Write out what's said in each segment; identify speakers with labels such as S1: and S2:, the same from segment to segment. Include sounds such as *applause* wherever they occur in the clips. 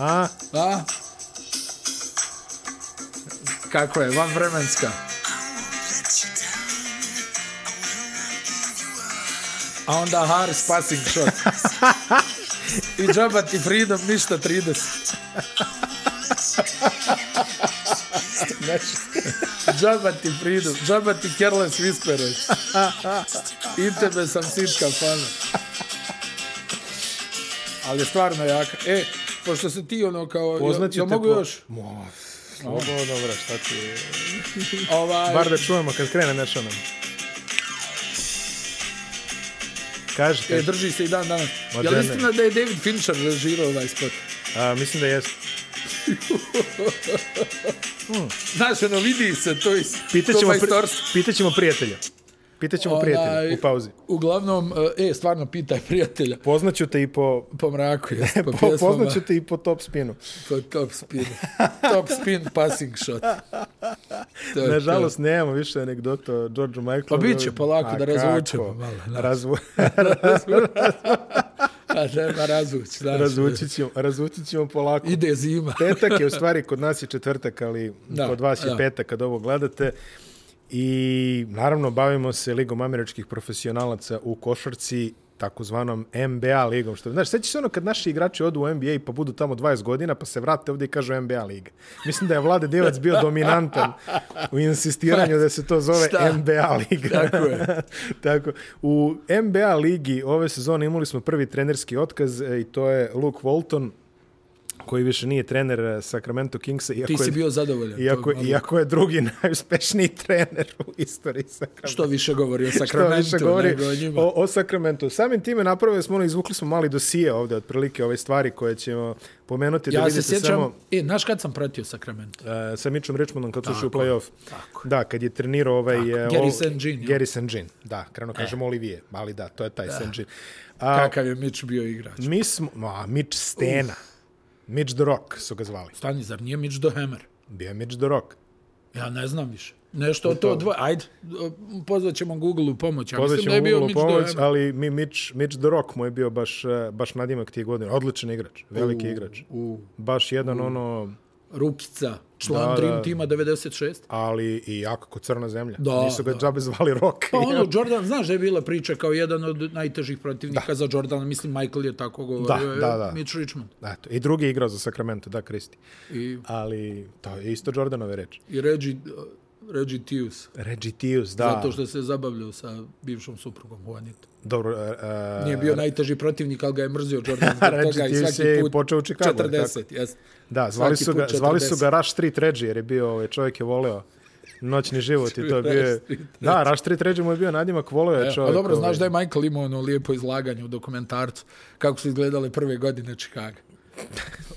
S1: A? Kako je, van vremenska. A onda Harris passing shot. I džaba ti freedom, ništa 30.
S2: Znači,
S1: Džaba ti freedom, džaba ti careless whisperers. I tebe sam sitka fana. Ali je stvarno jaka. E, pošto se ti ono kao...
S2: poznaću
S1: ja,
S2: te
S1: mogu
S2: po-
S1: još?
S2: Mo, slobodno, bre, šta ti... je?
S1: Ovaj,
S2: Bar da čujemo kad krene nešto nam. Kaži,
S1: E,
S2: kaži.
S1: drži se i dan danas.
S2: Ma
S1: Jel
S2: da ne.
S1: istina da je David Fincher režirao ovaj spot?
S2: A, mislim da jest.
S1: Znaš, ono, vidi se, to je
S2: Pitaćemo,
S1: to
S2: pri,
S1: majstorstvo.
S2: pitaćemo prijatelja. Pitaćemo prijatelja u pauzi.
S1: Uglavnom, e, stvarno, pitaj prijatelja.
S2: Poznaću te i po...
S1: Po mraku, jes, po,
S2: *laughs* po
S1: pjesmama,
S2: poznaću te i po top spinu.
S1: po top spin. top spin passing shot. To je *laughs*
S2: Nažalost, nemamo više anegdota o Georgeu Michaelu.
S1: Pa bit će polako
S2: A
S1: da razvučemo malo, da. *laughs*
S2: Razvu, *laughs*
S1: to. A nema Pa razvuć, znaš.
S2: razvući, ćemo, razvući ćemo polako.
S1: Ide zima.
S2: *laughs* Petak je u stvari, kod nas je četvrtak, ali
S1: Da,
S2: kod vas je
S1: da.
S2: petak kad ovo gledate. I naravno bavimo se Ligom američkih profesionalaca u košarci, takozvanom NBA ligom. Što, znaš, sećaš se ono kad naši igrači odu u NBA pa budu tamo 20 godina pa se vrate ovdje i kažu NBA liga. Mislim da je Vlade Divac bio dominantan u insistiranju da se to zove
S1: Šta?
S2: NBA liga.
S1: Tako je.
S2: *laughs* Tako, u NBA ligi ove sezone imali smo prvi trenerski otkaz e, i to je Luke Walton koji više nije trener e, Sacramento Kingsa iako
S1: Ti si
S2: je,
S1: bio zadovoljan.
S2: iako,
S1: to, malo.
S2: iako je drugi *laughs* najuspešniji trener u istoriji Sacramento.
S1: Što više govori o
S2: Što
S1: Sacramento
S2: više govori
S1: nego o njima.
S2: o, o Sacramento. Samim time napravili smo ono, izvukli smo mali dosije ovde, otprilike ove stvari koje ćemo pomenuti da
S1: ja
S2: vidite
S1: se sjećam,
S2: samo
S1: e, znaš kad sam pratio Sacramento?
S2: e, sa Mitchom Richmondom kad su ušli u
S1: Tako je,
S2: play-off.
S1: tako
S2: Da, kad je trenirao ovaj... Tako.
S1: Gary E. St. Jean, jel?
S2: Gary St. Jean, da, krenu kažemo Olivier, ali da, to je taj St. Jean. A,
S1: Kakav je Mitch bio igrač?
S2: Mi smo, a, Mitch Stena. Mitch the Rock su ga zvali.
S1: Stani, zar nije Mitch the Hammer?
S2: Bio je Mitch the Rock.
S1: Ja ne znam više. Nešto od to dvoje. Ajde, pozvat ćemo Google u pomoć. Ja
S2: Pozvat
S1: mislim da je
S2: ćemo
S1: bio
S2: Google u
S1: Mitch pomoć,
S2: pomoć,
S1: Dojem.
S2: ali mi Mitch, Mitch the Rock mu je bio baš, eh, baš nadimak tih godina. Odličan igrač, veliki igrač.
S1: U
S2: Baš jedan ono,
S1: Rukica, član
S2: Da,
S1: da,
S2: da.
S1: Dream Tima 96.
S2: ali i jako ko crna zemlja.
S1: Da,
S2: Nisu ga
S1: da.
S2: džabe zvali Rock.
S1: Pa ono, Jordan, znaš da je bila priča kao jedan od najtežih protivnika da. za Jordana. Mislim, Michael je tako govorio.
S2: Da, da, da.
S1: Mitch Richmond.
S2: Eto, I drugi je igrao za Sacramento, da, Kristi.
S1: I,
S2: Ali to je isto Jordanove reči.
S1: i Reggie, Reggie Tius.
S2: Reggie Tius, da.
S1: Zato što se zabavljao sa bivšom suprugom Juanito.
S2: Dobro, uh,
S1: Nije bio najteži protivnik, ali ga je mrzio
S2: *laughs*
S1: Jordan zbog
S2: Reggie
S1: toga i
S2: Tius
S1: svaki
S2: je
S1: put
S2: počeo u Chicagu, je li
S1: 40, jeste.
S2: Da, zvali
S1: Svaki
S2: su, ga,
S1: put
S2: zvali su
S1: 40.
S2: ga Rush Street Reggie, jer je bio, ovaj, čovjek je voleo noćni život i to je bio...
S1: Rush
S2: je-
S1: Street
S2: Da, Rush Street Reggie mu je bio nadimak, voleo je
S1: E,
S2: čovjek.
S1: Pa dobro,
S2: ovaj.
S1: znaš da je Michael imao ono lijepo izlaganje u dokumentarcu kako su izgledale prve godine *laughs* Čikaga.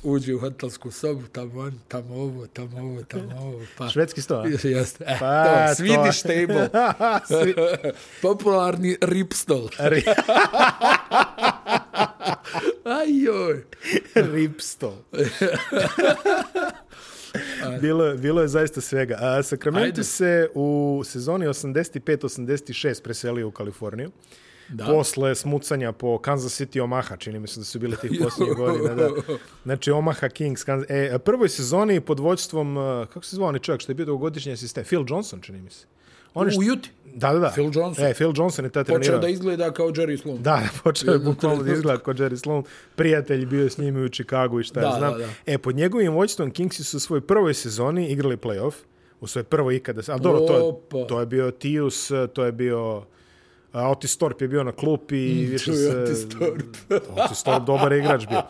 S1: Uđe u hotelsku sobu, tamo on, tamo ovo, tamo ovo, tamo ovo. Pa,
S2: Švedski
S1: *laughs*
S2: sto, a?
S1: Jeste. E,
S2: Pa,
S1: to,
S2: to.
S1: Swedish table.
S2: *laughs* Svi-
S1: *laughs*
S2: E.
S1: Popularni ripstol.
S2: Ri-
S1: Aj joj. *laughs*
S2: Ripstol. *laughs* bilo, je- bilo je zaista svega. A Sacramento
S1: Ajde.
S2: se u sezoni 85-86 preselio u Kaliforniju. Da.
S1: Da.
S2: Posle smucanja po Kansas City Omaha, čini mi se da su bile tih posljednjih godina.
S1: *laughs*
S2: Da. Znači Omaha Kings. Kansas... E, a prvoj sezoni pod vođstvom, e, kako se zvao onaj čovjek što je bio dugogodišnji asistent? Phil Johnson, čini mi se. On je
S1: U
S2: što...
S1: Juti.
S2: Da, da, da.
S1: Phil Johnson.
S2: E, Phil Johnson je tad trenirao.
S1: Počeo da izgleda kao Jerry Sloan. *laughs*
S2: Da, *laughs* počeo je
S1: Jednom
S2: bukvalno da
S1: trenutku.
S2: izgleda kod Jerry Sloan. Prijatelj bio je s njim i u Čikagu i šta ja
S1: Da,
S2: znam.
S1: da, da.
S2: E, pod njegovim vođstvom Kingsi su u svojoj prvoj sezoni igrali playoff. U svojoj prvoj ikada. A dobro, to, je-
S1: Opa.
S2: to je bio Tius, to je bio... A Otis Torp je bio na klupi i više
S1: to je
S2: se...
S1: Mm, Otis Thorpe.
S2: *laughs* Otis Torp dobar je igrač bio.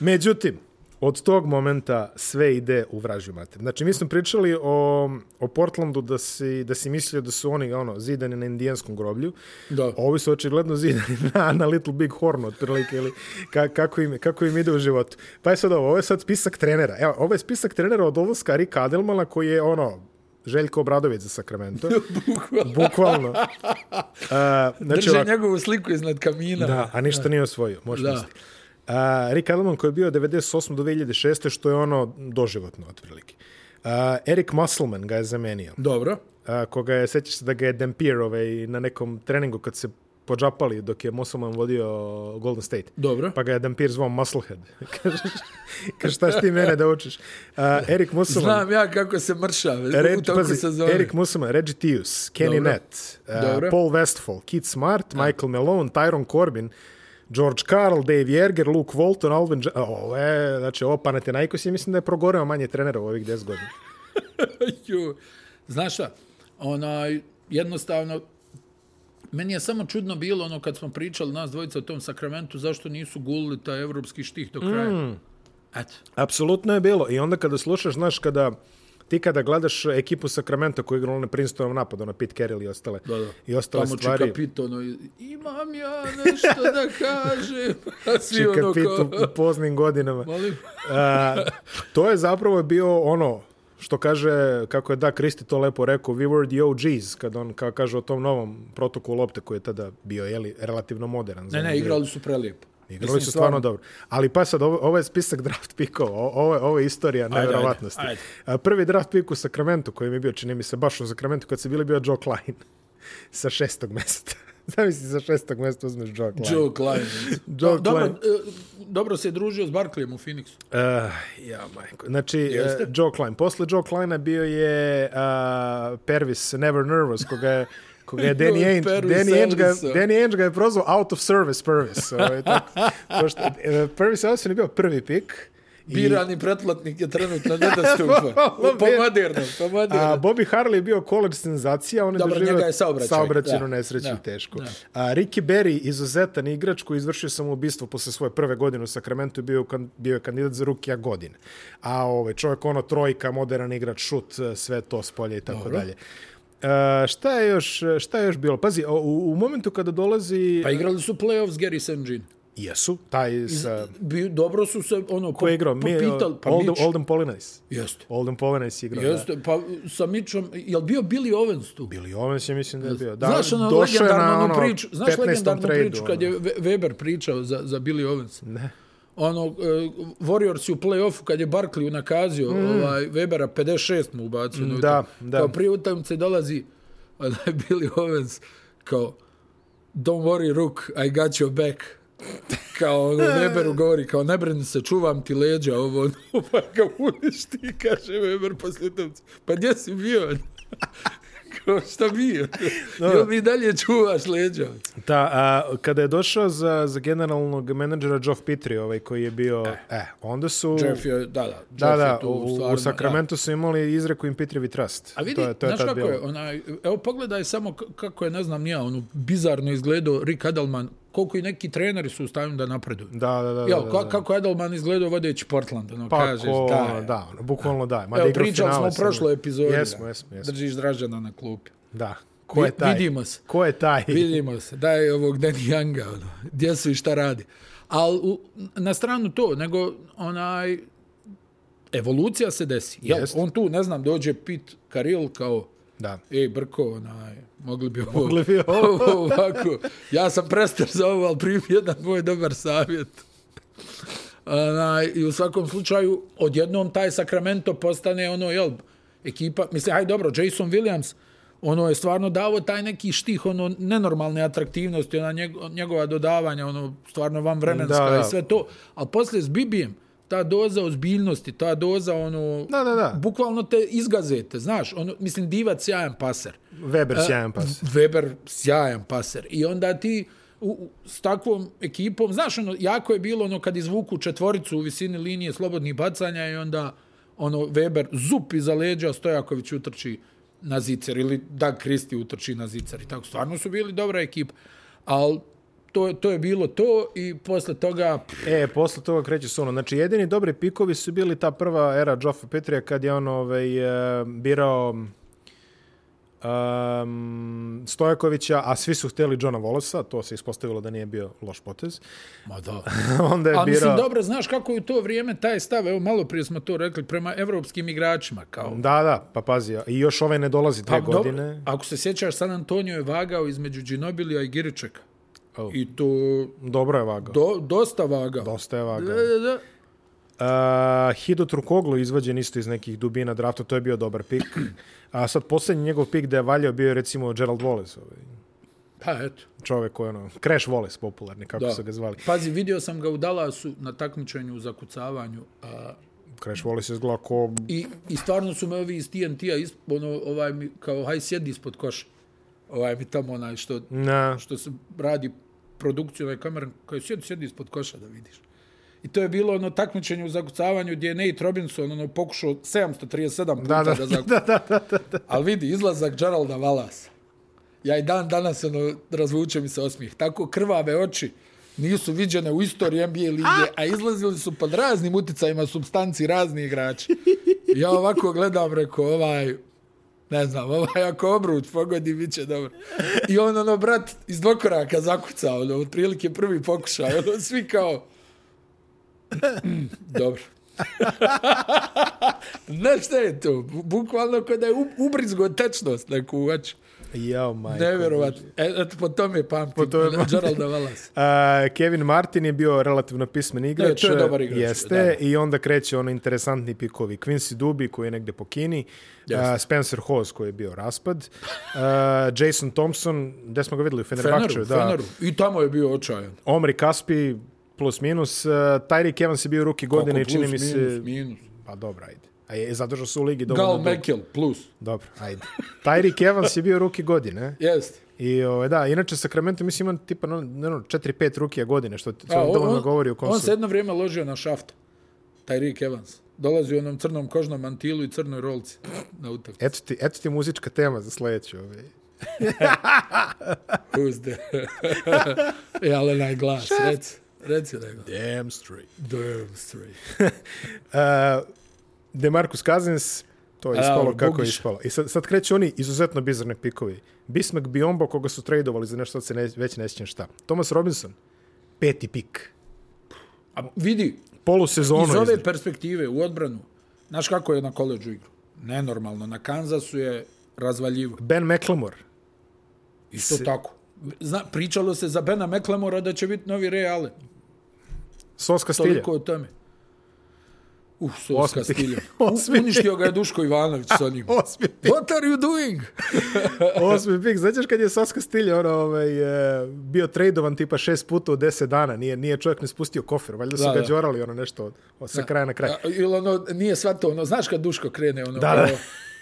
S2: Međutim, od tog momenta sve ide u vražju mater. Znači, mi smo pričali o, o Portlandu da si, da si mislio da su oni ono, zidani na indijanskom groblju.
S1: Da.
S2: Ovi su očigledno zidani *laughs* na, na Little Big Horn, otprilike, ili ka, kako, im, kako im ide u životu. Pa je sad ovo, ovo je sad spisak trenera. Evo, ovo je spisak trenera od odlaska Rika Adelmana koji je ono, Željko Obradović za Sacramento. Bukvalno. Bukvalno. Uh, znači,
S1: Drže
S2: ovako,
S1: njegovu sliku iznad kamina.
S2: Da, a ništa nije osvojio, možeš
S1: Da.
S2: misliti. A, Rick Adelman koji je bio 98 do 2006 što je ono doživotno otprilike. A, Eric Musselman ga je zamenio.
S1: Dobro.
S2: A, koga je, sećaš se da ga je Dampier ovaj, na nekom treningu kad se podžapali dok je Moselman vodio Golden State.
S1: Dobro.
S2: Pa ga je Dan Pierce zvao Musclehead. *laughs* Kažeš, kažeš, šta si ti mene da učiš? Uh, Erik Moselman.
S1: Znam ja kako se mrša,
S2: E, Red,
S1: tako
S2: pazi,
S1: se zove.
S2: Eric Musselman, Reggie Tius, Kenny
S1: Dobro.
S2: Nett, uh,
S1: Dobro.
S2: Paul Westfall, Kit Smart, Michael Malone, Tyron Corbin, George Karl, Dave Jerger, Luke Walton, Alvin... Ja- Ovo je, znači, ovo Panathinaikos je, mislim da je progoreo manje trenera u ovih 10 godina.
S1: Pa Ju. Znaš šta, onaj, jednostavno, meni je samo čudno bilo ono kad smo pričali nas dvojica o tom sakramentu, zašto nisu gulili taj evropski štih do kraja. Mm. Eto.
S2: Apsolutno je bilo. I onda kada slušaš, znaš, kada ti kada gledaš ekipu Sacramento koja je igrala na Princetonom napadu, na Pete Carroll i ostale,
S1: Da, da.
S2: i ostale
S1: Tamo
S2: stvari.
S1: Čika Pito, ono, imam ja nešto da kažem. *laughs* A svi
S2: Čika
S1: ono
S2: Pitt
S1: ko...
S2: u- u poznim godinama.
S1: Molim?
S2: A, to je zapravo bio ono što kaže, kako je da Kristi to lepo rekao, we were the OGs, kad on ka, kaže o tom novom protokolu lopte koji je tada bio jeli, relativno modern. za
S1: Ne, ne,
S2: NBA.
S1: igrali su prelijepo.
S2: Igrali
S1: Mislim,
S2: su stvarno dobro. Ali pa sad, ovo, ovo je spisak *laughs* draft pikova, o- ovo, je- ovo je istorija
S1: ajde,
S2: nevjerovatnosti.
S1: ajde.
S2: A, Prvi draft pik u Sakramentu koji mi je bio, čini mi se, baš u Sakramentu kad se bili bio Joe Klein *laughs* sa šestog mesta. *laughs* Zamisli sa šestog mesta uzmeš Joe Klein.
S1: Joe Klein.
S2: *laughs* Joe
S1: Dobro,
S2: Klein.
S1: e, dobro se je družio s Barkleyem u Phoenixu.
S2: Uh, ja, majko. Znači, uh, Joe Klein. Posle Joe Kleina bio je uh, Pervis Never Nervous, koga je koga
S1: *laughs*
S2: je Danny
S1: Joj,
S2: Ainge,
S1: Pervis
S2: Danny Ainge, ga,
S1: Elvisa.
S2: Danny Ainge ga je prozvao out of service Pervis. Ovaj,
S1: *laughs*
S2: tako. Pošto, uh, Pervis Elvis je bio prvi pik. i-
S1: Birani pretplatnik je trenutno nedostupan.
S2: *laughs* Malo
S1: po
S2: bi-
S1: modernom, po
S2: A
S1: modernom.
S2: Bobby Harley je bio college senzacija, on je
S1: Dobro,
S2: doživio
S1: njega je saobraćaj,
S2: saobraćajnu
S1: da,
S2: nesreću
S1: da,
S2: i teško.
S1: da.
S2: A Ricky Berry, izuzetan igrač koji je izvršio samoubistvo posle svoje prve godine u Sakramentu, bio, je kan- bio je kandidat za rukija godine. A ovaj, čovjek ono trojka, modern igrač, šut, e, sve to s polja i tako dalje. E, šta, je još, šta je još bilo? Pazi, o- u, u momentu kada dolazi...
S1: Pa igrali su playoff s Gary St. Jean.
S2: Jesu, taj sa...
S1: Bi, dobro su se, ono,
S2: Ko je igrao? Mi,
S1: popital, pa
S2: Olden,
S1: Mitch.
S2: Olden Polinice.
S1: Jeste.
S2: Olden Polinice je igrao. da.
S1: Jeste, pa sa Mičom, jel bio Billy Owens tu?
S2: Billy Owens je mislim da je bio. Da,
S1: Da, znaš ono
S2: došao je
S1: legendarnu
S2: na,
S1: ono,
S2: ono,
S1: priču, znaš
S2: 15.
S1: legendarnu
S2: tradu,
S1: priču kad je
S2: ono.
S1: Ve- Weber pričao za, za Billy Owens?
S2: Ne.
S1: Ono, uh, Warriors u play-offu kad je Barkley unakazio ovaj, Webera, 56 mu ubacio. Mm,
S2: Mm. da, da.
S1: Kao prije utakmice dolazi onaj *laughs* Billy Owens kao Don't worry, Rook, I got your back. Kao
S2: *laughs*
S1: ono, Weberu govori, kao ne brini se, čuvam ti leđa, ovo, ono, *laughs* pa ga uništi, kaže Weber poslije utakmice. Pa gdje si bio? *laughs* Kao šta bio? Jel mi dalje čuvaš leđa?
S2: Da, a, kada je došao za, za generalnog menadžera Geoff Petrie, ovaj koji je bio, e, onda su...
S1: Jeff je, da, da.
S2: Da,
S1: Jeff je
S2: da,
S1: tu
S2: u,
S1: stvarno,
S2: u Sakramentu su imali izreku im Petrievi trust.
S1: Da. A vidi,
S2: to je, to je
S1: znaš
S2: tad
S1: kako
S2: bilo.
S1: je, onaj, evo pogledaj samo k- kako je, ne znam ja, ono, bizarno izgledao Rick Adelman, koliko i neki treneri su u stanju da napreduju.
S2: Da, da, da.
S1: Jel,
S2: da,
S1: ka-
S2: da.
S1: kako je Adelman izgledao vodeći Portland, ono,
S2: Pa,
S1: kažeš,
S2: ko,
S1: da,
S2: da, da, ono, bukvalno da. Mada
S1: Evo,
S2: igrao
S1: pričali smo
S2: finale
S1: u
S2: sa-
S1: prošloj epizodi.
S2: Jesmo,
S1: da.
S2: jesmo, jesmo.
S1: Držiš Dražena na klupi.
S2: Da. Ko je
S1: Vi-
S2: taj?
S1: vidimo se.
S2: Ko je taj?
S1: Vidimo se, daj ovog Danny Younga, ono, gdje su i šta radi. Ali u, na stranu to, nego onaj, evolucija se desi. Jel,
S2: Jest.
S1: on tu, ne znam, dođe Pit Karil kao,
S2: Da.
S1: ej E, Brko, onaj, mogli bi *laughs* ovo,
S2: Mogli bi ovo.
S1: ovako. Ja sam prestar za ovo, ali primi jedan moj dobar savjet. Onaj, I u svakom slučaju, odjednom taj Sacramento postane ono, jel, ekipa, mislim, aj dobro, Jason Williams, ono je stvarno davo taj neki štih, ono, nenormalne atraktivnosti, ona njeg- njegova dodavanja, ono, stvarno van vremenska
S2: Da, da.
S1: i sve to, ali poslije s Bibijem, ta doza ozbiljnosti, ta doza, ono,
S2: Da, da, da.
S1: bukvalno te izgazete, znaš, ono, mislim, divac sjajan paser. E,
S2: Weber sjajan pas.
S1: Weber sjajan paser. I onda ti u, u, s takvom ekipom, znaš, ono, jako je bilo ono kad izvuku četvoricu u visini linije slobodnih bacanja i onda ono Weber zup iza leđa, Stojaković utrči na zicer ili Dag Kristi utrči na zicer i tako. Stvarno su bili dobra ekipa, ali to, je- to je bilo to i posle toga pff,
S2: E, posle toga kreće se ono. Znači, jedini dobri pikovi su bili ta prva era Joffa Petrija kad je on ovaj, e, birao um, Stojakovića, a svi su hteli Johna Wallace-a, to se ispostavilo da nije bio loš potez. *laughs*
S1: ma da,
S2: Onda je
S1: A mislim,
S2: birao...
S1: dobro, znaš kako je u to vrijeme taj stav, evo malo prije smo to rekli, prema evropskim igračima, kao...
S2: Da, da, pa pazi, i još ovaj ne dolazi dve
S1: Pa, dobro,
S2: godine.
S1: ako se sjećaš, San Antonio je vagao između Džinobilija i Giričeka.
S2: Oh.
S1: I to
S2: Dobro je vagao.
S1: do, dosta vagao.
S2: Dosta je vagao.
S1: Da, da, da.
S2: Uh, Hido Turkoglu izvađen isto iz nekih dubina drafta, to je *clears throat* bio dobar pik. A sad posljednji njegov pik da je valjao bio je recimo Gerald Wallace. Ovaj.
S1: Pa eto.
S2: Čovek koji je ono, Crash Wallace popularni, kako
S1: Da.
S2: su ga zvali.
S1: Pazi, vidio sam ga u Dallasu na takmičenju u zakucavanju. A,
S2: Crash Wallace je zgleda ko...
S1: I, I stvarno su me ovi iz TNT-a, isp- ono, ovaj, mi, kao, haj sjedi ispod koša. Ovaj mi tamo onaj što,
S2: Na,
S1: što se radi produkciju, onaj kameran, kao sjedi, sjedi ispod koša da vidiš. I to je bilo ono takmičenje u zakucavanju gdje je Nate Robinson ono, pokušao 737 puta da, da, da, zakuca. Da, da, da, da. Ali vidi, izlazak Geralda Valasa. Ja i dan danas ono, razvuče mi se osmijeh. Tako krvave oči nisu viđene u istoriji NBA lige, a izlazili su pod raznim uticajima substanci razni igrači. Ja ovako gledam, reko, ovaj, ne znam, ovaj ako obruč pogodi, bit će dobro. I on, ono, brat, iz dvokoraka zakucao, ono, otprilike prvi pokušaj, ono, svi kao, dobro. *laughs* Znaš šta je to? Bu- Bukvalno kao da je u- ubrizgo tečnost neku u oči.
S2: jao majko.
S1: Neverovatno. E, eto, po tome pamtim. Po
S2: tome
S1: tome... Geralda Wallace.
S2: *laughs* A, Kevin Martin je bio relativno pismen igrač.
S1: Ne, to je dobar igrač,
S2: Jeste,
S1: da, da.
S2: i onda kreće ono interesantni pikovi. Quincy Dubi koji je negde po Kini, a, Spencer Hawes koji je bio raspad, a, Jason Thompson, gde smo ga videli u Fenerbahčeu,
S1: Feneru,
S2: da.
S1: da. Feneru. I tamo je bio očajan.
S2: Omri Kaspi, plus minus, uh, Tyreek Evans je bio ruki godine i čini mi se...
S1: Minus, minus.
S2: Pa dobro, ajde. A je, zadržao se u ligi dovoljno
S1: Gal
S2: dugo.
S1: Mekel, plus.
S2: Dobro, ajde. *laughs* Tyreek Evans je bio ruki godine.
S1: Jeste.
S2: I ove, da, inače Sacramento mislim ima tipa ono, no, no, 4-5 rukija godine, što ti
S1: A,
S2: to dovoljno govori o
S1: on
S2: kom
S1: se
S2: su.
S1: jedno vrijeme ložio na šaftu. Taj Rick Evans. Dolazi u onom crnom kožnom mantilu i crnoj rolci na utakmicu.
S2: Eto ti, eto ti muzička tema za sledeću. Ovaj.
S1: Uzde. *laughs* e, ali onaj glas. Reci, reci da ga.
S2: Damn straight.
S1: Damn straight.
S2: Uh, Demarcus Cousins, to je
S1: A,
S2: ispalo
S1: ono,
S2: kako je
S1: Bogiš.
S2: ispalo. I sad, sad kreću oni izuzetno bizarne pikovi. Bismak Biombo, koga su tradeovali za nešto, sad se ne, već ne sjećam šta. Thomas Robinson, peti pik.
S1: A vidi,
S2: Polusezono.
S1: Iz
S2: izra-
S1: ove perspektive u odbranu, znaš kako je na koleđu igru? Nenormalno. Na Kanzasu je razvaljivo.
S2: Ben McLemore.
S1: Isto tako. Zna, pričalo se za Bena Meklemora da će biti novi Reale.
S2: Sos Castillo.
S1: Toliko o tome. Uh, sos
S2: Osmi pik.
S1: Castillo.
S2: *laughs* Osmi pik.
S1: Uništio ga je Duško Ivanović s onim.
S2: *laughs* Osmi pik.
S1: What are you doing?
S2: Osmi pik. Znaćeš kad je Sos Castillo ono, ovaj, e, bio tradovan tipa šest puta u deset dana. Nije, nije čovjek ne spustio kofer. Valjda su
S1: Da,
S2: da, ga
S1: da.
S2: džorali ono nešto od, od sa kraja na kraj.
S1: A, Ili ono, nije shvatio, ono, znaš kad Duško krene, ono,
S2: Da, da.
S1: kao,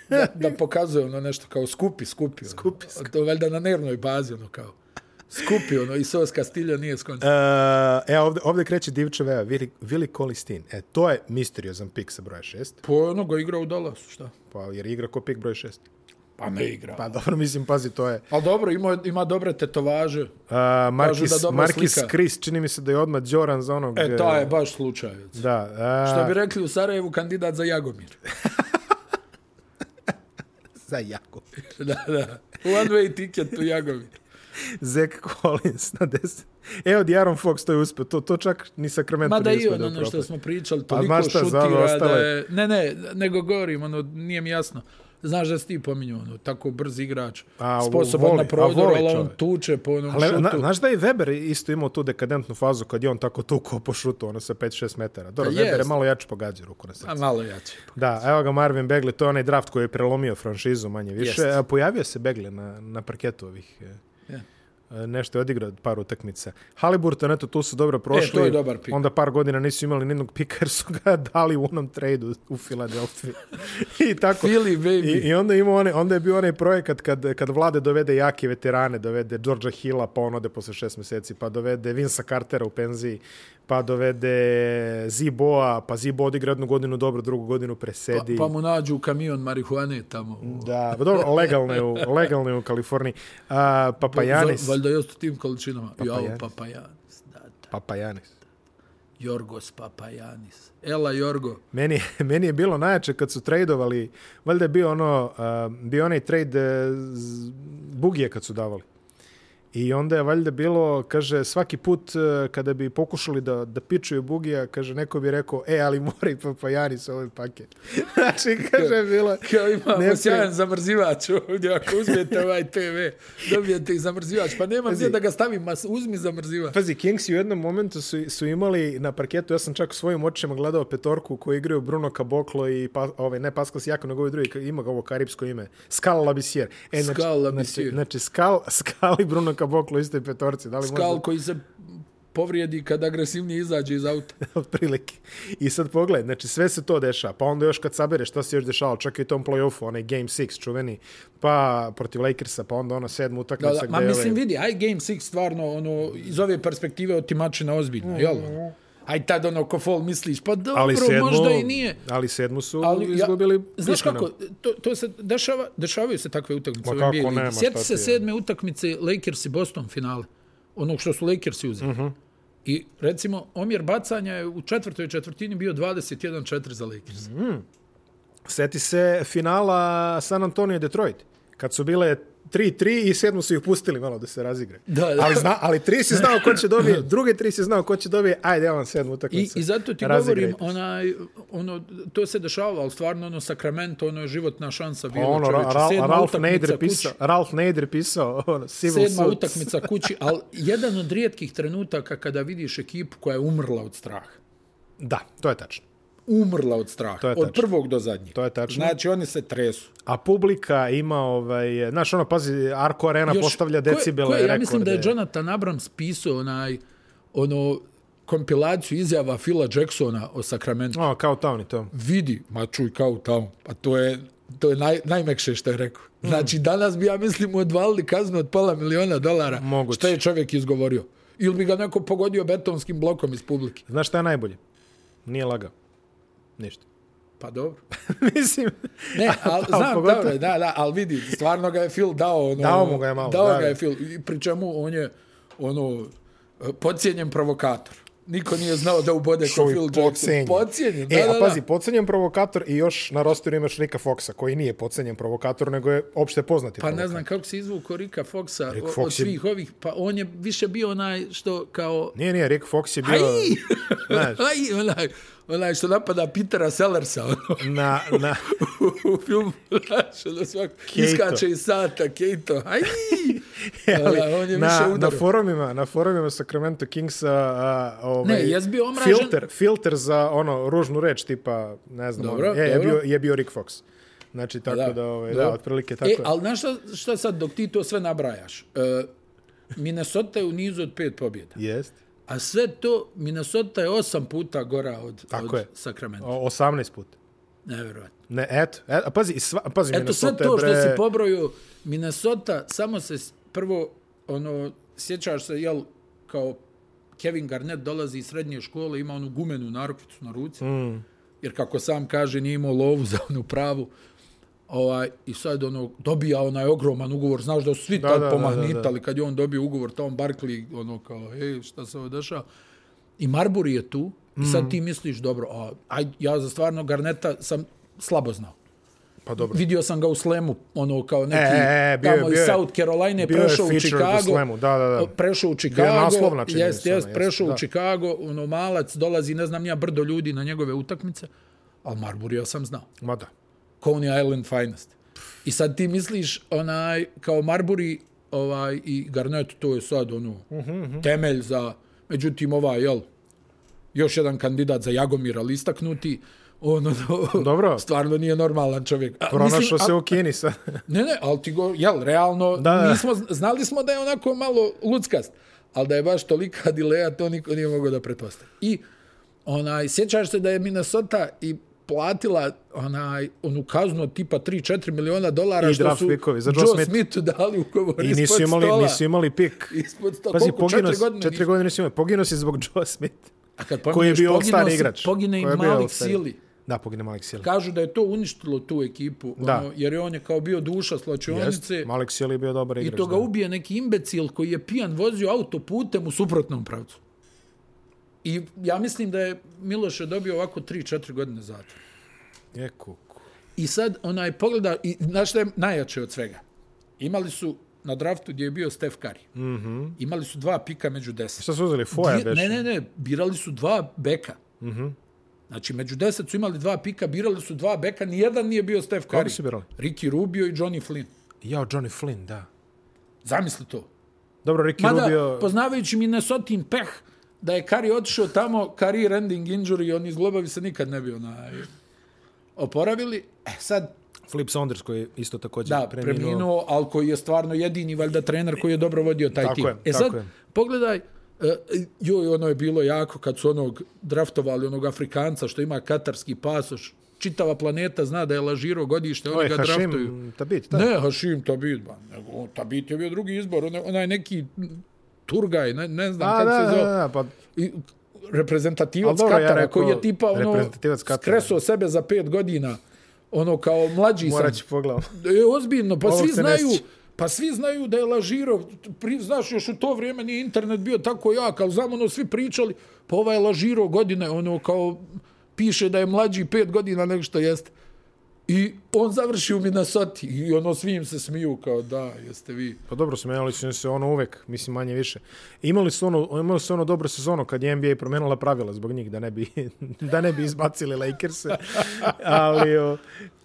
S1: da,
S2: *laughs*
S1: da pokazuje ono nešto kao skupi, skupi. Ono.
S2: Skupi,
S1: To valjda na nervnoj bazi, ono kao. Skupi, ono, i sos Castillo nije skontao.
S2: E, ovde, ovde kreće divčeva Vili, Vili Kolistin. E, to je misteriozan pik sa broja šest.
S1: Po onoga igra u Dallasu, šta?
S2: Pa, jer igra ko pik broj šest.
S1: Pa ne igra.
S2: Pa dobro, mislim, pazi, to je. e,
S1: Ali dobro, ima, ima dobre tetovaže.
S2: Uh, Markis,
S1: dobra
S2: Markis
S1: slika.
S2: Kris, čini mi se da je odmah Đoran za onog...
S1: E, to je baš slučajac.
S2: Da. Uh,
S1: Što bi rekli u Sarajevu, kandidat za Jagomir. *laughs*
S2: Za jako.
S1: da, da. One way ticket u Jagomir.
S2: Zach Collins na 10. Evo di Aaron Fox to je uspio. To, to čak ni Sacramento
S1: Mada i
S2: nije uspio
S1: ono,
S2: da
S1: ono što
S2: upropasti.
S1: smo pričali,
S2: Pa znaš
S1: toliko
S2: šta, Zala,
S1: šutira da
S2: ostale-
S1: je... Ne, ne, nego govorim, ono, nije mi jasno. Znaš da si ti pominjao, ono, tako brz igrač,
S2: A,
S1: sposoban
S2: voli,
S1: na prodoru,
S2: a voli
S1: ali on
S2: čovjek.
S1: tuče po onom
S2: Ali,
S1: šutu.
S2: na, znaš da je Weber isto imao tu dekadentnu fazu kad je on tako tukao po šutu, ono sa 5-6 metara. Dobro,
S1: Pa
S2: Weber je
S1: jest.
S2: malo jače pogađa ruku na srce.
S1: A malo jače.
S2: Da, evo ga Marvin Begley, to je onaj draft koji je prelomio franšizu manje više.
S1: Jest.
S2: Jest. Pojavio se Begley na, na parketu ovih... e,
S1: Ja.
S2: e, nešto je odigrao par utakmica. Haliburton, eto, tu su dobro prošli.
S1: E, to je dobar pik.
S2: Onda par godina nisu imali nijednog pika jer su ga *laughs* dali u onom tradu u Filadelfiji. *laughs* I tako.
S1: Philly, baby.
S2: I, I onda ima one, onda je bio onaj projekat kad, kad vlade dovede jake veterane, dovede Georgia Hilla, pa on ode posle šest meseci, pa dovede Vinsa Cartera u penziji, pa dovede Ziboa, pa Zibo odigra jednu godinu dobro, drugu godinu
S1: Pa,
S2: presedi.
S1: pa mu nađu kamion marihuane tamo. u-
S2: Da, pa dobro, legalno je u, legalno je u Kaliforniji. A, Papajanis.
S1: Valjda jeste u tim količinama. Jao,
S2: Papajanis.
S1: Papajanis. Da, da.
S2: Papajanis.
S1: Jorgos Papajanis. Ela Jorgo.
S2: Meni, je- *laughs* meni je bilo najjače kad su tradeovali, valjda je bio ono, uh, bio onaj trade uh, z- Bugije kad su davali. I onda je valjda bilo, kaže, svaki put uh, kada bi pokušali da, da pičuju Bugija, kaže, neko bi rekao, e, ali mora i Papajanis ovaj paket. *laughs* znači, kaže, bilo...
S1: Kao imamo
S2: Ne,
S1: ne, sjajan zamrzivač ovdje, ako uzmete ovaj TV, dobijete i zamrzivač. Pa nema gdje da ga stavim, ma uzmi zamrzivač.
S2: Pazi, Kings u jednom momentu su, su imali na parketu, ja sam čak svojim očima gledao petorku koju igraju Bruno Caboclo i pa, ovaj, ne Pascal Sijakon, nego ovaj drugi, ima ga ovo karipsko ime, Skal Labissier. E,
S1: Skal Labissiere.
S2: Znači, znači Skal, Skal i Bruno Luka Boklo u istoj petorci. Da li
S1: Skal koji se povrijedi kad agresivnije izađe iz auta.
S2: otprilike. I sad pogledaj, znači sve se to dešava, pa onda još kad sabere šta se još dešavalo, čak i u tom play-offu, onaj Game 6 čuveni, pa protiv Lakersa, pa onda ona sedma
S1: Da,
S2: utakmica
S1: da, ma
S2: je
S1: mislim,
S2: ovaj,
S1: vidi, aj Game 6 stvarno, ono, iz ove perspektive otimačina ozbiljno, jel? ono? Aj tad, ono, ko fol misliš, pa dobro,
S2: ali sedmu,
S1: možda i nije.
S2: Ali sedmu su
S1: Ali
S2: ali,
S1: ja-
S2: izgubili
S1: Znaš
S2: pišmenom.
S1: kako, to, to se dešava, dešavaju se takve utakmice.
S2: Ma
S1: u
S2: kako
S1: NBA ligi.
S2: nema,
S1: Sjeti
S2: šta
S1: se
S2: ti je.
S1: sedme utakmice Lakers i Boston finale. Onog što su Lakersi uzeli.
S2: Mhm.
S1: I recimo, omjer bacanja je u četvrtoj četvrtini bio 21-4 za Lakers.
S2: Mhm. Seti se finala San Antonio i Detroit, kad su bile 3-3 i sedmu su ih pustili malo da se razigre.
S1: Da, da.
S2: Ali, zna, ali tri si znao ko će
S1: *laughs*
S2: dobije, druge tri si znao ko će dobije, ajde, ja vam sedmu
S1: I,
S2: utakmicu.
S1: I zato ti
S2: razigrajte.
S1: govorim, onaj, ono, to se dešava, ali stvarno ono Sacramento, ono je životna šansa bila
S2: ono,
S1: čovječe.
S2: Ra- Ra-
S1: Sedma
S2: Ralph
S1: utakmica
S2: Nader
S1: kući.
S2: pisao, Ralph Nader pisao, ono, Civil
S1: sedma
S2: Suits.
S1: utakmica kući, ali jedan od rijetkih trenutaka kada vidiš ekipu koja je umrla od straha.
S2: Da, to je tačno.
S1: Umrla od straha.
S2: To je
S1: Od
S2: tačno.
S1: prvog do zadnjeg.
S2: To je tačno.
S1: Znači, oni se tresu.
S2: A publika ima, ovaj, znaš, ono, pazi, Arko Arena Još, postavlja
S1: ko je-
S2: decibele
S1: ko je-
S2: rekorde.
S1: Ja mislim da je Jonathan Abrams pisao onaj, ono, kompilaciju izjava Phila Jacksona o Sacramento.
S2: O, Ono, kao Towni to.
S1: vidi, ma čuj kao tamo, pa to je, to je naj, najmekše što je rekao.
S2: Mm.
S1: Znači, danas bi, ja mislim, mu odvalili kaznu od pola miliona dolara,
S2: Moguće.
S1: što je čovjek izgovorio. Ili bi ga neko pogodio betonskim blokom iz publike.
S2: Znaš šta je najbolje? Nije lagao. Ništa. *laughs*
S1: Pa dobro.
S2: mislim, *laughs*
S1: Ne, ali
S2: ali
S1: znam,
S2: pa, pogotovo-
S1: dobro, da, da, ali vidi, stvarno ga je Phil dao. Ono,
S2: Dao mu ga je malo,
S1: Dao
S2: da,
S1: ga je
S2: da.
S1: Phil, i pri čemu on je, ono, podcijenjen provokator. Niko nije znao da ubode ko
S2: čovjek
S1: Phil Jackson.
S2: podcenjen.
S1: Podcijenjen, da,
S2: e,
S1: da,
S2: a
S1: da.
S2: pazi, podcenjen provokator i još na rosteru imaš Rika Foxa, koji nije podcenjen provokator, nego je opšte poznati
S1: Pa
S2: provokator.
S1: ne znam kako se izvukao Rika Foxa
S2: Rick
S1: o- od
S2: Fox je-
S1: svih ovih, pa on je više bio onaj što kao...
S2: Nije, nije, Rick Fox je bio...
S1: Aj!
S2: Znaš.
S1: *laughs* Aj, onaj, onaj što napada Petera Sellersa ono, *laughs*
S2: Na, na,
S1: u filmu, znaš, ono svako,
S2: Kejto.
S1: iskače iz sata, Kejto, aj!
S2: *laughs* ali,
S1: Onaj, on je više
S2: na, na
S1: udario.
S2: forumima, na forumima Sacramento Kingsa a, ovaj,
S1: Ne, jes bio omražen-
S2: filter, filter za ono ružnu reč tipa, ne znam,
S1: Dobro,
S2: ono, je, je,
S1: dobro.
S2: bio, je bio Rick Fox. Znači, tako da, da, ovaj, da
S1: dobro.
S2: otprilike tako
S1: E,
S2: e,
S1: ali znaš šta, šta sad, dok ti to sve nabrajaš? E, Minnesota je u nizu od pet pobjeda.
S2: Jest.
S1: A sve to, Minnesota je osam puta gora od,
S2: Tako
S1: od
S2: je.
S1: Sacramento.
S2: O, 18 puta.
S1: Nevjerojatno.
S2: Ne, eto, eto, a pazi, i sva, pazi,
S1: Eto sve
S2: Minnesota
S1: to
S2: je,
S1: što
S2: bre,
S1: si pobrojio, Minnesota, samo se s- prvo, ono, sjećaš se, jel, kao Kevin Garnett dolazi iz srednje škole, ima onu gumenu narukvicu na ruci, mm. jer kako sam kaže, nije imao lovu za onu pravu, ovaj, i sad ono, dobija onaj ogroman ugovor, znaš da su svi da, tad
S2: da, da,
S1: pomahnitali,
S2: da,
S1: kad je on dobio ugovor, Tom Barkley, ono kao, ej, šta se ovo dešava, i Marbury je tu, i
S2: Mm.
S1: sad ti misliš, dobro, a, aj, ja za stvarno Garneta sam slabo znao.
S2: Pa dobro.
S1: Vidio sam ga u Slemu, ono kao neki
S2: E, e, bio je-
S1: tamo
S2: bio
S1: iz
S2: je-
S1: South Caroline,
S2: bio je
S1: prešao u
S2: featured u
S1: Chicago.
S2: Slamu, da, da, da.
S1: Prešao u Chicago.
S2: naslovna, čini mi
S1: jest,
S2: se,
S1: jest,
S2: ono, jest,
S1: prešao u
S2: da.
S1: Chicago, ono malac, dolazi, ne znam ja, brdo ljudi na njegove utakmice, ali Marburija sam znao.
S2: Ma da.
S1: Coney Island Finest. I sad ti misliš, onaj, kao Marbury ovaj, i Garnett, to je sad ono,
S2: Mhm,
S1: temelj za, međutim, ovaj, jel, još jedan kandidat za Jagomira, ali istaknuti, ono, *laughs*
S2: Dobro.
S1: stvarno nije normalan čovjek. A,
S2: Pronašao
S1: mislim,
S2: se
S1: a-
S2: u Kini sa...
S1: Ne, ne, ali ti go, jel, realno, da,
S2: Da, da.
S1: nismo, znali smo da je onako malo luckast, ali da je baš tolika *laughs* dileja, to niko nije mogao da pretpostavi. I, onaj, sjećaš se da je Minnesota i platila onaj, onu kaznu od tipa 3-4 miliona dolara
S2: I
S1: što
S2: draft
S1: su
S2: pickovi za Joe
S1: Joe
S2: Smith.
S1: Smithu dali ugovor
S2: I
S1: *laughs* ispod
S2: nisu imali,
S1: stola.
S2: nisu imali pik.
S1: Ispod stola.
S2: Pazi,
S1: Koliko?
S2: poginuo
S1: Četiri
S2: si,
S1: godine
S2: četiri
S1: nisu.
S2: godine nisi imali. Poginuo si zbog Joe Smith.
S1: A kad
S2: koji je
S1: pominješ,
S2: bio
S1: poginuo
S2: all-star
S1: si-
S2: igrač.
S1: Pogine i
S2: Koji je bio
S1: Malik
S2: all-star.
S1: Sili.
S2: Da, pogine Malik Sili.
S1: Kažu da je to uništilo tu ekipu,
S2: Da.
S1: ono, jer je on je kao bio duša slačionice.
S2: Jest, Malik Sili je bio dobar igrač.
S1: I to ga
S2: da.
S1: ubije neki imbecil koji je pijan vozio autoputem u suprotnom pravcu. I ja mislim da je Miloše dobio ovako 3-4 godine zatvora.
S2: Je kuku.
S1: I sad onaj pogleda, i znaš šta je najjače od svega? Imali su na draftu gdje je bio Steph Curry. Mm -hmm. Imali su dva pika među deset.
S2: Mhm. Šta su uzeli? Foja
S1: Dvije-
S2: beše? Mhm.
S1: Ne, ne, ne, birali su dva beka. Mm -hmm. Znači, među deset su imali dva pika, birali su dva beka, nijedan nije bio Steph Curry.
S2: su birali?
S1: Ricky Rubio i Johnny Flynn.
S2: Jao, Johnny Flynn, da.
S1: Zamisli to.
S2: Dobro, Ricky
S1: Mada,
S2: Rubio...
S1: poznavajući Minnesotin peh, da je Kari otišao tamo, career ending injury, on iz globavi se nikad ne bi onaj oporavili. E sad,
S2: Flip Saunders koji je isto također
S1: Da, preminuo, ali koji je stvarno jedini valjda trener koji je dobro vodio taj
S2: Tako
S1: tim.
S2: je,
S1: e
S2: tako
S1: sad,
S2: je.
S1: pogledaj, e, joj, ono je bilo jako kad su onog draftovali, onog Afrikanca što ima katarski pasoš. Čitava planeta zna da je lažiro godište,
S2: To
S1: oni
S2: je
S1: ga draftuju.
S2: Hašim Tabit, da.
S1: Ne, Hašim Tabit, ba, nego, on- Tabit je bio drugi izbor, onaj, onaj neki Turgaj, ne, ne znam
S2: A,
S1: kako
S2: da,
S1: se
S2: da,
S1: zove.
S2: da, pa
S1: I, reprezentativac
S2: Ali dobro, ja
S1: Katara
S2: rekao,
S1: koji je tipa ono
S2: reprezentativac Katara.
S1: skresao sebe za pet godina ono kao mlađi
S2: morat
S1: sam
S2: ću pogledam.
S1: E, ozbiljno, pa
S2: Ovo
S1: svi
S2: se ne
S1: znaju,
S2: sjeća.
S1: pa svi znaju da je lažirao, pri, znaš, još u to vrijeme nije internet bio tako jak, ali znam, ono, svi pričali, pa ovaj je lažirao godine, ono, kao, piše da je mlađi pet godina nego što jeste. I on završi u Minnesota i ono, svi im se smiju, kao, da, jeste vi.
S2: Pa dobro, smenjali su im se ono uvek, mislim manje više. Imali su ono, imali su ono dobro sezono kad je NBA promenila pravila zbog njih da ne bi, *laughs* da ne bi izbacili Lakers.
S1: *laughs*
S2: Ali o,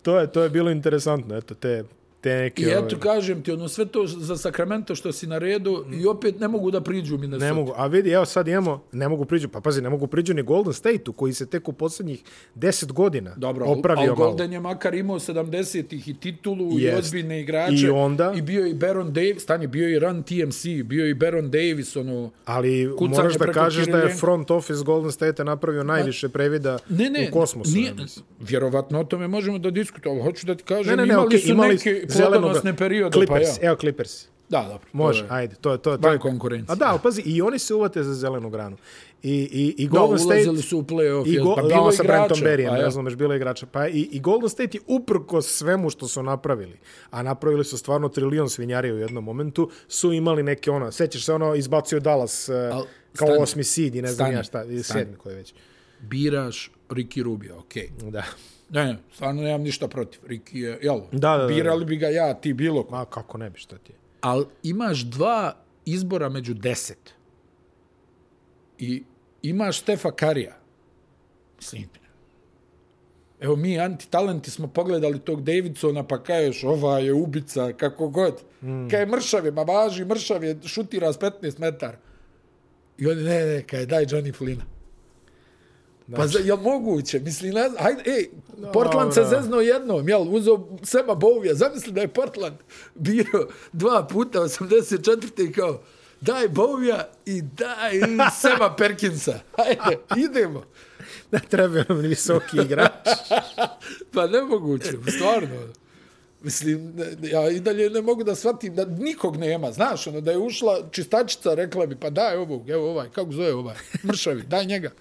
S2: to je, to je bilo interesantno, eto, te, te neke...
S1: I eto,
S2: ove-
S1: kažem ti, ono, sve to za Sacramento što si na redu i opet ne mogu da priđu u Minnesota.
S2: Ne mogu, a vidi, evo sad imamo, ne mogu priđu, pa pazi, ne mogu priđu ni Golden State-u koji se tek u posljednjih 10 godina
S1: Dobro,
S2: opravio
S1: al
S2: malo.
S1: Golden je makar imao 70-ih i titulu i
S2: Jest.
S1: ozbiljne igrače.
S2: I onda?
S1: I bio i Baron Davis, stani, bio je i Run TMC, bio je i Baron Davis, ono...
S2: Ali
S1: Kucanje
S2: moraš da
S1: preko
S2: kažeš da je
S1: Kirilenka.
S2: front office Golden State-a napravio najviše previda
S1: Ne, ne,
S2: u kosmosu. ja
S1: nije,
S2: mislim.
S1: vjerovatno o tome možemo da diskutujemo, ali hoću da ti kažem,
S2: Ne, ne, ne,
S1: imali
S2: okej,
S1: su
S2: imali
S1: neke
S2: zelenoga-
S1: plodonosne periode,
S2: Clippers,
S1: pa ja.
S2: evo Clippers.
S1: Da, dobro. to
S2: Može,
S1: je-
S2: ajde, to je to. je- to
S1: Van
S2: je
S1: konkurencije.
S2: A da, ali pazi, i oni se uvate za zelenu granu. I, i, i
S1: Da,
S2: Golden
S1: ulazili
S2: State...
S1: su u play-off,
S2: I
S1: jel,
S2: go,
S1: pa
S2: pa
S1: bilo
S2: bilo sa Brentom
S1: igrača,
S2: Berryem,
S1: pa
S2: ne
S1: ja.
S2: razumeš, bilo je igrača. Pa i, i Golden State je uprko svemu što su napravili, a napravili su stvarno trilion svinjarija u jednom momentu, su imali neke ono, sećaš se ono, izbacio Dallas eh,
S1: Al,
S2: kao
S1: stani,
S2: osmi seed i ne znam
S1: stani,
S2: ja šta, i
S1: stani.
S2: sedmi koji je već.
S1: Biraš Ricky Rubio, okej.
S2: Da.
S1: Ne, ne, stvarno nemam ništa protiv. Ricky je, jel,
S2: Da, da, da, da.
S1: birali bi ga ja, ti bilo ko.
S2: Ma kako ne bi, šta ti je.
S1: ali imaš dva izbora među deset. I imaš Stefa Karija. Mislim, evo mi antitalenti smo pogledali tog Davidsona, pa kaješ, ova je ubica, kako god. Mm. Kaj je mršav je, ma važi, mršav je, šutira s 15 metara. I oni, ne, ne, kaj daj Johnny Flina.
S2: Znači, *laughs*
S1: Pa za, jel moguće? Mislim, ne znam, hajde, ej, Portland se
S2: Dobro.
S1: zeznuo jednom, jel, uzeo Sema Bovija, zamisli da je Portland bio dva puta, 84. i kao, daj Bovija i daj Sema Perkinsa. *laughs* Hajde, idemo.
S2: Da, treba nam visoki igrač.
S1: Pa nemoguće, stvarno. Mislim, ne- ja i dalje ne mogu da shvatim da nikog nema, znaš, ono, da je ušla čistačica, rekla bi, pa daj ovog, evo ovaj, kako zove ovaj, mršavi, daj njega.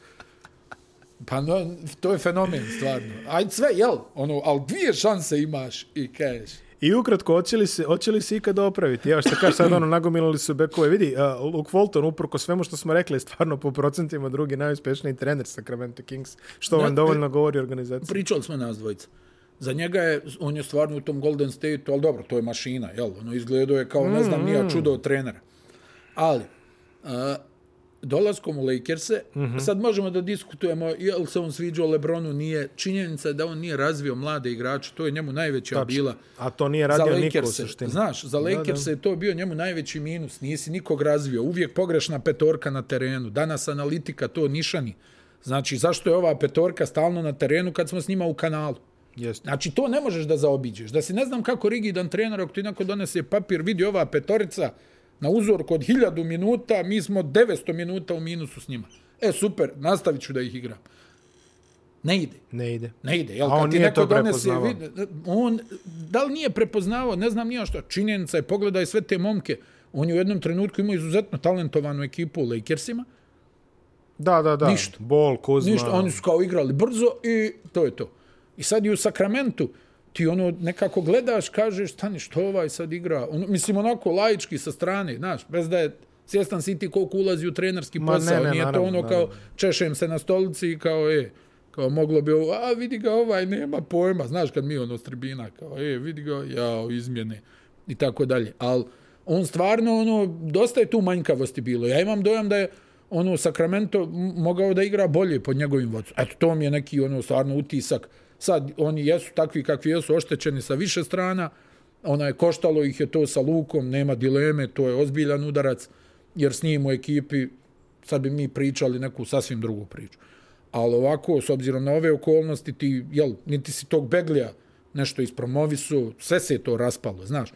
S1: Pa no, to je fenomen, stvarno. Ajde sve, jel, ono, ali dvije šanse imaš i kažeš.
S2: I ukratko, hoće li se, hoće li se ikada opraviti? Ja što kaže sad, ono, nagomilali su bekove. Vidi, uh, Luke Walton, uprko svemu što smo rekli, je stvarno po procentima drugi najuspešniji trener Sacramento Kings, što vam
S1: Ne,
S2: dovoljno govori o organizaciji.
S1: Pričali smo nas dvojica. Za njega je, on je stvarno u tom Golden State-u, ali dobro, to je mašina, jel? Ono izgledao je kao, ne znam, nija čudo od trenera. Ali, a, dolaskom u Lakers-e, sad možemo da diskutujemo jel se on sviđao Lebronu, nije. Činjenica je da on nije razvio mlade igrače, to je njemu najveća bila.
S2: A to nije
S1: Za
S2: radio niko u
S1: Lakers-e,
S2: suštini.
S1: znaš, za Lakers-e je to bio njemu najveći minus. Nisi nikog razvio, uvijek pogrešna petorka na terenu. Danas analitika to nišani. Znači, zašto je ova petorka stalno na terenu kad smo s njima u kanalu?
S2: Jeste.
S1: Znači, to ne možeš da zaobiđeš. Da si ne znam kako rigidan trener, ako ti neko donese papir, vidi ova petorica na uzorku od hiljadu minuta, mi smo 900 minuta u minusu s njima. E, super, nastavit ću da ih igram. Ne ide.
S2: Ne ide.
S1: Ne ide, jel?
S2: A
S1: Kad
S2: on
S1: ti
S2: nije
S1: neko
S2: to
S1: donese,
S2: prepoznavao.
S1: vid- on, da li nije prepoznavao, ne znam nije što, činjenica je, pogledaj sve te momke, on je u jednom trenutku imao izuzetno talentovanu ekipu u Lakersima,
S2: Da, da, da.
S1: Ništa.
S2: Bol, Kuzma.
S1: Ništa, oni su kao igrali brzo i to je to. I sad i u Sakramentu ti ono nekako gledaš, kažeš, stani, što ovaj sad igra? Ono, mislim, onako laički sa strane, znaš, bez da je svjestan si ti koliko ulazi u trenerski
S2: Ma,
S1: posao.
S2: ne, ne,
S1: Nije
S2: naravno,
S1: to ono kao
S2: naravno.
S1: češem se na stolici i kao, e, kao moglo bi ovo, a vidi ga ovaj, nema pojma, znaš kad mi ono s tribina, kao, e, vidi ga, jao, izmjene i tako dalje. Ali on stvarno, ono, dosta je tu manjkavosti bilo. Ja imam dojam da je ono Sacramento m- mogao da igra bolje pod njegovim vodstvom. Eto, to mi je neki ono stvarno utisak. Sad, oni jesu takvi kakvi jesu, oštećeni sa više strana, ona je koštalo ih je to sa Lukom, nema dileme, to je ozbiljan udarac, jer s njim u ekipi sad bi mi pričali neku sasvim drugu priču. Ali ovako, s obzirom na ove okolnosti, ti, jel, niti si tog Beglija nešto ispromovisu, sve se je to raspalo, znaš.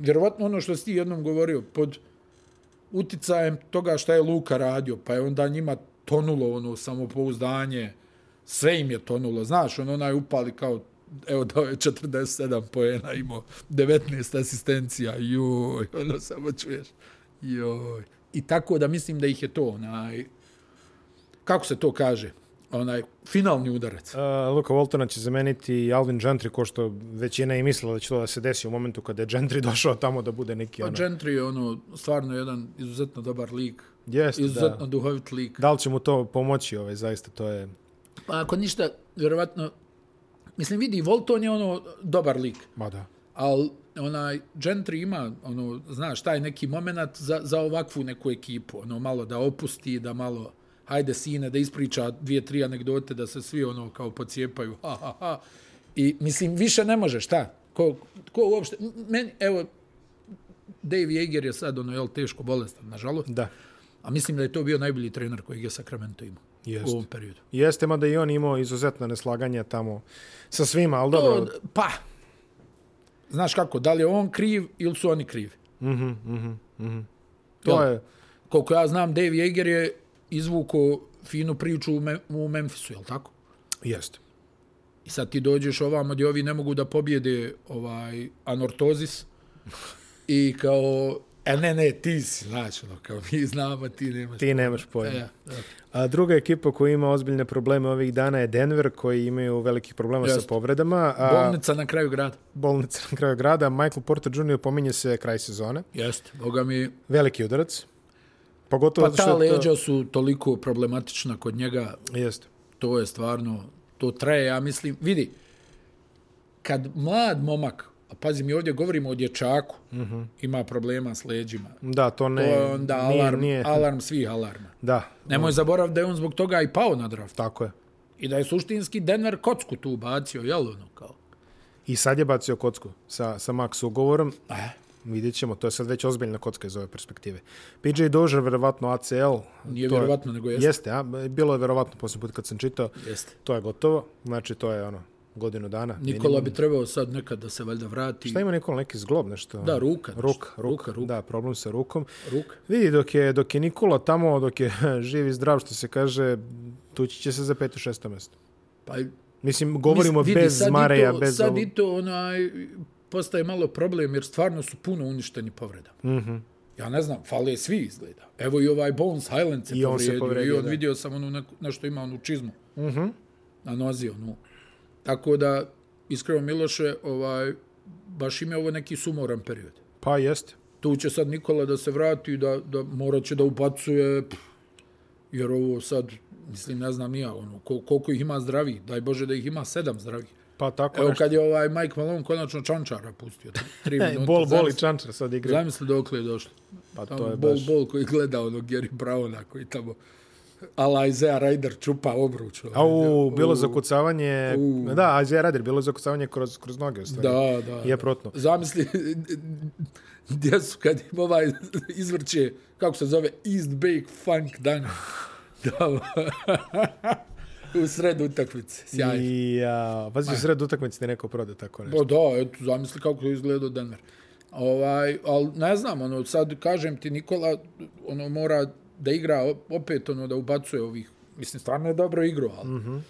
S1: Vjerovatno ono što si ti jednom govorio, pod uticajem toga šta je Luka radio, pa je onda njima tonulo ono samopouzdanje, sve im je tonulo, znaš, on onaj upali kao, evo dao je 47 poena, imao 19 asistencija, joj, ono samo čuješ, joj. I tako da mislim da ih je to onaj, kako se to kaže, onaj finalni udarac.
S2: Uh, Luka Voltona će zameniti Alvin Gentry, ko što većina i mislila da će to da se desi u momentu kada je Gentry *laughs* došao tamo da bude neki...
S1: Pa
S2: Ono,
S1: Gentry je ono, stvarno jedan izuzetno dobar lik,
S2: Jeste, da.
S1: izuzetno duhovit lik.
S2: Da li će mu to pomoći, ovaj, zaista, to je...
S1: Pa ako ništa, vjerovatno, mislim vidi, Volton je ono dobar lik,
S2: Ma da.
S1: ali onaj Gentry ima, ono, znaš, taj neki moment za, za ovakvu neku ekipu, ono, malo da opusti, da malo, hajde sine, da ispriča dvije, tri anegdote, da se svi ono kao pocijepaju, ha, ha, ha. I mislim, više ne može, šta? Ko, ko uopšte, m- meni, evo, Dave Jager je sad, ono, jel, teško bolestan, nažalost,
S2: Da.
S1: a mislim da je to bio najbolji trener kojeg je Sacramento imao
S2: Jest.
S1: u ovom periodu.
S2: Jeste, mada i on imao izuzetna neslaganja tamo sa svima, ali dobro,
S1: To, pa, znaš kako, da li je on kriv ili su oni krivi?
S2: to je...
S1: Koliko ja znam, Dave Jager je izvuko finu priču u, Mem u Memphisu, jel tako?
S2: Jeste.
S1: I sad ti dođeš ovamo gdje ovi ne mogu da pobjede ovaj anortozis i kao, e ne, ne, ti si, znaš, ono, kao mi znamo, ti nemaš.
S2: Ti nemaš pojma.
S1: Ja, da.
S2: A druga ekipa koja ima ozbiljne probleme ovih dana je Denver, koji imaju velikih problema Just. sa
S1: Jeste.
S2: povredama. A
S1: Bolnica na kraju grada.
S2: bolnica na kraju grada. Michael Porter Jr. pominje se kraj sezone.
S1: Jeste. Boga mi,
S2: Veliki udarac. Pogotovo
S1: pa
S2: zato
S1: ta
S2: što je to...
S1: leđa su toliko problematična kod njega,
S2: Jeste.
S1: to je stvarno, to traje, ja mislim, vidi, kad mlad momak, a pazi, mi ovdje govorimo o dječaku, ima problema s leđima,
S2: Da, to
S1: to
S2: ne...
S1: je onda
S2: Mhm. E, nije,
S1: alarm,
S2: Nije,
S1: alarm svih alarma.
S2: Da,
S1: Nemoj zaboraviti da je on zbog toga i pao na draft.
S2: tako je.
S1: I da je suštinski Denver kocku tu bacio, jel ono kao?
S2: I sad je bacio kocku sa, sa Max ugovorom.
S1: Eh,
S2: Vidjet ćemo, to je sad već ozbiljna kocka iz ove perspektive. PJ Dozier, verovatno ACL.
S1: Nije
S2: to je-
S1: vjerovatno, nego jeste.
S2: Jeste, a? Bilo je verovatno poslije put kad sam čitao.
S1: jeste.
S2: To je gotovo, znači to je ono, godinu dana.
S1: Nikola bi trebao sad nekad da se valjda vrati.
S2: Šta ima Nikola, neki zglob, nešto?
S1: Da, ruka, nešto.
S2: Ruka, ruka,
S1: Ruka,
S2: ruka.
S1: ruka.
S2: Da, problem sa rukom.
S1: Ruka.
S2: Vidi, dok je, dok je Nikola tamo, dok je *laughs* živ i zdrav, što se kaže, tući će se za peto, šesto mesto.
S1: Pa,
S2: Mislim, govorimo
S1: mislim, vidi,
S2: bez
S1: sad i
S2: Mareja,
S1: to,
S2: bez...
S1: Sad
S2: ovo-
S1: i to onaj, postaje malo problem, jer stvarno su puno uništeni povredama. Mm
S2: Mhm.
S1: -hmm. Ja ne znam, fale svi izgleda. Evo i ovaj Bones Highland se
S2: I on se povrijedio,
S1: povrijedio. I on
S2: da. Mhm.
S1: vidio sam onu neku, nešto ima onu čizmu. Mm -hmm. Na nozi onu. Tako da, iskreno Miloše, ovaj, baš ime ovo neki sumoran period.
S2: Pa jeste.
S1: Tu će sad Nikola da se vrati, da, da morat će da ubacuje, pff, jer ovo sad, mislim, ne znam nija, ono, kol, koliko ih ima zdravih, daj Bože da ih ima sedam zdravih.
S2: Pa tako
S1: Evo
S2: nešto.
S1: kad je ovaj Mike Malone konačno čančara pustio.
S2: *laughs*
S1: Tri minute.
S2: E, Bol, bol i
S1: Zamisli-
S2: čančar sad igra.
S1: Zamisli dokle je došlo.
S2: Pa to
S1: Tamo
S2: je
S1: bol,
S2: baš...
S1: bol koji gleda onog Gary Browna koji tamo ala Isaiah Ryder čupa obruč. ovaj.
S2: Au, bilo zakucavanje... Da, Azija Radir, bilo zakucavanje kroz, kroz noge, u stvari.
S1: Da, da.
S2: Je protno.
S1: Zamisli *laughs* gdje su kad im ovaj izvrće, kako se zove, East Bake Funk
S2: *laughs*
S1: Dunk. Da, *laughs* u sredu utakmice. Sjajno.
S2: I, a, pazi, sred utakmice ti neko proda tako nešto.
S1: Pa da, eto, zamisli kako je izgledao Denver. Ovaj, ali ne znam, ono, sad kažem ti, Nikola, ono, mora da igra o- opet, ono, da ubacuje ovih. Mislim, stvarno je dobro igro, ali mm
S2: Mhm.
S1: -hmm.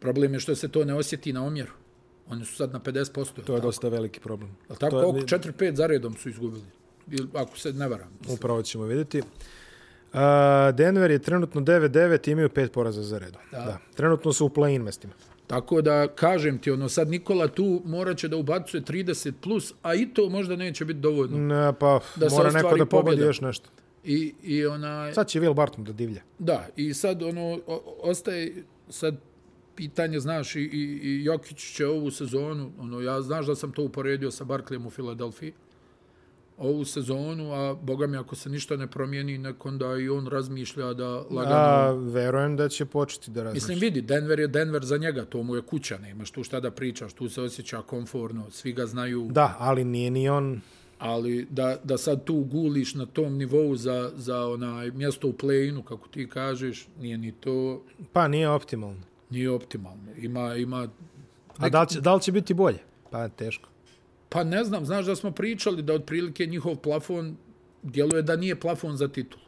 S1: problem je što se to ne osjeti na omjeru. Oni su sad na 50%.
S2: To je dosta veliki problem.
S1: Jel tako?
S2: to je-
S1: Koliko? 4-5 za redom su izgubili. Ili, ako se ne varam. mislim.
S2: Upravo ćemo vidjeti. Uh, Denver je trenutno 9-9 i imaju pet poraza za redom. Da. da. Trenutno su u play-in mestima.
S1: Tako da, kažem ti, ono, sad Nikola tu morat će da ubacuje 30+, plus, a i to možda neće biti dovoljno.
S2: Ne, pa da
S1: Da se
S2: mora neko
S1: ostvari
S2: da pobedi
S1: pobjeda.
S2: još nešto.
S1: I, i onaj...
S2: Sad će Will Barton da divlja.
S1: Da, i sad ono, o- ostaje sad pitanje, znaš, i, i, i Jokić će ovu sezonu, ono, ja znaš da sam to uporedio sa Barkleyem u Filadelfiji, ovu sezonu, a boga mi ako se ništa ne promijeni, nek onda i on razmišlja Pa da lagano...
S2: A, verujem da će početi da razmišlja.
S1: Mislim, vidi, Denver je Denver za njega, to mu je kuća, nemaš tu šta da pričaš, tu se osjeća komforno, svi ga znaju,
S2: Da, ali nije ni on...
S1: ali da, da sad tu guliš na tom nivou za, za onaj mjesto u play-inu, kako ti kažeš, nije ni to,
S2: Pa nije optimalno.
S1: nije optimalno. Ima, ima,
S2: A da li, će, da li će biti bolje? Pa, teško.
S1: Pa ne znam, znaš da smo pričali da otprilike njihov plafon djeluje da nije plafon za titul.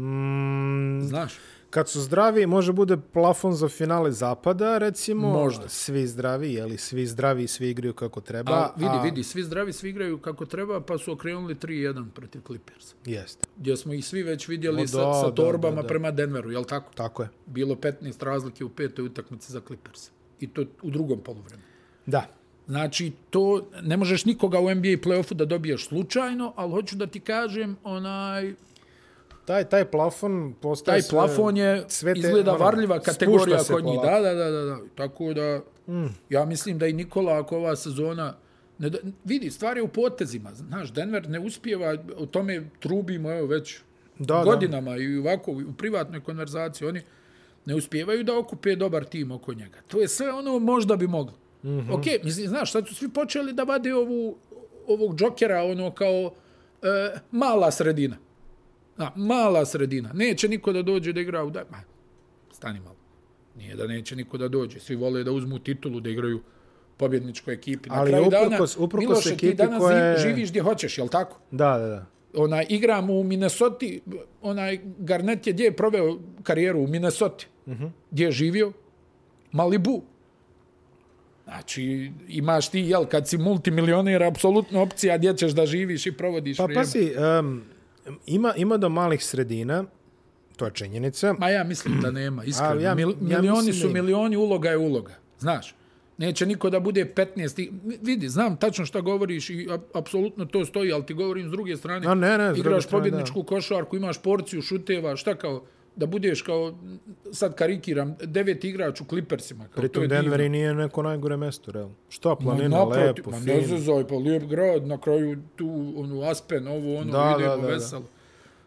S1: Mm. Znaš?
S2: Kad su zdravi, može bude plafon za finale zapada, recimo.
S1: Možda.
S2: Svi zdravi, jeli, svi zdravi, svi igraju kako treba.
S1: Pa, vidi, vidi, svi zdravi, svi igraju kako treba, pa su okrenuli 3-1 protiv Clippersa.
S2: Jeste,
S1: Gdje smo ih svi već vidjeli
S2: O,
S1: sa,
S2: da,
S1: sa
S2: da,
S1: torbama
S2: da, da.
S1: prema Denveru, jel tako?
S2: tako je.
S1: Bilo 15 razlike u petoj utakmici za Clippersa. I to u drugom polovremenu.
S2: Da.
S1: Znači, to ne možeš nikoga u NBA play-offu da dobiješ slučajno, ali hoću da ti kažem, onaj,
S2: Taj, taj plafon postaje...
S1: taj
S2: sve-
S1: plafon je,
S2: sve te,
S1: izgleda
S2: ono,
S1: varljiva kategorija
S2: spušta se
S1: kod njih.
S2: polako.
S1: Da, da, da, da, da. Tako da, mm. ja mislim da i Nikola, ako ova sezona... Ne, do- vidi, stvar je u potezima. Znaš, Denver ne uspijeva, o tome trubimo evo, već
S2: Da,
S1: da,
S2: da.
S1: godinama i ovako u privatnoj konverzaciji. Oni ne uspijevaju da okupe dobar tim oko njega. To je sve ono možda bi moglo. Mm
S2: Mhm.
S1: -hmm. Ok, mislim, znaš, sad su svi počeli da vade ovu, ovog džokera, ono kao e, mala sredina. Na, mala sredina. Neće niko da dođe da igra u... Da... Ma, stani malo. Nije da neće niko da dođe. Svi vole da uzmu titulu, da igraju pobjedničkoj ekipi. Na
S2: Ali
S1: kraju
S2: uprkos-
S1: dana,
S2: uprkos
S1: Miloše, ti
S2: ekipi
S1: danas
S2: koja
S1: koja...
S2: je-
S1: živiš gdje hoćeš, jel tako?
S2: Da, da, da.
S1: Ona, igram u Minnesota, onaj Garnet je gdje je proveo karijeru u Minnesota. Uh -huh. Gdje je živio? Malibu. Znači, imaš ti, jel, kad si multimilioner, apsolutno opcija gdje ćeš da živiš i provodiš
S2: Pa
S1: vrijeme.
S2: pazi, um, ima, ima do malih sredina, to je činjenica.
S1: Ma ja mislim da nema, iskreno.
S2: Ali
S1: Ja,
S2: ja-
S1: Mil,
S2: ja
S1: milioni
S2: mislim da
S1: su
S2: ima.
S1: milioni, uloga je uloga. Znaš, neće niko da bude 15. i- Vidi, znam tačno šta govoriš i ap- apsolutno to stoji, ali ti govorim s druge strane.
S2: A ne, ne, s druge
S1: Igraš
S2: strane,
S1: pobjedničku košarku, imaš porciju šuteva, šta kao da budeš kao, sad karikiram, devet igrač u Clippersima. Kao, to
S2: Pritom
S1: je divno.
S2: Denver i nije neko najgore mesto, realno. Što
S1: Ma,
S2: planina,
S1: naprotiv,
S2: lepo,
S1: ma ne
S2: fino.
S1: zezaj, pa lijep grad, na kraju tu, ono, Aspen, ovo, ono,
S2: Da,
S1: idemo
S2: da, da, da.
S1: veselo.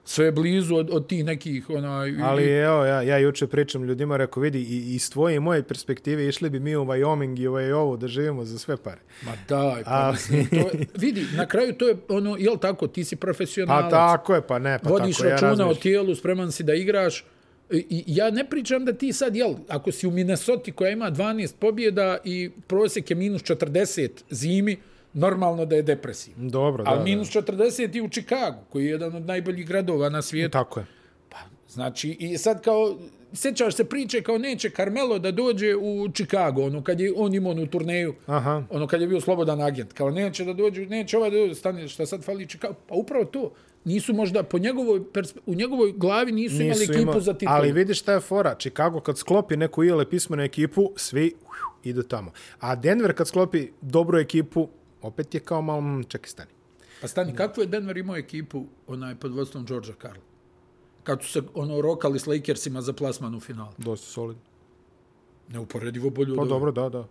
S1: Sve je blizu od, od tih nekih, onaj...
S2: Ali evo, ja, ja juče pričam ljudima, rekao, vidi, i, iz tvoje i moje perspektive išli bi mi u Wyoming i u ovo da živimo za sve pare.
S1: Ma daj, pa
S2: A-
S1: mislim, to je, vidi, na kraju to je ono, jel tako, ti si
S2: Pa
S1: profesionalac,
S2: tako je, pa ne, pa
S1: vodiš
S2: tako ja
S1: računa o
S2: razmišljam.
S1: tijelu, spreman si da igraš, I, i ja ne pričam da ti sad, jel, ako si u Minnesota koja ima 12 pobjeda i prosjek je minus 40 zimi, normalno da je depresivno.
S2: Dobro, da,
S1: Ali
S2: da.
S1: minus 40 i u Čikagu, koji je jedan od najboljih gradova na svijetu.
S2: Tako je.
S1: Pa, znači, i sad kao, sjećaš se priče kao neće Carmelo da dođe u Chicago, ono, kad je on imao onu turneju,
S2: Aha.
S1: ono, kad je bio slobodan agent, kao neće da dođe, neće ovaj da dođe, stani, šta sad fali Chicago, pa upravo to, nisu možda, po njegovoj, perspe- u njegovoj glavi nisu, nisu imali
S2: Nisu
S1: ekipu
S2: ima,
S1: za titulu.
S2: ali vidiš šta je fora. Chicago kad sklopi neku ile pismenu ekipu, svi uf, idu tamo. A Denver kad sklopi dobru ekipu, opet je kao malo, mm, čekaj, stani.
S1: Pa stani, kako je Denver imao ekipu, onaj, pod vodstvom Georgia Carla? Kad su se, ono, rokali s Lakersima za plasman u finalu.
S2: Dosta solidno.
S1: Neuporedivo bolje od
S2: Pa
S1: ove.
S2: dobro, da, da.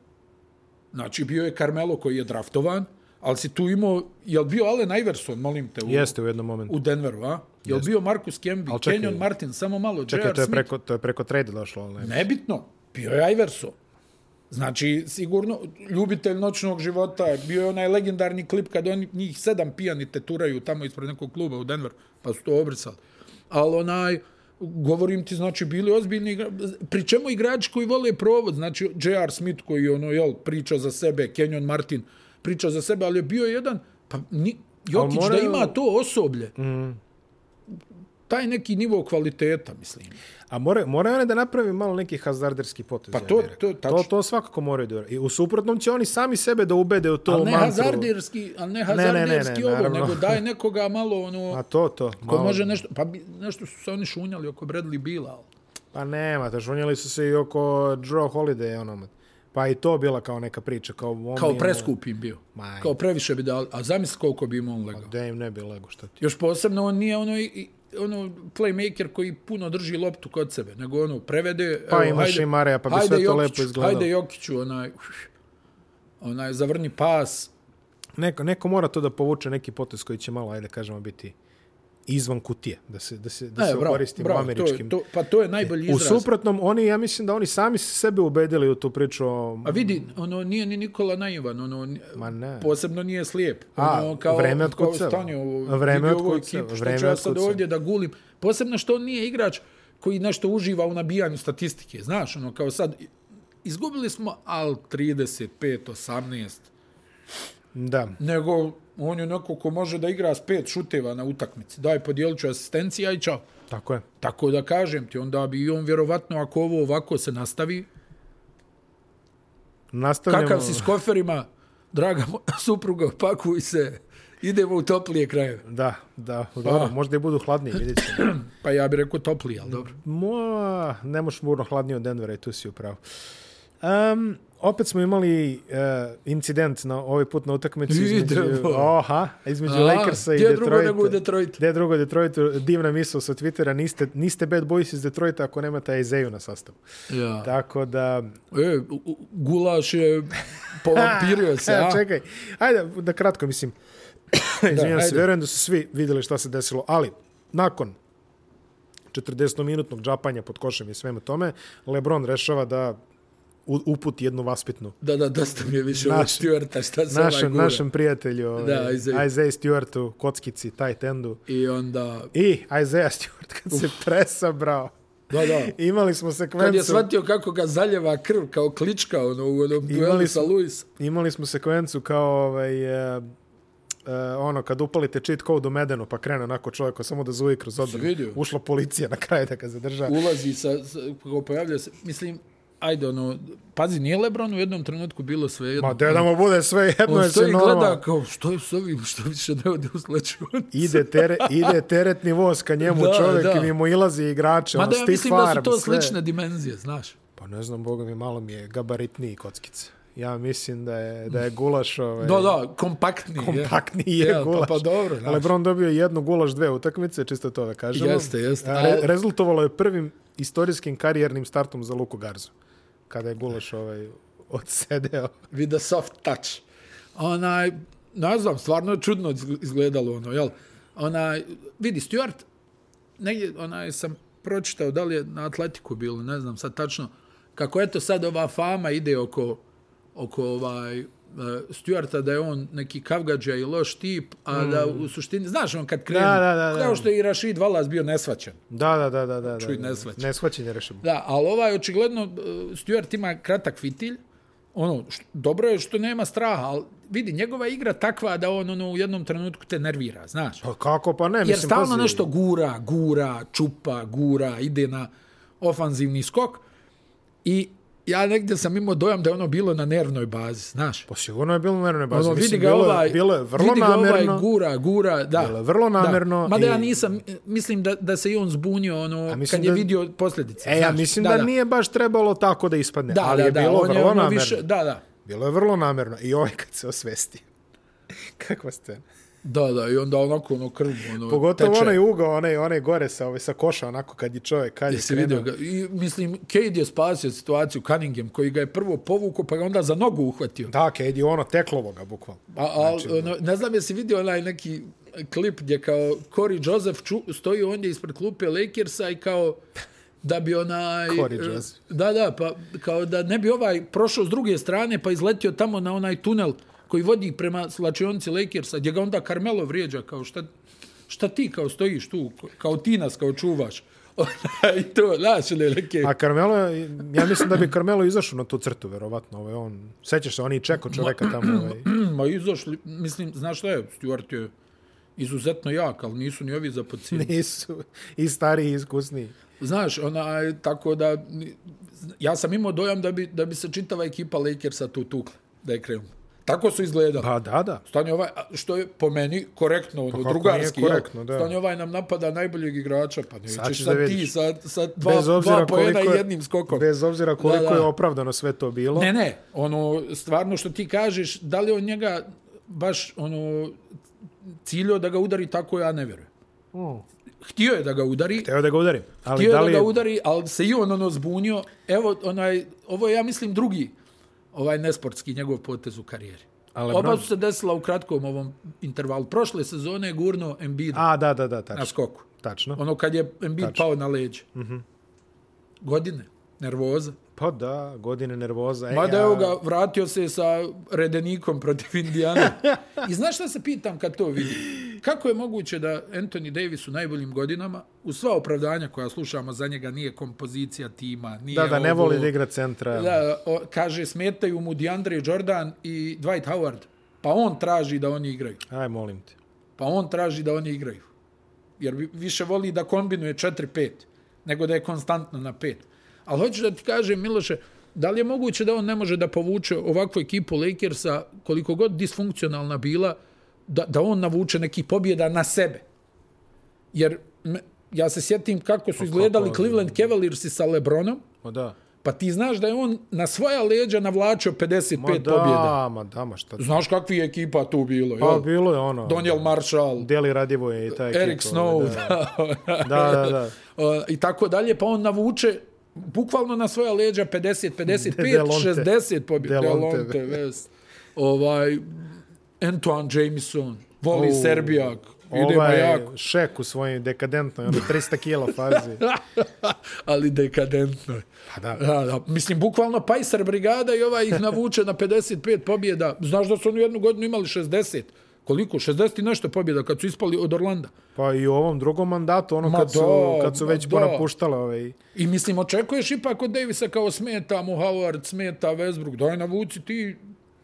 S1: Znači, bio je Carmelo koji je draftovan, ali si tu imao, jel bio Allen Iverson, molim te, u,
S2: Jeste u jednom momentu.
S1: u Denveru, a? Jel bio Marcus Camby,
S2: Al čekaj.
S1: Kenyon Martin, samo malo,
S2: Čekaj,
S1: J.R.
S2: to je
S1: Smith,
S2: preko, to je preko trade došlo. ali Ne.
S1: nebitno, bio je Iverson. Znači, sigurno, ljubitelj noćnog života, bio je onaj legendarni klip kad oni njih sedam pijani teturaju tamo ispred nekog kluba u Denveru, pa su to obrisali. Ali onaj, govorim ti, znači, bili ozbiljni igra... Pri čemu igrači koji vole provod, znači, J.R. Smith koji, ono, jel, priča za sebe, Kenyon Martin priča za sebe, ali je bio jedan, pa ni, Jokić
S2: moraju-
S1: da ima to osoblje, mm. taj neki nivo kvaliteta, mislim.
S2: A more, moraju one da napravi malo neki hazarderski potez.
S1: Pa
S2: ja
S1: to-
S2: bih rekao.
S1: to- tačno.
S2: to, to svakako moraju da urade. I u suprotnom će oni sami sebe da ubede u to
S1: Ali ne
S2: mantru.
S1: hazarderski, ali ne
S2: ne, ne,
S1: hazarderski
S2: ne,
S1: ovo,
S2: naravno.
S1: nego daj nekoga malo
S2: *laughs*
S1: ono,
S2: A to, to.
S1: ko može nešto, pa bi- nešto su se oni šunjali oko Bradley Bila, ali
S2: Pa nema, te žunjeli su se i oko Joe Holiday onom. Pa i to bila kao neka priča. Kao, on
S1: kao
S2: je-
S1: preskup im bio.
S2: Ma,
S1: Kao previše bi dali, a zamisli koliko bi im on legao.
S2: Da im ne bi lego šta ti.
S1: Još posebno on nije ono, i- i- ono playmaker koji puno drži loptu kod sebe, nego ono prevede,
S2: Pa imaš i Mareja, pa bi sve to lepo izgledalo.
S1: Hajde Jokiću, onaj, onaj zavrni pas,
S2: Neko, neko mora to da povuče neki potez koji će malo, ajde kažemo, biti izvan kutije, da se, da se, da se
S1: E, bravo,
S2: koristim
S1: bravo,
S2: američkim.
S1: To, je- to, pa to je najbolji
S2: U
S1: izraz.
S2: suprotnom, oni, ja mislim da oni sami su sebe ubedili u tu priču o...
S1: A vidi, ono, nije ni Nikola naivan, ono, n-
S2: Ma ne.
S1: posebno nije slijep.
S2: A,
S1: Ono, kao,
S2: vreme od
S1: kao
S2: kuceva.
S1: stani ovo,
S2: Vreme
S1: vidi
S2: od
S1: ovo
S2: kuceva,
S1: ekipu, Što
S2: vreme
S1: ću ja
S2: od
S1: sad
S2: kuceva.
S1: ovdje da gulim? Posebno što on nije igrač koji nešto uživa u nabijanju statistike. Znaš, ono, kao sad, izgubili smo al 35, 18,
S2: Da.
S1: nego on je neko ko može da igra s pet šuteva na utakmici. Daj, podijelit ću asistencija i čao.
S2: Tako je.
S1: Tako da kažem ti, onda bi i on vjerovatno, ako ovo ovako se nastavi,
S2: Nastavljamo.
S1: kakav si s koferima, draga moja *laughs* supruga, pakuj se, idemo u toplije krajeve.
S2: Da, da,
S1: Ah.
S2: dobro, možda i budu hladniji, vidjet ćemo.
S1: Pa ja bih rekao toplije, ali dobro.
S2: Mo, ne možeš burno hladniji od Denvera i tu si upravo. Um, opet smo imali uh, incident na ovaj put na utakmici između,
S1: Idemo.
S2: oha, između A, Lakersa i
S1: gdje
S2: Detroita.
S1: drugo nego u Detroitu?
S2: Gdje drugo Detroitu, divna misla sa Twittera, niste, niste bad boys iz Detroita ako nemate Ezeju na sastavu.
S1: Ja.
S2: Tako da...
S1: E, u- u-
S2: *laughs*
S1: gulaš je povampirio se, a?
S2: Čekaj, ajde, da kratko,
S1: *coughs*
S2: mislim, izvinjam se,
S1: ajde.
S2: vjerujem da su svi vidjeli šta se desilo, ali nakon 40-minutnog džapanja pod košem i svemu tome, Lebron rešava da u- uputi jednu vaspitnu
S1: Da, da, dosta mi je više
S2: Naš-
S1: ovo Stuarta, šta se ovaj
S2: našem,
S1: gura.
S2: našem prijatelju,
S1: Da,
S2: ovaj,
S1: Isaiah.
S2: Isaiah Stewartu, kockici, tight endu.
S1: I onda,
S2: I Isaiah Stewart kad se presabrao.
S1: da, da.
S2: Imali smo sekvencu...
S1: Kad je shvatio kako ga zaljeva krv kao klička ono, u onom duelu sa
S2: smo-
S1: Luis.
S2: Imali smo sekvencu kao ovaj, e, e, ono, kad upalite cheat code u Medenu, pa krene onako čovjek ko samo da zuji kroz
S1: vidio?
S2: odbranu. Ušla policija na kraju da ga zadrža.
S1: Ulazi sa, sa kako pojavlja se. Mislim, ajde, ono, pazi, nije Lebron u jednom trenutku bilo sve jedno.
S2: Ma, da da mu bude sve jedno,
S1: On
S2: je se
S1: stoji i gleda
S2: normalno.
S1: kao, što je s ovim, što više ne ode u slačun.
S2: Ide, tere, ide teretni voz ka njemu
S1: Da,
S2: čovjek
S1: da.
S2: i mimo ilazi igrače.
S1: Ma
S2: ono,
S1: da, ja
S2: stiff
S1: mislim da su
S2: arm,
S1: to
S2: sve.
S1: slične dimenzije, znaš.
S2: Pa ne znam, boga mi, malo mi je gabaritniji kockice. Ja mislim da je, da je gulaš... Ovaj,
S1: Da, da, kompaktni. je.
S2: Kompaktniji je
S1: Ja, pa-
S2: gulaš.
S1: pa dobro, znaš.
S2: Lebron dobio je jednu gulaš dve utakmice, čisto to da kažemo.
S1: Jeste, jeste.
S2: A, Re,
S1: Al-
S2: rezultovalo je prvim istorijskim karijernim startom za Luku Garzu. Kada je
S1: E.
S2: gulaš ovaj odsedeo.
S1: with a soft touch. Onaj, ne znam, stvarno je čudno izg- izgledalo ono, jel? Onaj, vidi, Stuart, negdje, onaj, sam pročitao da li je na Atletiku bilo, ne znam sad tačno, kako eto sad ova fama ide oko, oko ovaj, e, Stuarta da je on neki kavgađa i loš tip, a da u suštini, znaš on kad krenu,
S2: Mm. Da, da, da, da.
S1: kao što je i Rashid Valas bio nesvaćan.
S2: Da, da, da, da. da
S1: Čuj,
S2: da, da.
S1: neshvaćen.
S2: Neshvaćen je rešimo.
S1: Da, ali ovaj, očigledno, e, Stuart ima kratak fitilj, ono, što, dobro je što nema straha, ali vidi, njegova igra takva da on ono, u jednom trenutku te nervira, znaš.
S2: Pa kako, pa ne,
S1: Jer
S2: mislim,
S1: stalno
S2: pazi.
S1: nešto gura, gura, čupa, gura, ide na ofanzivni skok i ja negdje sam imao dojam da je ono bilo na nervnoj bazi, znaš.
S2: Pa sigurno je bilo na nervnoj bazi.
S1: Ono, vidi
S2: mislim,
S1: ga
S2: bilo, je-
S1: ovaj,
S2: bilo je vrlo
S1: vidi ga
S2: namerno.
S1: ovaj gura, gura, da.
S2: Bilo je vrlo namerno
S1: Da. Mada
S2: i-
S1: ja nisam, mislim da, da se i on zbunio ono,
S2: mislim
S1: kad je
S2: da-
S1: vidio posljedice.
S2: E, ja
S1: znaš.
S2: mislim da, nije baš trebalo tako da ispadne, ali je bilo
S1: on
S2: vrlo
S1: ono
S2: namerno.
S1: da, da.
S2: Bilo je vrlo namerno. I ovaj kad se osvesti. *laughs* Kakva scena.
S1: Da, da, i onda onako ono krv, ono
S2: Pogotovo
S1: teče.
S2: onaj ugao, onaj, onaj gore sa, ovaj, sa koša, onako kad je čovjek, kad je
S1: Jesi
S2: krenuo.
S1: vidio ga. I, mislim, Cade je spasio situaciju Cunningham, koji ga je prvo povukao, pa ga onda za nogu uhvatio.
S2: Da, kad je ono teklovo ga, bukvalno.
S1: A, a,
S2: Znači,
S1: ono, ne znam jesi vidio onaj neki klip gdje kao Corey Joseph ču, stoji ondje ispred klupe Lakersa i kao da bi onaj...
S2: Corey
S1: e,
S2: Joseph.
S1: Da, da, pa kao da ne bi ovaj prošao s druge strane pa izletio tamo na onaj tunel koji vodi prema slačionici Lakersa gdje ga onda Carmelo vrijeđa kao šta, šta ti kao stojiš tu, kao ti nas kao čuvaš. *laughs* I to, znaš, ne, neke...
S2: A Carmelo, je- ja mislim da bi Carmelo izašao na tu crtu, verovatno. Ovaj, on, sećaš se, oni čeko čoveka tamo. Ovaj.
S1: "Hmm, Ma izašli, mislim, znaš šta je, Stuart je izuzetno jak, ali nisu ni ovi za podcijenu.
S2: Nisu i stariji i iskusniji.
S1: Znaš, onaj, tako da, ja sam imao dojam da bi, da bi se čitava ekipa Lakersa tu tukla, da je krenula. Tako su izgledali.
S2: Pa da, da.
S1: Stanje ovaj, a što je po meni korektno, ono,
S2: kako
S1: drugarski.
S2: nije
S1: jel?
S2: korektno, da.
S1: Stanje ovaj nam napada najboljeg igrača, pa
S2: Sad
S1: nećeš
S2: ćeš
S1: sad,
S2: da
S1: sad ti
S2: vidiš.
S1: sa, sa
S2: Bez
S1: dva,
S2: obzira
S1: dva pojena
S2: koliko
S1: i
S2: je-
S1: jednim skokom.
S2: Bez obzira koliko
S1: Da, da.
S2: je opravdano sve to bilo.
S1: Ne, ne, ono, stvarno što ti kažeš, da li on njega baš, ono, ciljio da ga udari tako, ja ne vjerujem. Htio je da ga udari,
S2: Teo da ga udarim. Ali
S1: Htio
S2: da
S1: da,
S2: li je,
S1: da udari, ali se i on ono zbunio. Evo, onaj, ovo je, ja mislim, drugi ovaj nesportski njegov potez u karijeri.
S2: A
S1: Ali
S2: LeBron?
S1: Oba su se desila u kratkom ovom intervalu. Prošle sezone je gurno Embiid
S2: A, da, da, da,
S1: na
S2: tačno.
S1: skoku.
S2: Tačno. Mhm.
S1: Ono kad je Embiid pao na leđe. Godine, nervoza.
S2: Pa da, godine nervoza. E,
S1: Mada
S2: ja-
S1: Pa evo ga, vratio se sa redenikom protiv Indijana. I znaš šta se pitam kad to vidim? Kako je moguće da Anthony Davis u najboljim godinama, u sva opravdanja koja slušamo za njega, nije kompozicija tima, nije
S2: Da, da, ne
S1: ovo,
S2: voli da igra centra.
S1: Da, o, kaže, smetaju mu DeAndre Jordan i Dwight Howard. Pa on traži da oni igraju.
S2: Aj, molim te.
S1: Pa on traži da oni igraju. Jer vi- više voli da kombinuje 4-5, nego da je konstantno na 5. Ali hoću da ti kažem, Miloše, da li je moguće da on ne može da povuče ovakvu ekipu Lakersa, koliko god disfunkcionalna bila, da, da on navuče neki pobjeda na sebe? Jer me, ja se sjetim kako
S2: Pa
S1: su izgledali
S2: ali-
S1: Cleveland Cavaliersi sa Lebronom,
S2: Ma da.
S1: pa ti znaš da je on na svoja leđa navlačio 55
S2: Ma da,
S1: pobjeda.
S2: ma da, ma šta.
S1: Znaš kakvi je ekipa tu bilo,
S2: Pa
S1: jel?
S2: bilo je ono.
S1: Doniel Marshall,
S2: Deli Radivoje i taj ekipa.
S1: Eric Snow,
S2: Da,
S1: da.
S2: da, da.
S1: *laughs*
S2: da.
S1: Uh, i tako dalje, pa on navuče bukvalno na svoja leđa 50, 55,
S2: Delonte.
S1: 60 pobjeda.
S2: Delonte.
S1: Delonte, West. Ovaj, Antoine Jameson, voli
S2: U,
S1: Serbijak, idemo
S2: Ovaj
S1: jako. *laughs*
S2: šek u svojoj dekadentnoj, ono 300 kila fazi.
S1: ali dekadentno. je.
S2: Pa da.
S1: Da, da. Mislim, bukvalno Pajsar brigada i ova ih navuče na 55 pobjeda. Znaš da su oni jednu godinu imali 60. Koliko? 60 i nešto pobjeda kad su ispali od Orlanda.
S2: Pa i u ovom drugom mandatu, ono
S1: Ma
S2: kad su,
S1: da,
S2: kad su
S1: ma
S2: već
S1: da.
S2: ponapuštale ove.
S1: I mislim, očekuješ ipak od Davisa kao smeta mu Howard, smeta Westbrook, daj navuci ti,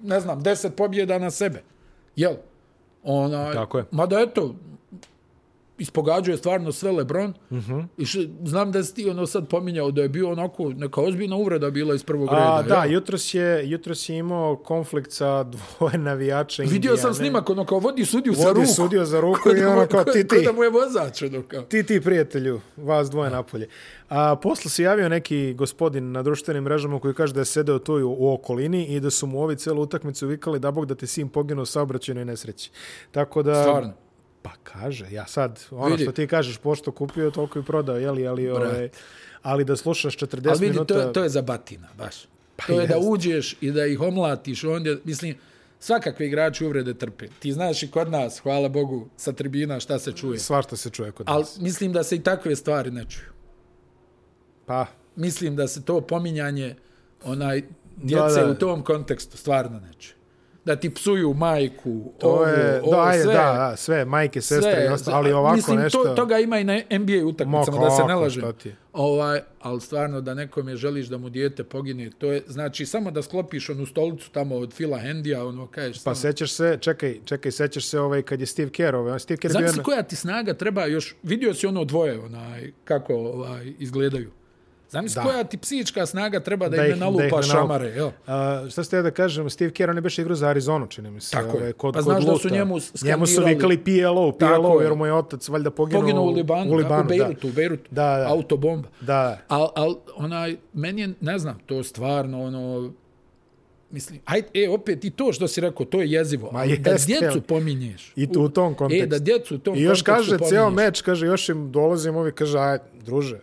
S1: ne znam, 10 pobjeda na sebe. Jel? Ona,
S2: Tako je.
S1: Mada eto, ispogađao je stvarno sve Lebron. Uh
S2: Mhm.
S1: -huh. I š, znam da si ti ono sad pominjao da je bio onako neka ozbiljna uvreda bila iz prvog reda.
S2: A, da,
S1: jel?
S2: jutros je, jutros je imao konflikt sa *laughs* dvoje navijača
S1: Vidio sam
S2: Indijane.
S1: snimak, ono kao vodi sudiju sa
S2: Vodi
S1: ruku.
S2: sudio za
S1: *laughs*
S2: ruku
S1: Ko da
S2: i
S1: mu-
S2: ono kao,
S1: ko-
S2: ti,
S1: ko
S2: ti.
S1: da mu je vozač, ono kao.
S2: Ti, ti, prijatelju, vas dvoje napolje. A, posle se javio neki gospodin na društvenim mrežama koji kaže da je sedeo tu u, u okolini i da su mu ovi celu utakmicu vikali da bog da te sin poginuo u saobraćajnoj nesreći. Tako da...
S1: Stvarno.
S2: Pa kaže, ja sad, ono
S1: Vidi.
S2: što ti kažeš, pošto kupio, toliko i prodao, jeli, ali,
S1: Brat.
S2: ove, ali da slušaš 40
S1: Ali vidi,
S2: minuta...
S1: to, je- to je za batina, baš. Pa to je
S2: jest.
S1: da uđeš i da ih omlatiš ondje, mislim, svakakve igrači uvrede trpe. Ti znaš i kod nas, hvala Bogu, sa tribina šta se čuje.
S2: Svašta se čuje kod
S1: Ali
S2: nas.
S1: mislim da se i takve stvari ne čuju.
S2: Pa,
S1: Mislim da se to pominjanje onaj djece
S2: Da, da.
S1: u tom kontekstu stvarno ne čuje. Da ti psuju majku,
S2: to
S1: ovo,
S2: je,
S1: ovo,
S2: da, ajde,
S1: sve.
S2: da, da, sve, majke, sestre, sve, i osta, ali ovako
S1: mislim,
S2: nešto...
S1: To, toga ima i na NBA utakmicama,
S2: Ma
S1: da se ne
S2: kako,
S1: lažem.
S2: šta ti?
S1: Ovaj, ali stvarno da nekome želiš da mu dijete pogine, to je, znači, samo da sklopiš onu stolicu tamo od Fila Hendija, ono, kažeš,
S2: Pa
S1: pa, samo,
S2: sećaš se, čekaj, čekaj, sećaš se ovaj kad je Steve Kerr, ovaj Steve Kerr je bio
S1: zamisli koja ti snaga treba još, vidio si ono dvoje, onaj, kako ovaj, izgledaju. Zamisli
S2: Da.
S1: koja ti psihička snaga treba
S2: Da
S1: da, da ih ne
S2: ih- da
S1: nalupa
S2: ih ne nalupa.
S1: šamare, jel?
S2: A, šta ste ja da kažem, Steve Kerr, on je baš igrao za Arizonu, čini mi se.
S1: Tako je.
S2: ovaj,
S1: Pa znaš da su
S2: Luta.
S1: njemu
S2: Njemu su
S1: skandirali-
S2: vikali PLO,
S1: Tako
S2: PLO,
S1: je.
S2: jer mu je otac valjda poginuo,
S1: Poginuo u Libanu, u, Libanu, u
S2: da.
S1: Beirutu, u Beirutu,
S2: Da, da.
S1: autobomba.
S2: Da,
S1: Al, al, onaj, meni je, ne znam, to stvarno, ono, mislim, aj, e, opet i to što si rekao, to je jezivo. Ma da
S2: jeste,
S1: djecu
S2: ali-
S1: pominješ.
S2: I tu- u tom
S1: E,
S2: kontekstu.
S1: da djecu u tom
S2: I još
S1: kontekstu
S2: kaže, ceo
S1: pominješ.
S2: meč, kaže, još im dolazim, ovi kaže, aj, druže,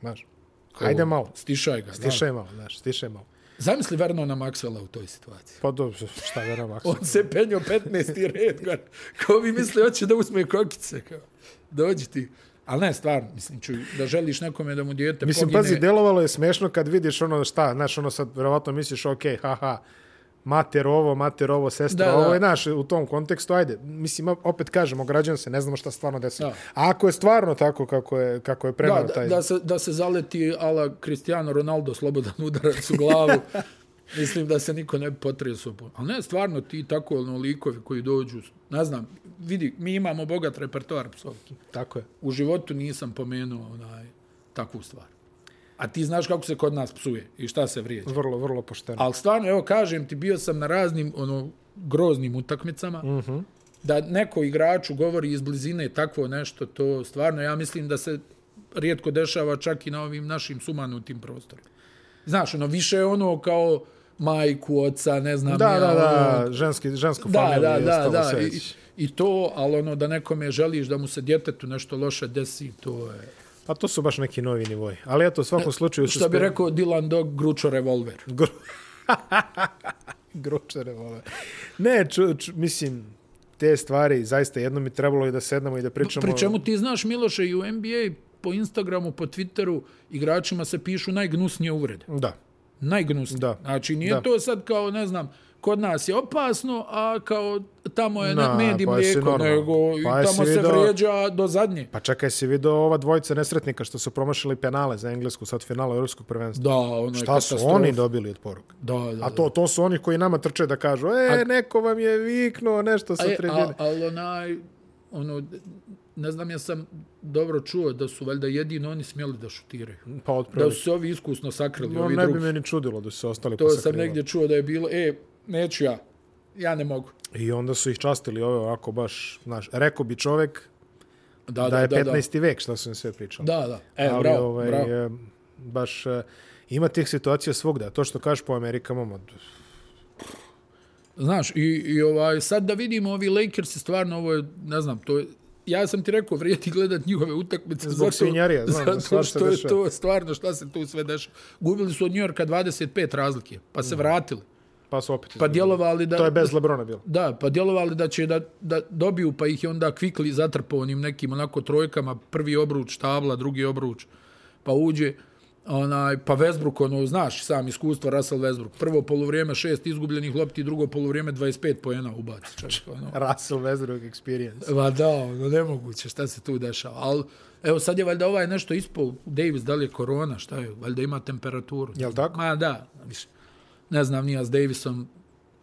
S2: znaš, hajde malo,
S1: Stišaj ga. Stišaj.
S2: stišaj malo, znaš, stišaj malo.
S1: Zamisli Vernona Maxwella u toj situaciji.
S2: Pa dobro, šta veram,
S1: *laughs*
S2: Aksa.
S1: On se penio 15. red, gore. Ko bi misli, hoće da uzme kokice, kao. Dođi ti. Ali ne, stvarno, mislim, čuj, da želiš nekome da mu dijete
S2: Mislim,
S1: pogine.
S2: pazi, delovalo je smešno kad vidiš ono šta, znaš, ono sad verovatno misliš, ok, haha, mater ovo, mater ovo, sestra
S1: Da,
S2: da, ovo,
S1: da.
S2: i znaš, u tom kontekstu, ajde, mislim, opet kažem, ograđujem se, ne znamo šta stvarno desilo.
S1: Da.
S2: A ako je stvarno tako kako je, kako je prenao
S1: Da, da,
S2: taj...
S1: da, se, da se zaleti ala Cristiano Ronaldo slobodan udarac u glavu. Mislim da se niko ne bi potresao. po- Ali ne, stvarno ti tako ono, likovi koji dođu, ne znam, vidi, mi imamo bogat repertoar psovki.
S2: Tako je.
S1: U životu nisam pomenuo onaj, takvu stvar. A ti znaš kako se kod nas psuje i šta se vrijeđa.
S2: Vrlo, vrlo pošteno.
S1: Ali stvarno, evo kažem ti, bio sam na raznim ono groznim utakmicama. Mm
S2: Mhm.
S1: -hmm. Da neko igraču govori iz blizine takvo nešto, to stvarno, ja mislim da se rijetko dešava čak i na ovim našim sumanutim prostorima. Znaš, ono, više je ono kao majku, oca, ne znam
S2: Da,
S1: ja,
S2: da, da,
S1: ono,
S2: ženski, žensko
S1: da,
S2: familiju
S1: da,
S2: i
S1: da,
S2: ostalo
S1: da,
S2: sve.
S1: i, i to, ali ono, da nekome želiš da mu se djetetu nešto loše desi, to je...
S2: Pa to su baš neki novi nivoji. Ali eto, u svakom slučaju...
S1: Što E, bi rekao Dylan Dog, gručo revolver.
S2: Gro... Gročare vole. Ne, ču, ču, mislim, te stvari, zaista jednom mi trebalo i da sednemo i da pričamo...
S1: Pri čemu ti znaš, Miloše, i u NBA, po Instagramu, po Twitteru, igračima se pišu najgnusnije uvrede.
S2: Da.
S1: Najgnusnije.
S2: Da.
S1: Znači, nije
S2: Da.
S1: to sad kao, ne znam, kod nas je opasno, a kao tamo je
S2: Na,
S1: na, med i
S2: pa jesi
S1: mlijeko,
S2: normalno.
S1: nego i
S2: Pa jesi
S1: tamo se
S2: vidio-
S1: vrijeđa do zadnje.
S2: Pa čekaj, si vidio ova dvojica nesretnika što su promašili penale za englesku sad finala Europskog prvenstva.
S1: Da, ono je
S2: Šta su
S1: katastrofa.
S2: oni dobili od poruka?
S1: Da, da, da.
S2: A to, to su oni koji nama trče da kažu, e, neko vam je viknuo nešto sa
S1: E, a,
S2: tribine.
S1: ali onaj, ono, ne znam, ja sam dobro čuo da su valjda jedino oni smjeli da šutiraju.
S2: Pa
S1: Da
S2: otprilike.
S1: su se ovi iskusno sakrili,
S2: No,
S1: ovi
S2: ne bi
S1: drugi.
S2: meni čudilo da su se ostali
S1: To sam
S2: posakrivali.
S1: negdje čuo da je bilo, e, neću ja, ja ne mogu.
S2: I onda su ih častili ove ovako baš, znaš, rekao bi čovek
S1: Da,
S2: da je
S1: da,
S2: 15. vek što su im sve pričali.
S1: Da, da. E,
S2: Ali,
S1: bravo,
S2: ovaj,
S1: bravo.
S2: e, baš e, ima tih situacija svugda. To što kažeš po Amerikama, ma,
S1: Znaš, i, i ovaj, sad da vidimo ovi Lakersi, stvarno ovo je, ne znam, to je, ja sam ti rekao, vrijedi gledat njihove utakmice.
S2: Zbog svinjarija, znam,
S1: zato
S2: svašta
S1: što je
S2: dešava.
S1: to stvarno, šta se tu sve dešava. Gubili su od Njorka 25 razlike, pa se vratili.
S2: pa su opet
S1: Pa
S2: izgubili.
S1: djelovali da...
S2: To je bez Lebrona bilo. *laughs*
S1: Da, pa djelovali da će da, da dobiju, pa ih je onda kvikli zatrpao onim nekim onako trojkama, prvi obruč tabla, drugi obruč, pa uđe, onaj, pa Vesbruk, ono, znaš sam iskustvo, Russell Vesbruk, prvo polovrijeme šest izgubljenih lopti, drugo polovrijeme 25 poena ubaci, čovjek, ono.
S2: Russell Westbrook experience.
S1: Va da, ono, nemoguće šta se tu dešava, ali evo sad je valjda ovaj nešto ispao, Davis, da li je korona, šta je, valjda ima temperaturu.
S2: Jel tako?
S1: Ma da, više. ne znam, nija s Davisom,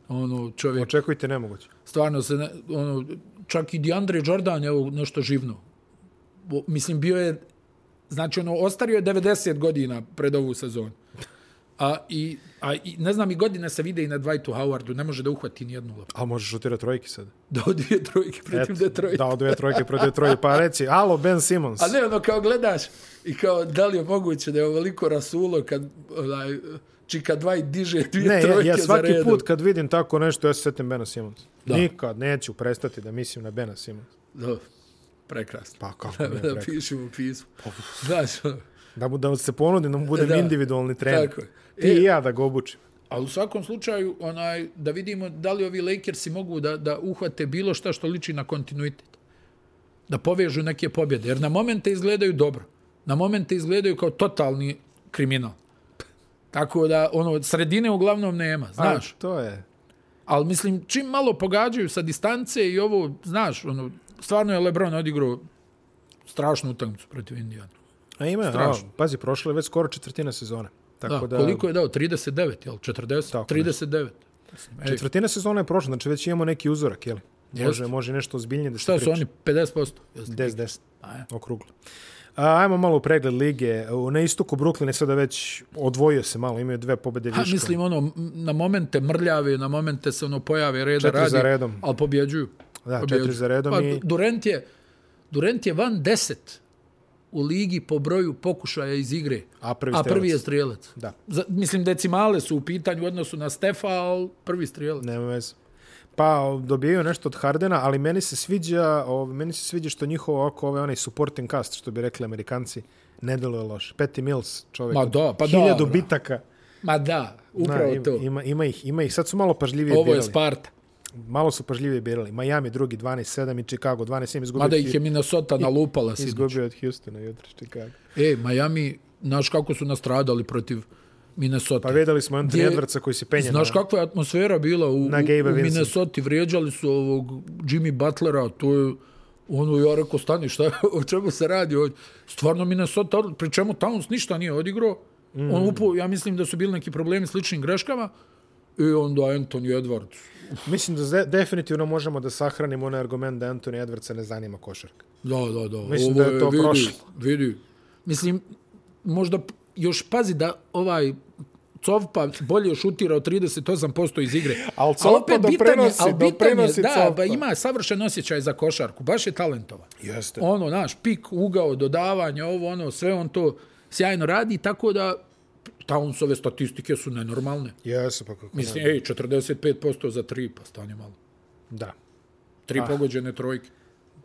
S1: ono, čovjek
S2: Očekujte nemoguće.
S1: stvarno se, ne, ono, čak i DeAndre Jordan je ovo nešto živno. Bo, mislim, bio je, znači, ono, ostario je 90 godina pred ovu sezonu. A, i, a i, ne znam, i godine se vide i na Dwightu Howardu, ne može da uhvati ni jednu loptu.
S2: A možeš šutirati trojke sad.
S1: Da od dvije trojke protiv Detroit.
S2: Dao dve trojke protiv Detroit. Pa reci, alo Ben Simmons.
S1: A ne, ono, kao gledaš i kao, da li je moguće da je ovoliko rasulo kad, onaj, čika Dwight diže dvije
S2: Ne, ja,
S1: trojke
S2: ja
S1: za
S2: svaki
S1: redom.
S2: put kad vidim tako nešto, ja se setim Bena Simonsa.
S1: Da.
S2: Nikad neću prestati da mislim na Bena Simonsa.
S1: Da, prekrasno. *laughs*
S2: Pa kako ne, Pa,
S1: da, da
S2: preko.
S1: pišemo pismo. Znaš, ono,
S2: da, mu, da se ponudim, da mu budem
S1: Da.
S2: individualni trener.
S1: Tako je. E,
S2: Ti i ja da ga obučim.
S1: Ali u svakom slučaju, onaj, da vidimo da li ovi Lakersi mogu da, da uhvate bilo šta što liči na kontinuitet. Da povežu neke pobjede. Jer na momente izgledaju dobro. Na momente izgledaju kao totalni kriminal. Tako da, ono, sredine uglavnom nema, znaš.
S2: A, to je.
S1: Ali mislim, čim malo pogađaju sa distance i ovo, znaš, ono, stvarno je LeBron odigrao strašnu utakmicu protiv Indijana.
S2: A ima, a,
S1: Strašno.
S2: pazi, prošlo je već skoro četvrtina sezone.
S1: Da,
S2: Tako da,
S1: da, koliko je dao? 39, jel? 40?
S2: Tako
S1: 39. Mislim, e, ej,
S2: Četvrtina sezone je prošla, znači već imamo neki uzorak, jel? Može,
S1: Jeste.
S2: može nešto ozbiljnije da se
S1: šta su
S2: priča.
S1: oni? 50%? Jel?
S2: 10-10.
S1: A, ja.
S2: Okruglo. A, ajmo malo u pregled lige. U- Na istoku Brooklyn je sada već odvojio se malo, imaju dve pobede
S1: Ha,
S2: viška.
S1: mislim, ono, m- na momente mrljave, na momente se ono pojave reda
S2: Četiri
S1: radi,
S2: za redom.
S1: ali pobjeđuju.
S2: Da,
S1: Pobjeđuju.
S2: četiri za redom
S1: pa,
S2: i-
S1: Durant je, Durant je van deset u ligi po broju pokušaja iz igre,
S2: A prvi
S1: a prvi je
S2: strelac.
S1: strijelac.
S2: Da.
S1: Za, mislim, decimale su u pitanju u odnosu na Stefa, ali prvi strijelac.
S2: Nema veze. Pa o, dobijaju nešto od Hardena, ali meni se sviđa, o, meni se sviđa što njihovo oko ovaj onaj supporting cast, što bi rekli Amerikanci, ne deluje loše. Patty Mills, čovjek.
S1: Ma
S2: od
S1: da, pa
S2: hiljadu
S1: dobro.
S2: bitaka.
S1: Ma da,
S2: Na,
S1: upravo
S2: im-
S1: to.
S2: Ima, ima, ih, ima ih. Sad su malo pažljivije
S1: Ovo je
S2: birali.
S1: Sparta.
S2: Malo su pažljivije birali. Miami drugi 12-7 i Chicago 12-7 izgubio.
S1: Mada
S2: od
S1: ih je
S2: Hu-
S1: Minnesota nalupala si.
S2: izgubio od Houstona jutro Chicago.
S1: E, Miami, znaš kako su nastradali protiv Minnesota.
S2: Pa videli smo Anthony
S1: Gdje-
S2: Edwardsa koji se penje
S1: Znaš
S2: na...
S1: kakva je atmosfera bila u,
S2: Na Gabe'a
S1: u
S2: Vincenta.
S1: Minnesota, vrijeđali su ovog Jimmy Butlera, to je ono, ja rekao, stani, šta, *laughs* o čemu se radi ovdje? Stvarno Minnesota, pri čemu Towns ništa nije odigrao, mm. on upo, ja mislim da su bili neki problemi s ličnim greškama, i onda Anthony Edwards.
S2: Mislim da ze- definitivno možemo da sahranimo onaj argument da Anthony Edwardsa ne zanima košarka.
S1: Da, da, da.
S2: Mislim
S1: ovo
S2: da je to
S1: vidi,
S2: prošlo.
S1: Vidi. Mislim, možda p- još pazi da ovaj Covpa bolje šutira od 38% iz igre.
S2: Al Covpa doprinosi-
S1: al bitan
S2: doprinosi
S1: je, da,
S2: Covpa.
S1: ba, ima savršen osjećaj za košarku, baš je talentovan.
S2: Jeste.
S1: Ono, naš pik, ugao, dodavanje, ovo, ono, sve on to sjajno radi, tako da Townsove statistike su nenormalne.
S2: Jesu, pa kako
S1: Mislim, ej, 45% za tri, pa stanje malo.
S2: ne. Da.
S1: Tri pogođene trojke.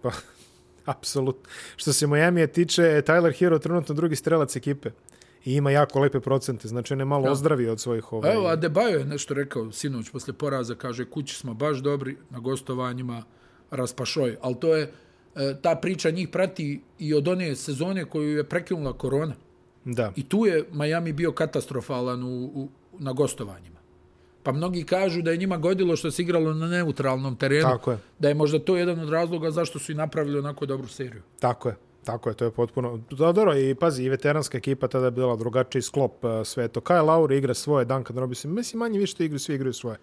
S2: Pa, *laughs* apsolutno. Što se Miami tiče, Tyler Hero trenutno drugi strelac ekipe. I ima jako lepe procente. Znači, on je malo ozdravio od svojih ovaj...
S1: Pa Evo, Adebayo je nešto rekao sinoć posle poraza, kaže kući smo baš dobri na gostovanjima raspašoj, ali to je, e, ta priča njih prati i od one sezone koju je prekinula korona.
S2: Da.
S1: I tu je Miami bio katastrofalan u, u, na gostovanjima. Pa mnogi kažu da je njima godilo što se igralo na neutralnom terenu.
S2: Tako je.
S1: Da je možda to jedan od razloga zašto su i napravili onako dobru seriju.
S2: Tako je. Tako je, to je potpuno... Da, dobro, i pazi, i veteranska ekipa tada je bila drugačiji sklop e, sve to. Kyle Lowry igra svoje, Duncan Robinson, mislim manje više što igraju, svi igraju svoje.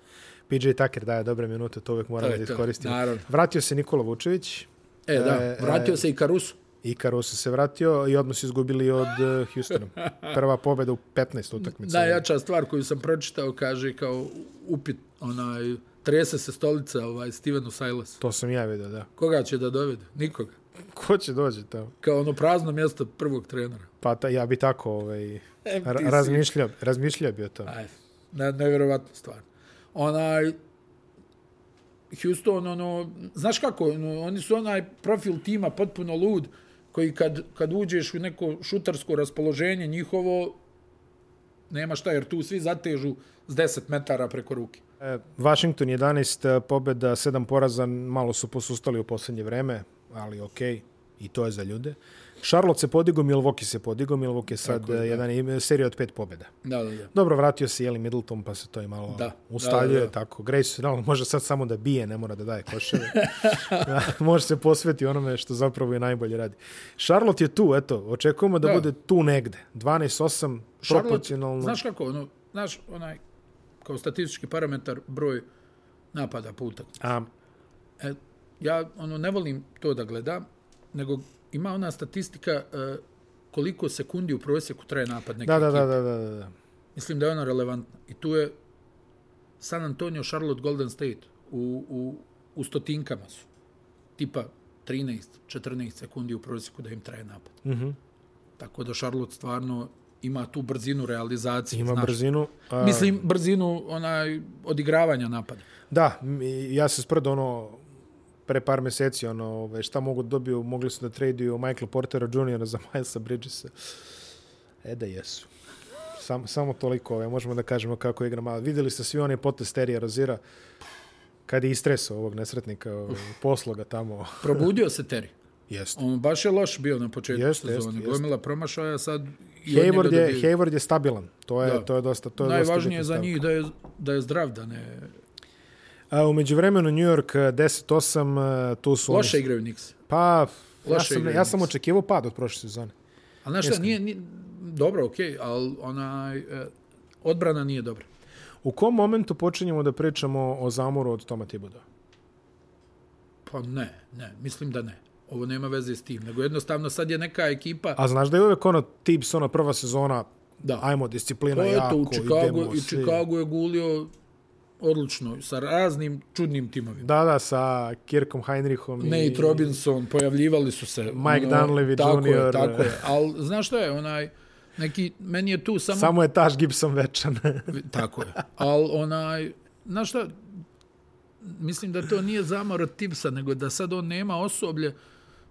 S2: PJ Tucker daje dobre minute, to uvek moramo
S1: To je
S2: da
S1: to,
S2: iskoristimo.
S1: naravno.
S2: Vratio se Nikola Vučević,
S1: E, da,
S2: E,
S1: vratio se i Karuso.
S2: i Caruso se vratio i odmah su izgubili od e,
S1: *laughs*
S2: Houstona. Prva pobjeda u 15 utakmica.
S1: Najjača stvar koju sam pročitao kaže kao upit, onaj, trese se stolica ovaj, Stevenu Silas.
S2: To sam ja vidio, da.
S1: Koga će da dovede? Nikoga.
S2: Ko će dođe tamo?
S1: Kao ono prazno mjesto prvog trenera.
S2: Pa ta, ja bi tako ovaj,
S1: Em, E, ti
S2: ra-
S1: si-
S2: razmišljao, razmišljao bi o tome.
S1: Aj, ne, nevjerovatna stvar. Onaj, Houston, ono, znaš kako, ono, oni su onaj profil tima potpuno lud, koji kad, kad uđeš u neko šutarsko raspoloženje njihovo, nema šta, jer tu svi zatežu s 10 metara preko ruke.
S2: E, Washington 11 pobjeda, 7 poraza, malo su posustali u posljednje vreme, ali okej, i to je za ljude. Charlotte se podigo, Milwaukee se podigo, Milwaukee je sad je, jedan im- e, serija od pet pobjeda.
S1: Da, da, da.
S2: Dobro, vratio se Jeli Middleton, pa se to i malo
S1: Da,
S2: ustaljuje,
S1: da, da, da.
S2: tako. Grace, no, može sad samo da bije, ne mora da daje koševe.
S1: *laughs*
S2: može se posveti onome što zapravo i najbolje radi. Charlotte je tu, eto, očekujemo da,
S1: Da.
S2: bude tu negde. 12-8,
S1: Charlotte,
S2: proporcionalno.
S1: Znaš kako, ono, znaš, onaj, kao statistički parametar, broj napada po utakmici.
S2: A,
S1: E, ja ono ne volim to da gledam, nego ima ona statistika e, koliko sekundi u prosjeku traje napad neke
S2: da, da,
S1: ekipe.
S2: da, da, da, da, da.
S1: Mislim da je ona relevantna. I tu je San Antonio, Charlotte, Golden State u, u, u stotinkama su. Tipa 13, 14 sekundi u prosjeku da im traje napad. Mm
S2: Mhm.
S1: -hmm. Tako da Charlotte stvarno ima tu brzinu realizacije.
S2: Ima
S1: znaš.
S2: brzinu. A,
S1: Mislim, brzinu onaj, odigravanja napada.
S2: Da, mi- ja se sprdo ono pre par meseci, ono, ovaj, šta mogu da dobiju, mogli su da traduju Michael Portera Jr. za *laughs* Milesa Bridgesa. E da jesu. Sam, samo toliko, ovaj, možemo da kažemo kako igra malo. Videli ste svi one potes Terija Rozira, kad je istresao ovog nesretnika, ovaj, posloga tamo.
S1: Probudio se Terry.
S2: Jeste.
S1: On baš je loš bio na početku
S2: Jeste,
S1: jeste, sezone.
S2: jeste,
S1: Jeste, Gomila promašaja sad i od njega
S2: Hayward je,
S1: dobijaju.
S2: Hayward je stabilan. To je,
S1: Da.
S2: to je dosta, to je dosta
S1: Najvažnije
S2: bitna
S1: za
S2: stavka.
S1: njih da je, da je zdrav, da ne...
S2: A, umeđu vremenu New York eh, 10-8, eh, tu su... oni-
S1: Loše igraju Knicks.
S2: Pa, ja
S1: Loše
S2: sam,
S1: igraju
S2: ja sam
S1: Knicks.
S2: očekivao pad od prošle sezone.
S1: Ali znaš šta, nije, nije, dobro, okej, okay, ali onaj, e, odbrana nije dobra.
S2: U kom momentu počinjemo da pričamo o zamoru od Toma Tibuda?
S1: Pa ne, ne, mislim da ne. Ovo nema veze s tim, nego jednostavno sad je neka ekipa...
S2: A znaš da je uvek ono Tibbs, ona prva sezona,
S1: Da.
S2: ajmo, disciplina
S1: Pa
S2: jako,
S1: eto, u Chicago,
S2: idemo
S1: i
S2: svi.
S1: Chicago je gulio odlično, sa raznim čudnim timovima.
S2: Da, da, sa Kirkom Heinrichom i...
S1: Nate Robinson, pojavljivali su se. ono,
S2: Mike Dunleavy e. Jr.
S1: tako Je, tako je, ali znaš šta je, onaj, neki, meni je tu samo, Sam...
S2: Samo je Taš Gibson večan. *laughs*
S1: *laughs* tako je, ali onaj, znaš šta, mislim da to nije zamor od Tipsa, nego da sad on nema osoblje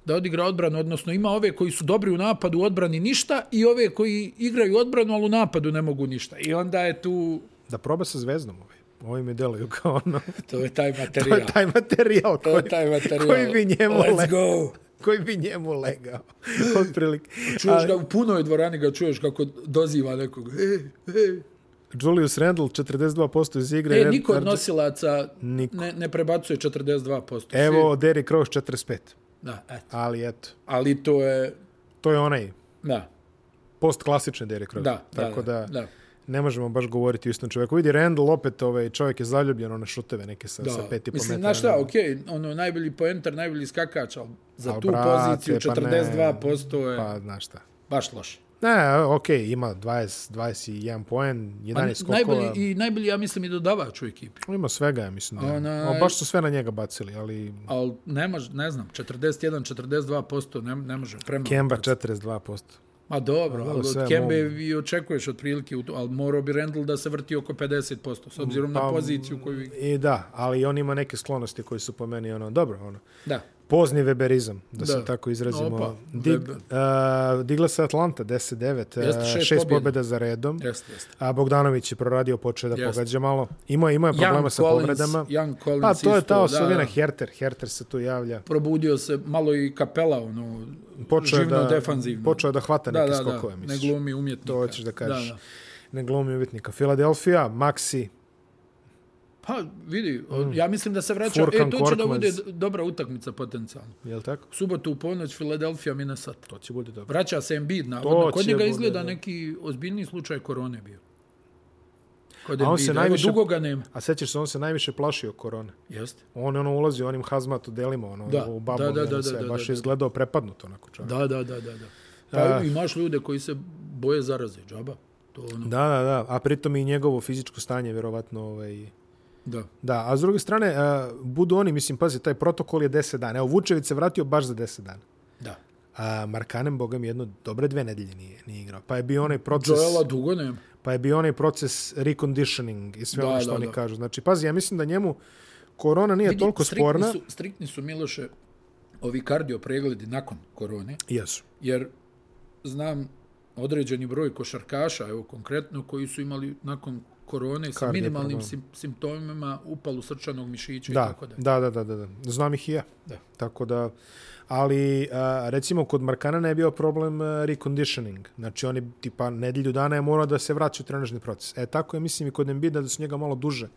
S1: da odigra odbranu, odnosno ima ove koji su dobri u napadu, u odbrani ništa i ove koji igraju odbranu, ali u napadu ne mogu ništa. I onda je tu,
S2: da proba sa zvezdom ovaj. Ovi mi deluju kao ono...
S1: to je taj
S2: To
S1: materijal.
S2: je taj materijal
S1: To
S2: koji,
S1: je taj materijal.
S2: koji bi njemu
S1: Let's
S2: legao.
S1: go.
S2: Koji bi njemu legao. *laughs* Otprilike.
S1: Čuješ ga u punoj dvorani, ga čuješ kako doziva nekog. E, e.
S2: Julius Randle, 42% iz igre.
S1: E,
S2: Red-
S1: niko od
S2: Red-
S1: nosilaca
S2: znači, Niko.
S1: ne, ne prebacuje 42%.
S2: Evo, Derrick Rose 45.
S1: Svi- Da, eto.
S2: Ali eto,
S1: Ali to je...
S2: to je onaj
S1: Da,
S2: postklasični Derrick Rose.
S1: da, da.
S2: Tako da,
S1: da.
S2: ne možemo baš govoriti o istom čovjeku. Vidi, Randall opet, ovaj, čovjek je zaljubljen, one šuteve neke sa,
S1: da.
S2: sa pet i po
S1: Mislim,
S2: metara.
S1: znaš šta, okej, ono, najbolji poenter, najbolji skakač, ali za
S2: Al,
S1: tu
S2: brate,
S1: poziciju
S2: pa ne.
S1: 42% je
S2: Pa, znaš šta.
S1: baš loše.
S2: Ne, okej, ima 20, 21 poen, 11 skokova.
S1: Pa, Najbolji, I najbolji, ja mislim, i dodavač u ekipi.
S2: Ima svega, ja mislim. Da. je.
S1: Onaj-
S2: O, baš su sve na njega bacili, ali...
S1: Ali ne, maž, ne znam, 41-42% ne, ne može. Prema.
S2: Kemba 42%.
S1: Ma dobro,
S2: dobro,
S1: ali
S2: sve
S1: od
S2: je
S1: Kembe
S2: mogu.
S1: i očekuješ otprilike, u to, ali morao bi Randall da se vrti oko 50%, s obzirom na
S2: Pa,
S1: poziciju koju... igra.
S2: I da, ali on ima neke sklonosti koji su po meni, ono, dobro, ono.
S1: Da.
S2: Pozni Weberizam, da, se
S1: Da.
S2: tako izrazimo.
S1: Opa,
S2: Dig, uh, digla se Atlanta, 10-9,
S1: Jeste,
S2: uh,
S1: šest
S2: šest
S1: pobjeda.
S2: pobjeda za redom.
S1: Jeste, jeste.
S2: A Bogdanović je proradio, počeo da
S1: Jeste.
S2: pogađa malo. Imao je, imao je problema sa povredama.
S1: Young Collins
S2: Pa to je ta
S1: isto,
S2: osobina
S1: da, da.
S2: Herter. Herter se tu javlja.
S1: Probudio se malo i kapela, ono,
S2: Počeo je
S1: živno
S2: da,
S1: defanzivno.
S2: Počeo je da hvata
S1: da,
S2: neke
S1: da,
S2: skokove,
S1: da, ne
S2: misliš.
S1: glumi umjetnika.
S2: To hoćeš da kažeš.
S1: Da, da.
S2: Ne glumi umjetnika. Filadelfija, Maxi,
S1: Ha, Pa, vidi, ja mislim da se vraća.
S2: Mm. Furkan
S1: e, to će da bude
S2: Korkmaz.
S1: d- dobra utakmica potencijalno.
S2: Jel tako?
S1: U subotu u ponoć Filadelfija Minnesota.
S2: To će bude dobro.
S1: Vraća se Embiid navodno.
S2: To
S1: Kod
S2: će
S1: njega
S2: bude,
S1: izgleda
S2: da.
S1: neki ozbiljni slučaj korone bio. Kod
S2: A on
S1: Embiida.
S2: se
S1: Evo,
S2: najviše-
S1: Dugo ga nema.
S2: A sećaš se, on se najviše plašio korone.
S1: Jeste.
S2: On je ono ulazio onim hazmatu delima, ono,
S1: Da.
S2: u babu, da, da, da, sve.
S1: da,
S2: baš
S1: da,
S2: je izgledao prepadnuto onako čovjek.
S1: Da, da, da, da. da. Pa imaš ljude koji se boje zaraze, džaba. To ono,
S2: Da, da, da, a pritom i njegovo fizičko stanje vjerovatno ovaj,
S1: da.
S2: Da, a s druge strane, a, budu oni, mislim, pazi, taj protokol je 10 dana. Evo, Vučević se vratio baš za 10 dana.
S1: Da.
S2: A Markanem, boga mi, jedno dobre dve nedelje nije, nije igrao. Pa je bio onaj proces,
S1: Joela dugo nema.
S2: pa je bio onaj proces reconditioning i sve
S1: Da,
S2: ono što
S1: da,
S2: oni
S1: da.
S2: kažu. Znači, pazi, ja mislim da njemu korona nije
S1: Vidi,
S2: E, toliko
S1: striktni
S2: sporna.
S1: Su, striktni su, Miloše, ovi kardio pregledi nakon korone,
S2: Jesu.
S1: jer znam određeni broj košarkaša, evo konkretno, koji su imali nakon korone sa
S2: Kardio
S1: minimalnim
S2: problem.
S1: sim, simptomima upalu srčanog mišića i
S2: Da,
S1: tako da.
S2: da, da, da, da, da. Znam ih i ja.
S1: Da.
S2: Tako da, ali a, recimo kod Markana je bio problem a, reconditioning. Znači on je tipa nedelju dana je morao da se vraća u trenažni proces. E tako je mislim i kod Embiida da su njega malo duže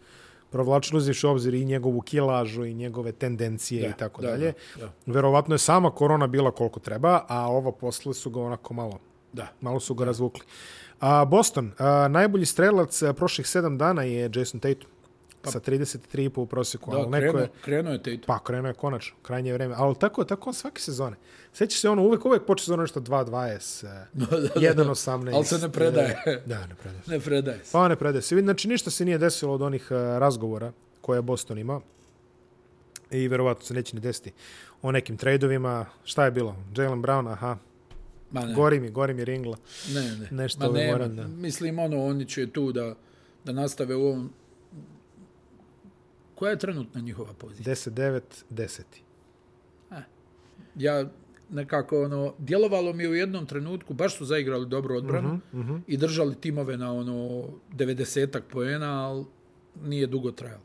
S2: provlačili uzviš u obzir i njegovu kilažu i njegove tendencije da, i tako
S1: da,
S2: da, dalje.
S1: da,
S2: Da. Verovatno je sama korona bila koliko treba, a ova posle su ga onako malo
S1: Da.
S2: Malo su ga razvukli. A, Boston, a, najbolji strelac a, prošlih sedam dana je Jason Tatum. Sa 33,5 u prosjeku.
S1: Pa- Da,
S2: ali neko
S1: krenuo, krenuo
S2: je,
S1: je, krenuo je
S2: *laughs*
S1: Tatum.
S2: Pa, krenuo je konačno, krajnje vreme. Ali tako je, tako on svake sezone. Sećaš se ono, uvek, uvek počne sezona nešto
S1: *laughs*
S2: 2-20, eh, 1-18.
S1: Ali se ne predaje.
S2: eh, Da, ne predaje. se.
S1: Ne predaje se.
S2: Pa ne predaje se. Vidi, Znači, ništa se nije desilo od onih eh, razgovora koje je Boston imao. I verovatno se neće ni desiti o nekim trejdovima. Šta je bilo? Jalen Brown, aha.
S1: Ma ne,
S2: Gori mi, gori mi ringla.
S1: ne, ne.
S2: nešto
S1: Ma
S2: ovaj
S1: nema.
S2: moram da-
S1: Mislim, ono, oni će tu da, da nastave u ovom... Koja je trenutna njihova pozicija?
S2: 10-9, 10.
S1: ja nekako ono djelovalo mi je u jednom trenutku baš su zaigrali dobro odbranu
S2: Mhm,
S1: i držali timove na ono 90-ak poena, ali nije dugo trajalo.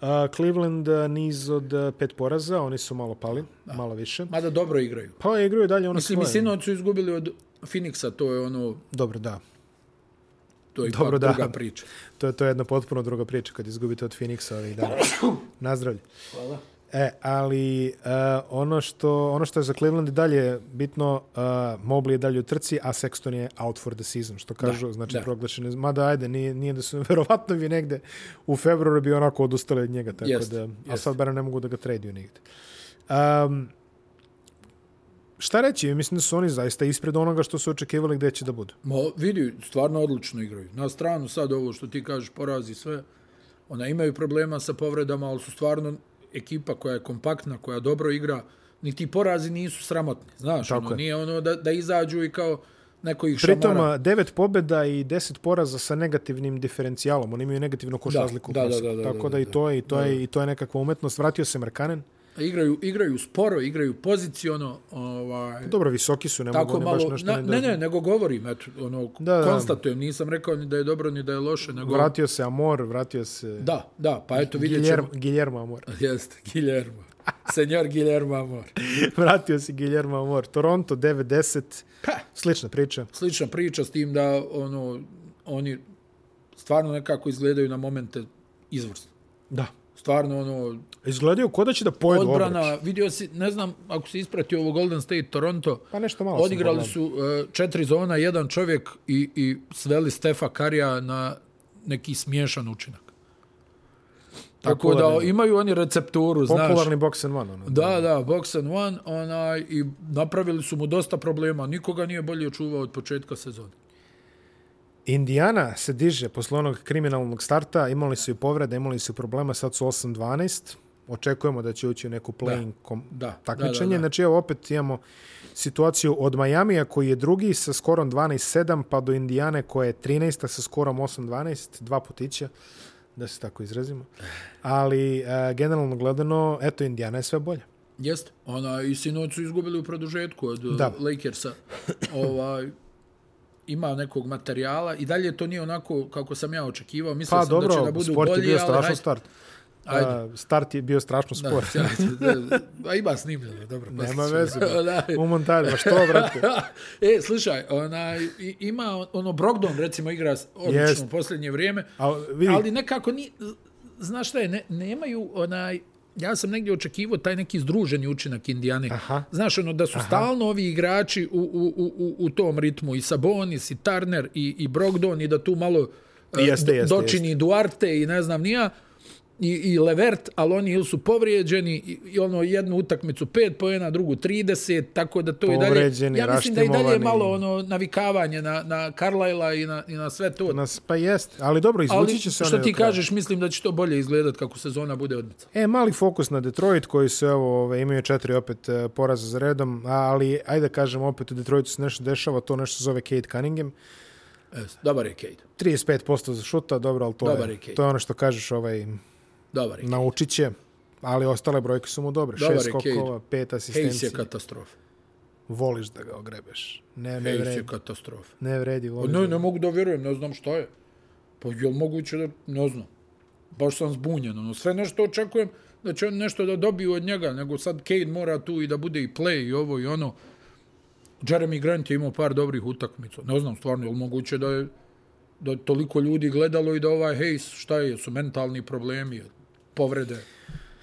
S2: A, Cleveland eh, niz od eh, pet poraza, oni su malo pali, malo više.
S1: Mada dobro igraju.
S2: Pa igraju dalje ono
S1: Mislim, i
S2: svoje.
S1: sinoć su izgubili od Phoenixa, to je ono,
S2: Dobro, da.
S1: to je
S2: Dobro,
S1: ipak
S2: da.
S1: druga priča.
S2: To je, to je jedna potpuno druga priča kad izgubite od Phoenixa ovih
S1: *coughs*
S2: dana. Nazdravlje.
S1: Hvala.
S2: E, ali uh, ono, što, ono što je za Cleveland i dalje bitno, uh, Mobley je dalje u trci, a Sexton je out for the season, što kažu, da, znači
S1: da.
S2: proglašen je, mada ajde, nije, nije da su, *laughs* verovatno bi negde u februaru bi onako odustali od njega, tako
S1: Jeste,
S2: da, a
S1: jeste.
S2: sad bar ne mogu da ga traduju negde. Um, šta reći, mislim da su oni zaista ispred onoga što su očekivali gde će da budu.
S1: Ma vidi, stvarno odlično igraju. Na stranu sad ovo što ti kažeš porazi sve. Ona imaju problema sa povredama, ali su stvarno ekipa koja je kompaktna, koja dobro igra. Ni ti porazi nisu sramotni, znaš,
S2: Tako
S1: ono,
S2: je.
S1: nije ono da, da izađu i kao neko ih
S2: Pritom,
S1: šamara.
S2: a, devet pobjeda i deset poraza sa negativnim diferencijalom. Oni imaju negativnu koš
S1: Da,
S2: razliku. u
S1: da, da,
S2: proseku.
S1: da, da,
S2: Tako
S1: da,
S2: da i
S1: da.
S2: to je, i to je, i to je nekakva umetnost. Vratio se Markanen.
S1: Igraju, igraju sporo, igraju poziciono, ovaj,
S2: Dobro, visoki su, ne
S1: tako
S2: mogu oni baš
S1: malo,
S2: nešto
S1: na, ne,
S2: dođu.
S1: ne, nego govorim, eto, ono,
S2: Da, da.
S1: konstatujem, nisam rekao ni da je dobro, ni da je loše, nego...
S2: Vratio se Amor, vratio se
S1: Da, da, pa eto, vidjet
S2: Guillermo,
S1: ćemo.
S2: Guillermo Amor.
S1: *laughs*
S2: *laughs*
S1: Jeste, Guillermo. Senjor Guillermo Amor.
S2: vratio se Guillermo Amor. Toronto 9-10. Slična priča.
S1: slična priča s tim da ono oni stvarno nekako izgledaju na momente izvrsno.
S2: Da.
S1: Stvarno ono
S2: Izgledaju ko da će da pojedu
S1: odbrana,
S2: obruč.
S1: vidio si, ne znam ako si ispratio ovo Golden State Toronto,
S2: Pa nešto malo sam
S1: odigrali
S2: pogledao.
S1: su uh, četiri zona, jedan čovjek i, i sveli Stefa Karija na neki smiješan učinak. Tako da
S2: Popularni-
S1: imaju oni recepturu, znaš.
S2: Popularni box and one. Ono.
S1: Da, da, box and one, onaj, i napravili su mu dosta problema. Nikoga nije bolje čuvao od početka sezone.
S2: Indiana se diže posle onog kriminalnog starta, imali su i povrede, imali su problema, sad su 8-12, očekujemo da će ući u neku playing kom-
S1: Da, da,
S2: takmičenje.
S1: da, da.
S2: Znači evo opet imamo situaciju od Majamija koji je drugi sa skorom 12-7 pa do Indijane koja je 13 sa skorom 8-12, dva putića da se tako izrazimo. Ali e, generalno gledano, eto Indijana je sve bolja.
S1: Jeste. Ona i sinoć su izgubili u produžetku od
S2: Da.
S1: da. Lakersa. Ovaj, ima nekog materijala i dalje to nije onako kako sam ja očekivao. Mislio
S2: Pa
S1: sam
S2: dobro,
S1: da će da budu
S2: sport
S1: bolji,
S2: je bio
S1: ali
S2: strašno
S1: hajde.
S2: start.
S1: Ajde.
S2: A, start je bio strašno spor.
S1: *laughs* Da, da, da, ima snimljeno, dobro.
S2: Nema
S1: pustit ću.
S2: veze. bro.
S1: Da.
S2: U montažu, ma što, brate?
S1: *laughs* e, slušaj, ona, i- ima ono Brogdon recimo igra odlično
S2: Jest.
S1: u posljednje vrijeme,
S2: A, vidi,
S1: ali nekako ni znaš šta je, ne, nemaju onaj, ja sam negdje očekivao taj neki združeni učinak Indijane.
S2: Aha.
S1: Znaš, ono, da su Aha. stalno ovi igrači u, u, u, u- u tom ritmu, i Sabonis, i Turner, i, i Brogdon, i da tu malo e,
S2: Jeste,
S1: do-
S2: jeste,
S1: dočini Duarte i ne znam nija, i, i Levert, ali oni ili su povrijeđeni, i, i ono, jednu utakmicu 5 pojena, drugu 30, tako da to i dalje...
S2: Povrijeđeni,
S1: Ja mislim da i dalje je
S2: raštimovani.
S1: malo ono, navikavanje na, na Carlisla i na, i na sve to.
S2: Nas, pa jest, ali dobro,
S1: Ali
S2: izvući će se
S1: što
S2: one
S1: ti
S2: do kraja.
S1: kažeš, mislim da će to bolje izgledat kako sezona bude odmica.
S2: E, mali fokus na Detroit koji su, evo, ove, imaju četiri opet e, poraza za redom, ali ajde da kažem opet u Detroitu se nešto dešava, to nešto se zove Kate Cunningham.
S1: Jest, E, dobar je Cade.
S2: 35% za šuta, dobro, ali to,
S1: Dobar je
S2: je,
S1: Kate.
S2: to je ono što kažeš, ovaj,
S1: Dobar je.
S2: naučit će, ali ostale brojke su mu dobre.
S1: Dobar
S2: Šest
S1: je Cade.
S2: skokova, pet
S1: Hayes
S2: asistencija.
S1: je katastrofa.
S2: Voliš da ga ogrebeš. Ne, ne
S1: Hayes je
S2: vredi.
S1: katastrofa.
S2: Ne vredi, voliš.
S1: Ne, ne mogu da vjerujem, ne znam šta je. Pa je li moguće da, ne znam. Baš sam zbunjen. Ono, sve nešto očekujem da će on nešto da dobiju od njega, nego sad Cade mora tu i da bude i play i ovo i ono. Jeremy Grant je imao par dobrih utakmica. Ne znam stvarno, je li moguće da je da je toliko ljudi gledalo i da ovaj Hayes, šta je, su mentalni problemi, povrede.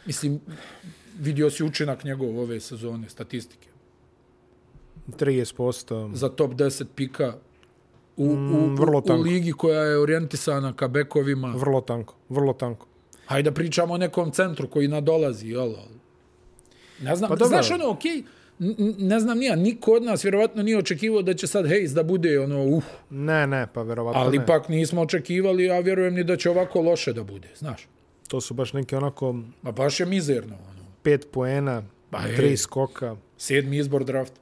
S1: Mislim, vidio si učinak njegov ove sezone, statistike.
S2: 30%.
S1: za top 10 pika u, u,
S2: Mm, vrlo
S1: u, u
S2: tanko.
S1: ligi koja je orijentisana ka bekovima.
S2: Vrlo tanko, vrlo tanko.
S1: Hajde da pričamo o nekom centru koji nadolazi, jel? ali- Ne znam,
S2: Pa
S1: pa
S2: dobro.
S1: znaš ono, okej, n- n- ne znam nija, niko od nas vjerovatno nije očekivao da će sad Hayes da bude ono, uh,
S2: Ne, ne, pa verovatno
S1: ali
S2: ne.
S1: pak nismo očekivali, a vjerujem ni da će ovako loše da bude, znaš.
S2: To su baš neke onako
S1: Ma baš je mizerno, ono.
S2: pet poena,
S1: Pa
S2: pa,
S1: je.
S2: tri skoka.
S1: Sedmi izbor drafta.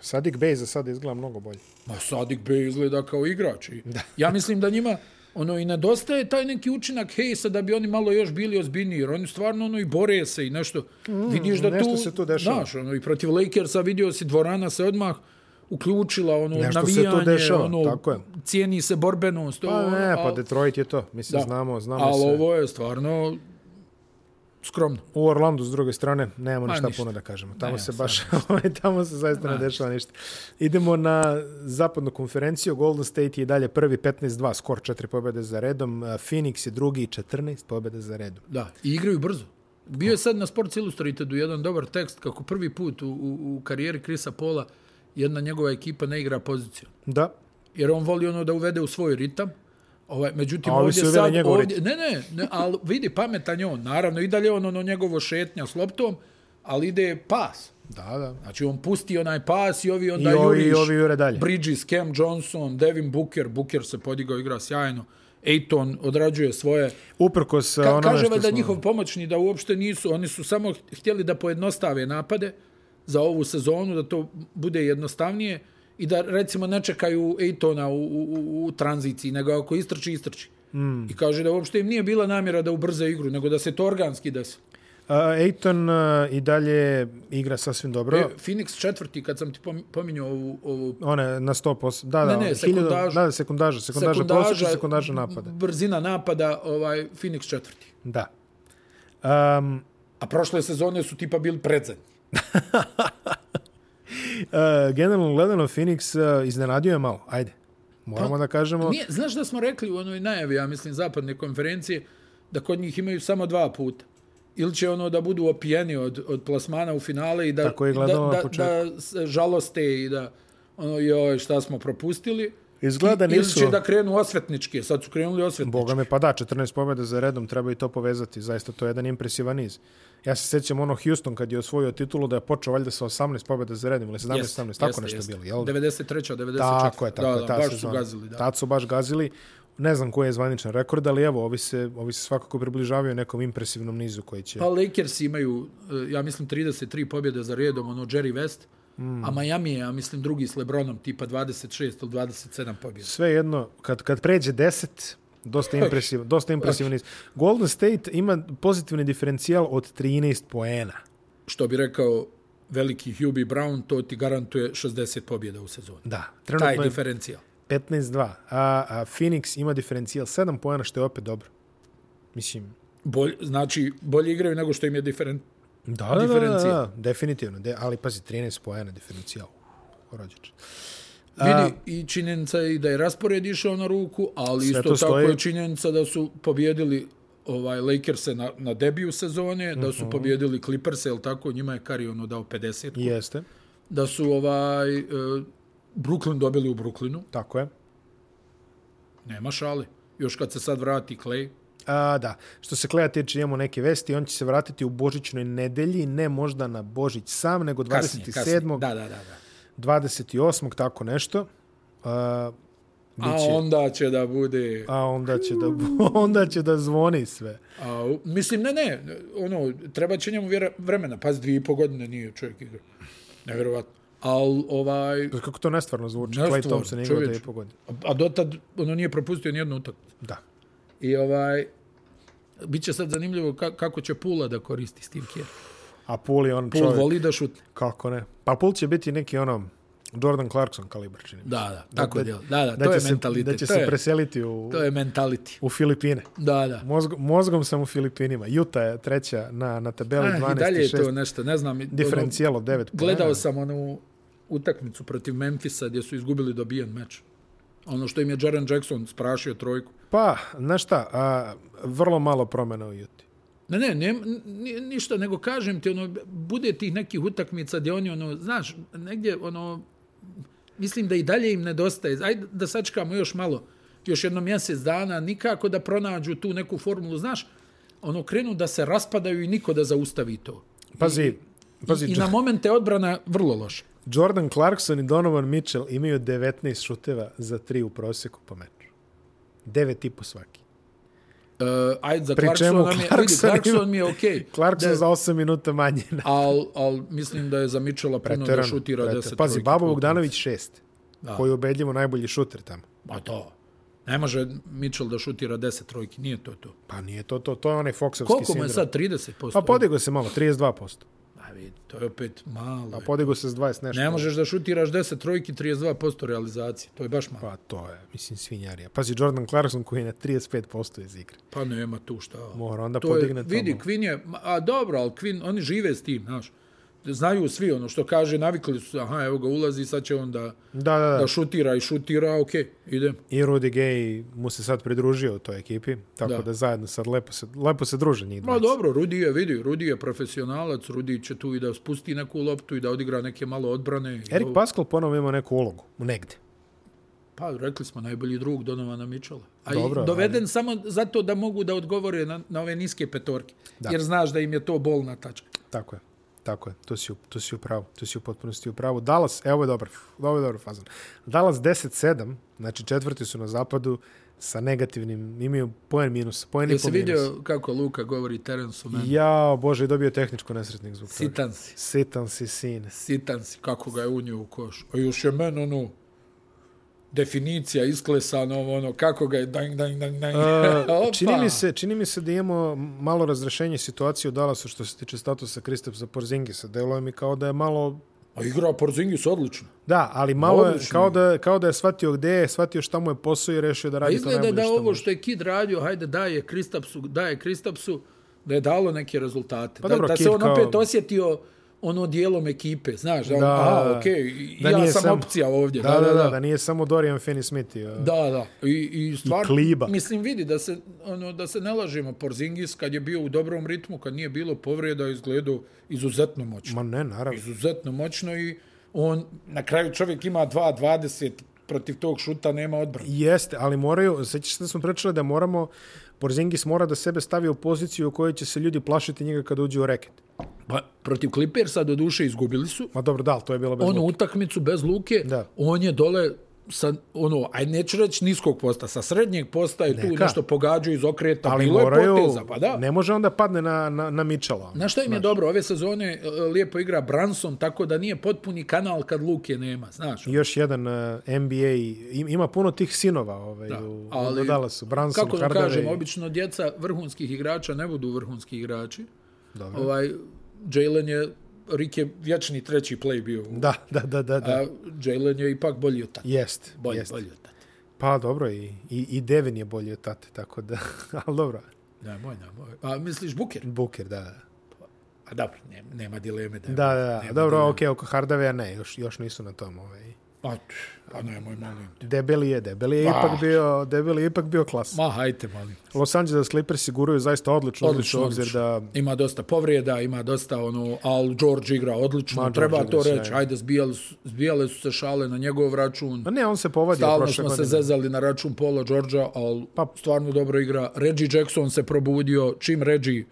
S2: Sadik Bey za sada izgleda mnogo bolje.
S1: Ma Sadik Bey izgleda kao igrač. I ja mislim da njima ono i nedostaje taj neki učinak Hejsa da bi oni malo još bili ozbiljniji, jer oni stvarno ono i bore se i nešto. Mm, Vidiš da
S2: nešto
S1: tu,
S2: se tu dešava.
S1: Znaš, ono, i protiv Lakersa vidio si dvorana se odmah uključila, ono,
S2: Nešto se tu
S1: navijanje,
S2: dešava,
S1: ono,
S2: tako je.
S1: cijeni se borbenost.
S2: Pa
S1: ovo,
S2: ne, pa
S1: al-
S2: Detroit je to. Mislim,
S1: Da.
S2: znamo, znamo
S1: ali
S2: se.
S1: ovo je stvarno skromno.
S2: U Orlandu, s druge strane, nemamo
S1: Pa
S2: ništa
S1: ništa.
S2: puno da kažemo. Tamo
S1: Ne,
S2: se baš, *laughs* ovaj, tamo se zaista
S1: Znači.
S2: ne dešava ništa. Idemo na zapadnu konferenciju. Golden State je dalje prvi 15-2, skor 4 pobjede za redom. Eh, Phoenix je drugi 14 pobjede za redom.
S1: Da, i igraju brzo. Bio je sad na Sports Illustrated'u jedan dobar tekst kako prvi put u, u, u karijeri Krisa Pola jedna njegova ekipa ne igra poziciju.
S2: Da,
S1: Jer on voli ono da uvede u svoj ritam. Ovaj, međutim,
S2: A ovi
S1: ovdje
S2: su uveli
S1: sad...
S2: njegov
S1: Ovdje, ne, ne, ne, ali vidi, pametan je on. Naravno, i dalje on ono njegovo šetnja s loptom, ali ide pas.
S2: da, da.
S1: Znači, on pusti onaj pas i ovi onda
S2: I ovi,
S1: juriš.
S2: i ovi jure dalje.
S1: Bridges, Cam Johnson, Devin Booker. Booker se podigao, igra sjajno. Ayton odrađuje svoje...
S2: Uprkos eh,
S1: Ka,
S2: onome
S1: kaže
S2: što
S1: valjda
S2: smo-
S1: njihov pomoćni da uopšte nisu, oni su samo htjeli da pojednostave napade za ovu sezonu, da to bude jednostavnije i da recimo ne čekaju Ejtona u, u, u, u tranziciji, nego ako istrči, istrči.
S2: Hmm.
S1: Mm. I kaže da uopšte im nije bila namjera da ubrze igru, nego da se to organski desi.
S2: Uh, Ejton uh, i dalje igra sasvim dobro.
S1: E,
S2: E,
S1: Phoenix četvrti, kad sam ti pom- pominjao ovu, ovu
S2: One na 100%. Da, da,
S1: Ne,
S2: hiljadu-
S1: ne, sekundažu. Mhm.
S2: Da, da, sekundaža, sekundaža, sekundaža prosječna sekundaža napada.
S1: brzina napada, ovaj Phoenix četvrti.
S2: Da. Um,
S1: A prošle sezone su tipa bili predzadnji.
S2: uh, generalno gledano, Phoenix uh, iznenadio je malo. Ajde. Moramo da kažemo...
S1: Pa, Nije, znaš da smo rekli u onoj najavi, ja mislim, zapadne konferencije, da kod njih imaju samo dva puta. Ili će ono da budu opijeni od, od plasmana u finale i da,
S2: Tako je
S1: da,
S2: gledalo na
S1: da,
S2: početku.
S1: da se žaloste i da ono, joj, šta smo propustili.
S2: Izgleda
S1: I- ili
S2: nisu.
S1: će da krenu osvetničke, sad su krenuli osvetničke.
S2: Boga me, pa da, 14 pobjeda za redom, treba i to povezati. Zaista, to je jedan impresivan niz. Ja se sjećam ono Houston kad je osvojio titulu da je počeo valjda sa 18 pobjeda za redom ili 17-18, tako nešto jeste. bilo. Jel?
S1: 93. 94.
S2: Tako je, tako
S1: da,
S2: je.
S1: da,
S2: ta
S1: baš su
S2: sezona.
S1: gazili, da.
S2: Tad su baš gazili. Ne znam koji je zvaničan rekord, ali evo, ovi se, ovi se svakako približavaju nekom impresivnom nizu koji će...
S1: Pa Lakers imaju, eh, ja mislim, 33 pobjede za redom, ono Jerry West, mm. a Miami je, ja mislim, drugi s Lebronom, tipa 26 ili 27 pobjeda.
S2: Sve jedno, kad, kad pređe 10,
S1: *laughs*
S2: dosta impresivan, dosta impresivan niz. Golden State ima pozitivni diferencijal od 13 poena.
S1: što bi rekao veliki Hubie Brown, to ti garantuje 60 pobjeda u sezoni.
S2: Da,
S1: Taj
S2: trenutno je
S1: diferencijal.
S2: 15-2. A, a Phoenix ima diferencijal 7 poena, što je opet dobro. Mislim,
S1: Bolj, znači, bolje igraju nego što im je diferen...
S2: Da, da, da, da,
S1: Diferencijal.
S2: da, definitivno. De, ali pazi, 13 poena diferencijal. uh, Rođač.
S1: Vidi, i činjenica je i da je raspored išao na ruku, ali
S2: Sve
S1: isto
S2: to
S1: tako
S2: stoji.
S1: je činjenica da su pobjedili ovaj Lakers-e na, na debiju sezone, da
S2: Mhm.
S1: su pobjedili Clippers-e, jel tako, njima je Curry ono dao 50,
S2: Jeste,
S1: da su ovaj e, Brooklyn dobili u Brooklynu,
S2: tako je.
S1: nema šale. Još kad se sad vrati Clay,
S2: A, da, što se Kleja tiče, imamo neke vesti, on će se vratiti u Božićnoj nedelji, ne možda na Božić sam, nego 27.
S1: kasnije, kasnije. Da, da, da. da.
S2: 28. tako nešto. A,
S1: A onda će da bude...
S2: a onda će da *laughs* onda će da zvoni sve.
S1: A, mislim, ne, ne, ono, treba će njemu vjera, vremena, pas dvije i po godine nije čovjek igra. Nevjerovatno. Al, ovaj,
S2: Kako to nestvarno zvuči,
S1: Nestvarno,
S2: Clay Thompson je igrao
S1: čovječe.
S2: da je pogodio.
S1: a dotad, ono, nije propustio nijednu utakmicu.
S2: Da.
S1: I ovaj, Biće sad zanimljivo ka, kako će Pula da koristi Steve Kerr.
S2: A Pool je on
S1: Pul
S2: čovjek,
S1: voli da šutne.
S2: kako ne. Pa Pool će biti neki ono Jordan Clarkson kalibar čini. mi se.
S1: Da, da, tako
S2: Dakle, da-
S1: da, djel. Da, da, to je
S2: će
S1: mentalitet.
S2: Se, da će
S1: to,
S2: se
S1: je,
S2: preseliti u,
S1: to je mentality.
S2: u Filipine.
S1: Da, da.
S2: Mozg, mozgom sam u Filipinima. Juta je treća na, na tabeli
S1: Ah,
S2: 12
S1: I dalje je
S2: i 6.
S1: to nešto, ne znam. ono,
S2: Diferencijalo 9 pojena.
S1: Gledao sam onu utakmicu protiv Memfisa gdje su izgubili dobijen meč. Ono što im je Jaren Jackson sprašio trojku.
S2: Pa, znaš šta, a, vrlo malo promjena u Juti.
S1: Ne, ne, ne, ni- ništa, nego kažem ti, ono, bude tih nekih utakmica gdje oni, ono, znaš, negdje, ono, mislim da i dalje im nedostaje. Ajde da sačekamo još malo, još jedno mjesec dana, nikako da pronađu tu neku formulu, znaš, ono, krenu da se raspadaju i niko da zaustavi to.
S2: Pazi, pazi,
S1: I na momente odbrana vrlo loša.
S2: Jordan Clarkson i Donovan Mitchell imaju 19 šuteva za 3 u proseku po meču. 9 i po svaki.
S1: Uh, ajde, za
S2: Pri čemu
S1: Clarksona mi je, vidi,
S2: Clarkson ima-
S1: Clarkson mi je
S2: *laughs*
S1: okej.
S2: Clarkson za 8 minuta manje. na-
S1: Al, al mislim da je za Mitchella puno da
S2: Teran,
S1: šutira
S2: brate.
S1: 10
S2: Pazi,
S1: trojki.
S2: Babo Bogdanović 6,
S1: Da.
S2: koji je ubedljivo najbolji šuter tamo.
S1: Ma to. Ne može Mitchell da šutira 10 trojki, nije to to.
S2: Pa nije to to, to je onaj Foxovski
S1: Koliko
S2: sindrom.
S1: mu je sad 30%?
S2: Pa podigo se malo, 32%.
S1: A vidi, to je opet malo. je.
S2: Podigo Pa se s 20 nešto.
S1: Ne možeš da šutiraš 10 trojki, 32% realizacije. To je baš malo.
S2: Pa to je, mislim, svinjarija. Pazi, Jordan Clarkson koji je na 35% iz igre.
S1: Pa nema tu šta.
S2: Mora onda
S1: to je,
S2: podigne to.
S1: vidi, Queen je, ma, a dobro, ali Queen, oni žive s tim, znaš. Znaju svi ono što kaže, navikli su, se, aha, evo ga ulazi, sad će on da,
S2: Da, da, da.
S1: da šutira i šutira, okej, idem.
S2: I Rudy Gay mu se sad pridružio u toj ekipi, tako da,
S1: Da.
S2: zajedno sad lepo se, lepo se druže njih
S1: Pa
S2: dvojica.
S1: dobro, Rudi je, vidi, Rudi je profesionalac, Rudi će tu i da spusti neku loptu i da odigra neke malo odbrane. i
S2: Erik
S1: ovo.
S2: Pascal ponovo ima neku ulogu, negde.
S1: Pa, rekli smo, najbolji drug Donovana Mitchella. A
S2: Dobro,
S1: Dobro,
S2: ali-
S1: doveden ali... samo zato da mogu da odgovore na, na ove niske petorke.
S2: Da.
S1: Da. Jer znaš da im je to bolna tačka.
S2: Tako je. Tako je, to si, u- to si u pravu, to si u potpunosti u pravu. Dallas, evo je dobar, ovo je dobar fazan. Dallas 10-7, znači četvrti su na zapadu sa negativnim, imaju poen minus, poen i
S1: Jesi
S2: po minus.
S1: vidio kako Luka govori Terensu Mann?
S2: Ja, bože, dobio je tehničko nesretnik zbog toga.
S1: Sitan si,
S2: Sitan si sin.
S1: sitan si, kako ga je unio u koš. A još je men, ono, definicija isklesana, ovo, ono, kako ga je dang, dang, dang, dang.
S2: Uh,
S1: *laughs* Opa!
S2: čini, mi se, čini mi se da imamo malo razrešenje situacije u Dallasu što se tiče statusa Kristapsa Porzingisa. Delo mi kao da je malo...
S1: A igra Porzingis odlično.
S2: Da, ali malo je,
S1: Odlično.
S2: kao da, kao da je shvatio gde je, shvatio šta mu je posao i rešio da
S1: Pa
S2: radi to
S1: izgleda
S2: najbolje
S1: da
S2: što
S1: ovo
S2: može.
S1: što je Kid radio, hajde daje Kristapsu, daje Kristapsu, da je dalo neke rezultate.
S2: Pa
S1: da,
S2: dobro,
S1: da
S2: Kid
S1: se on
S2: kao-
S1: opet osjetio ono dijelom ekipe, znaš, da, on,
S2: Da,
S1: aha, okej, i-
S2: da
S1: ja
S2: nije
S1: sam
S2: samo-
S1: opcija ovdje.
S2: Da, da, da, da nije samo Dorian Finney-Smith. i, uh,
S1: Da, da. I, i stvar,
S2: I kliba.
S1: Mislim, vidi, da se, ono, da se ne lažemo, Porzingis kad je bio u dobrom ritmu, kad nije bilo povreda, izgledao izuzetno moćno.
S2: Ma ne, naravno.
S1: Izuzetno moćno i on, na kraju čovjek ima 2.20, protiv tog šuta nema odbrana.
S2: Jeste, ali moraju, sećaš se da smo pričali da moramo, Porzingis mora da sebe stavi u poziciju u kojoj će se ljudi plašiti njega kada uđe u reket.
S1: Pa, protiv Clippersa do duše izgubili su,
S2: Ma dobro, da, ali to je bilo bez
S1: onu utakmicu bez Luke,
S2: Da.
S1: on je dole sa, ono, aj neću reći niskog posta, sa srednjeg posta je tu
S2: Neka.
S1: nešto pogađao iz okreta,
S2: ali
S1: bilo
S2: moraju,
S1: je poteza, pa da.
S2: ne može onda padne na, na, ono. na Mičala.
S1: Na šta im je dobro, ove sezone e, lijepo igra Branson, tako da nije potpuni kanal kad Luke nema, znaš.
S2: Još jedan uh, NBA, im, ima puno tih sinova ovaj, da, u, ali, u Dallasu, Branson,
S1: kako da
S2: Hardaway.
S1: kažem, obično djeca vrhunskih igrača ne budu vrhunski igrači.
S2: Dobro.
S1: Ovaj, Jalen je, Rick je vječni treći play bio.
S2: Da, da, da, da. da.
S1: A Jalen je ipak bolji od tate.
S2: Jest,
S1: Bolji,
S2: jest.
S1: bolji od tate.
S2: Pa dobro, i, i, i Devin je bolji od tate, tako da, *laughs* ali dobro,
S1: Nemoj, nemoj. A misliš Buker?
S2: Booker, da, da.
S1: A dobro, ne, nema dileme da je
S2: Da, da,
S1: Booker,
S2: da.
S1: nema
S2: Dobro,
S1: dileme.
S2: okej, oko Hardavea ne, još, još nisu na tom. Ovaj.
S1: A, t- pa nemoj, molim. te.
S2: Debeli je, debeli je
S1: Ah.
S2: ipak bio, debeli je ipak bio klas.
S1: Ma, hajte, molim.
S2: Los Angeles Clippers guraju zaista odlično,
S1: Odlično,
S2: odlično, obzir
S1: odlično.
S2: da
S1: Ima dosta povrijeda, ima dosta ono, al George igra odlično,
S2: Ma,
S1: treba
S2: George
S1: to
S2: igra
S1: reći.
S2: sjajno.
S1: Ajde, zbijale su, zbijale su se šale na njegov račun.
S2: Ma ne, on se povadio
S1: Stalno
S2: prošle
S1: smo se
S2: godine.
S1: zezali na račun Paula Georgea, ali pa, stvarno dobro igra. Reggie Jackson se probudio. Čim Reggie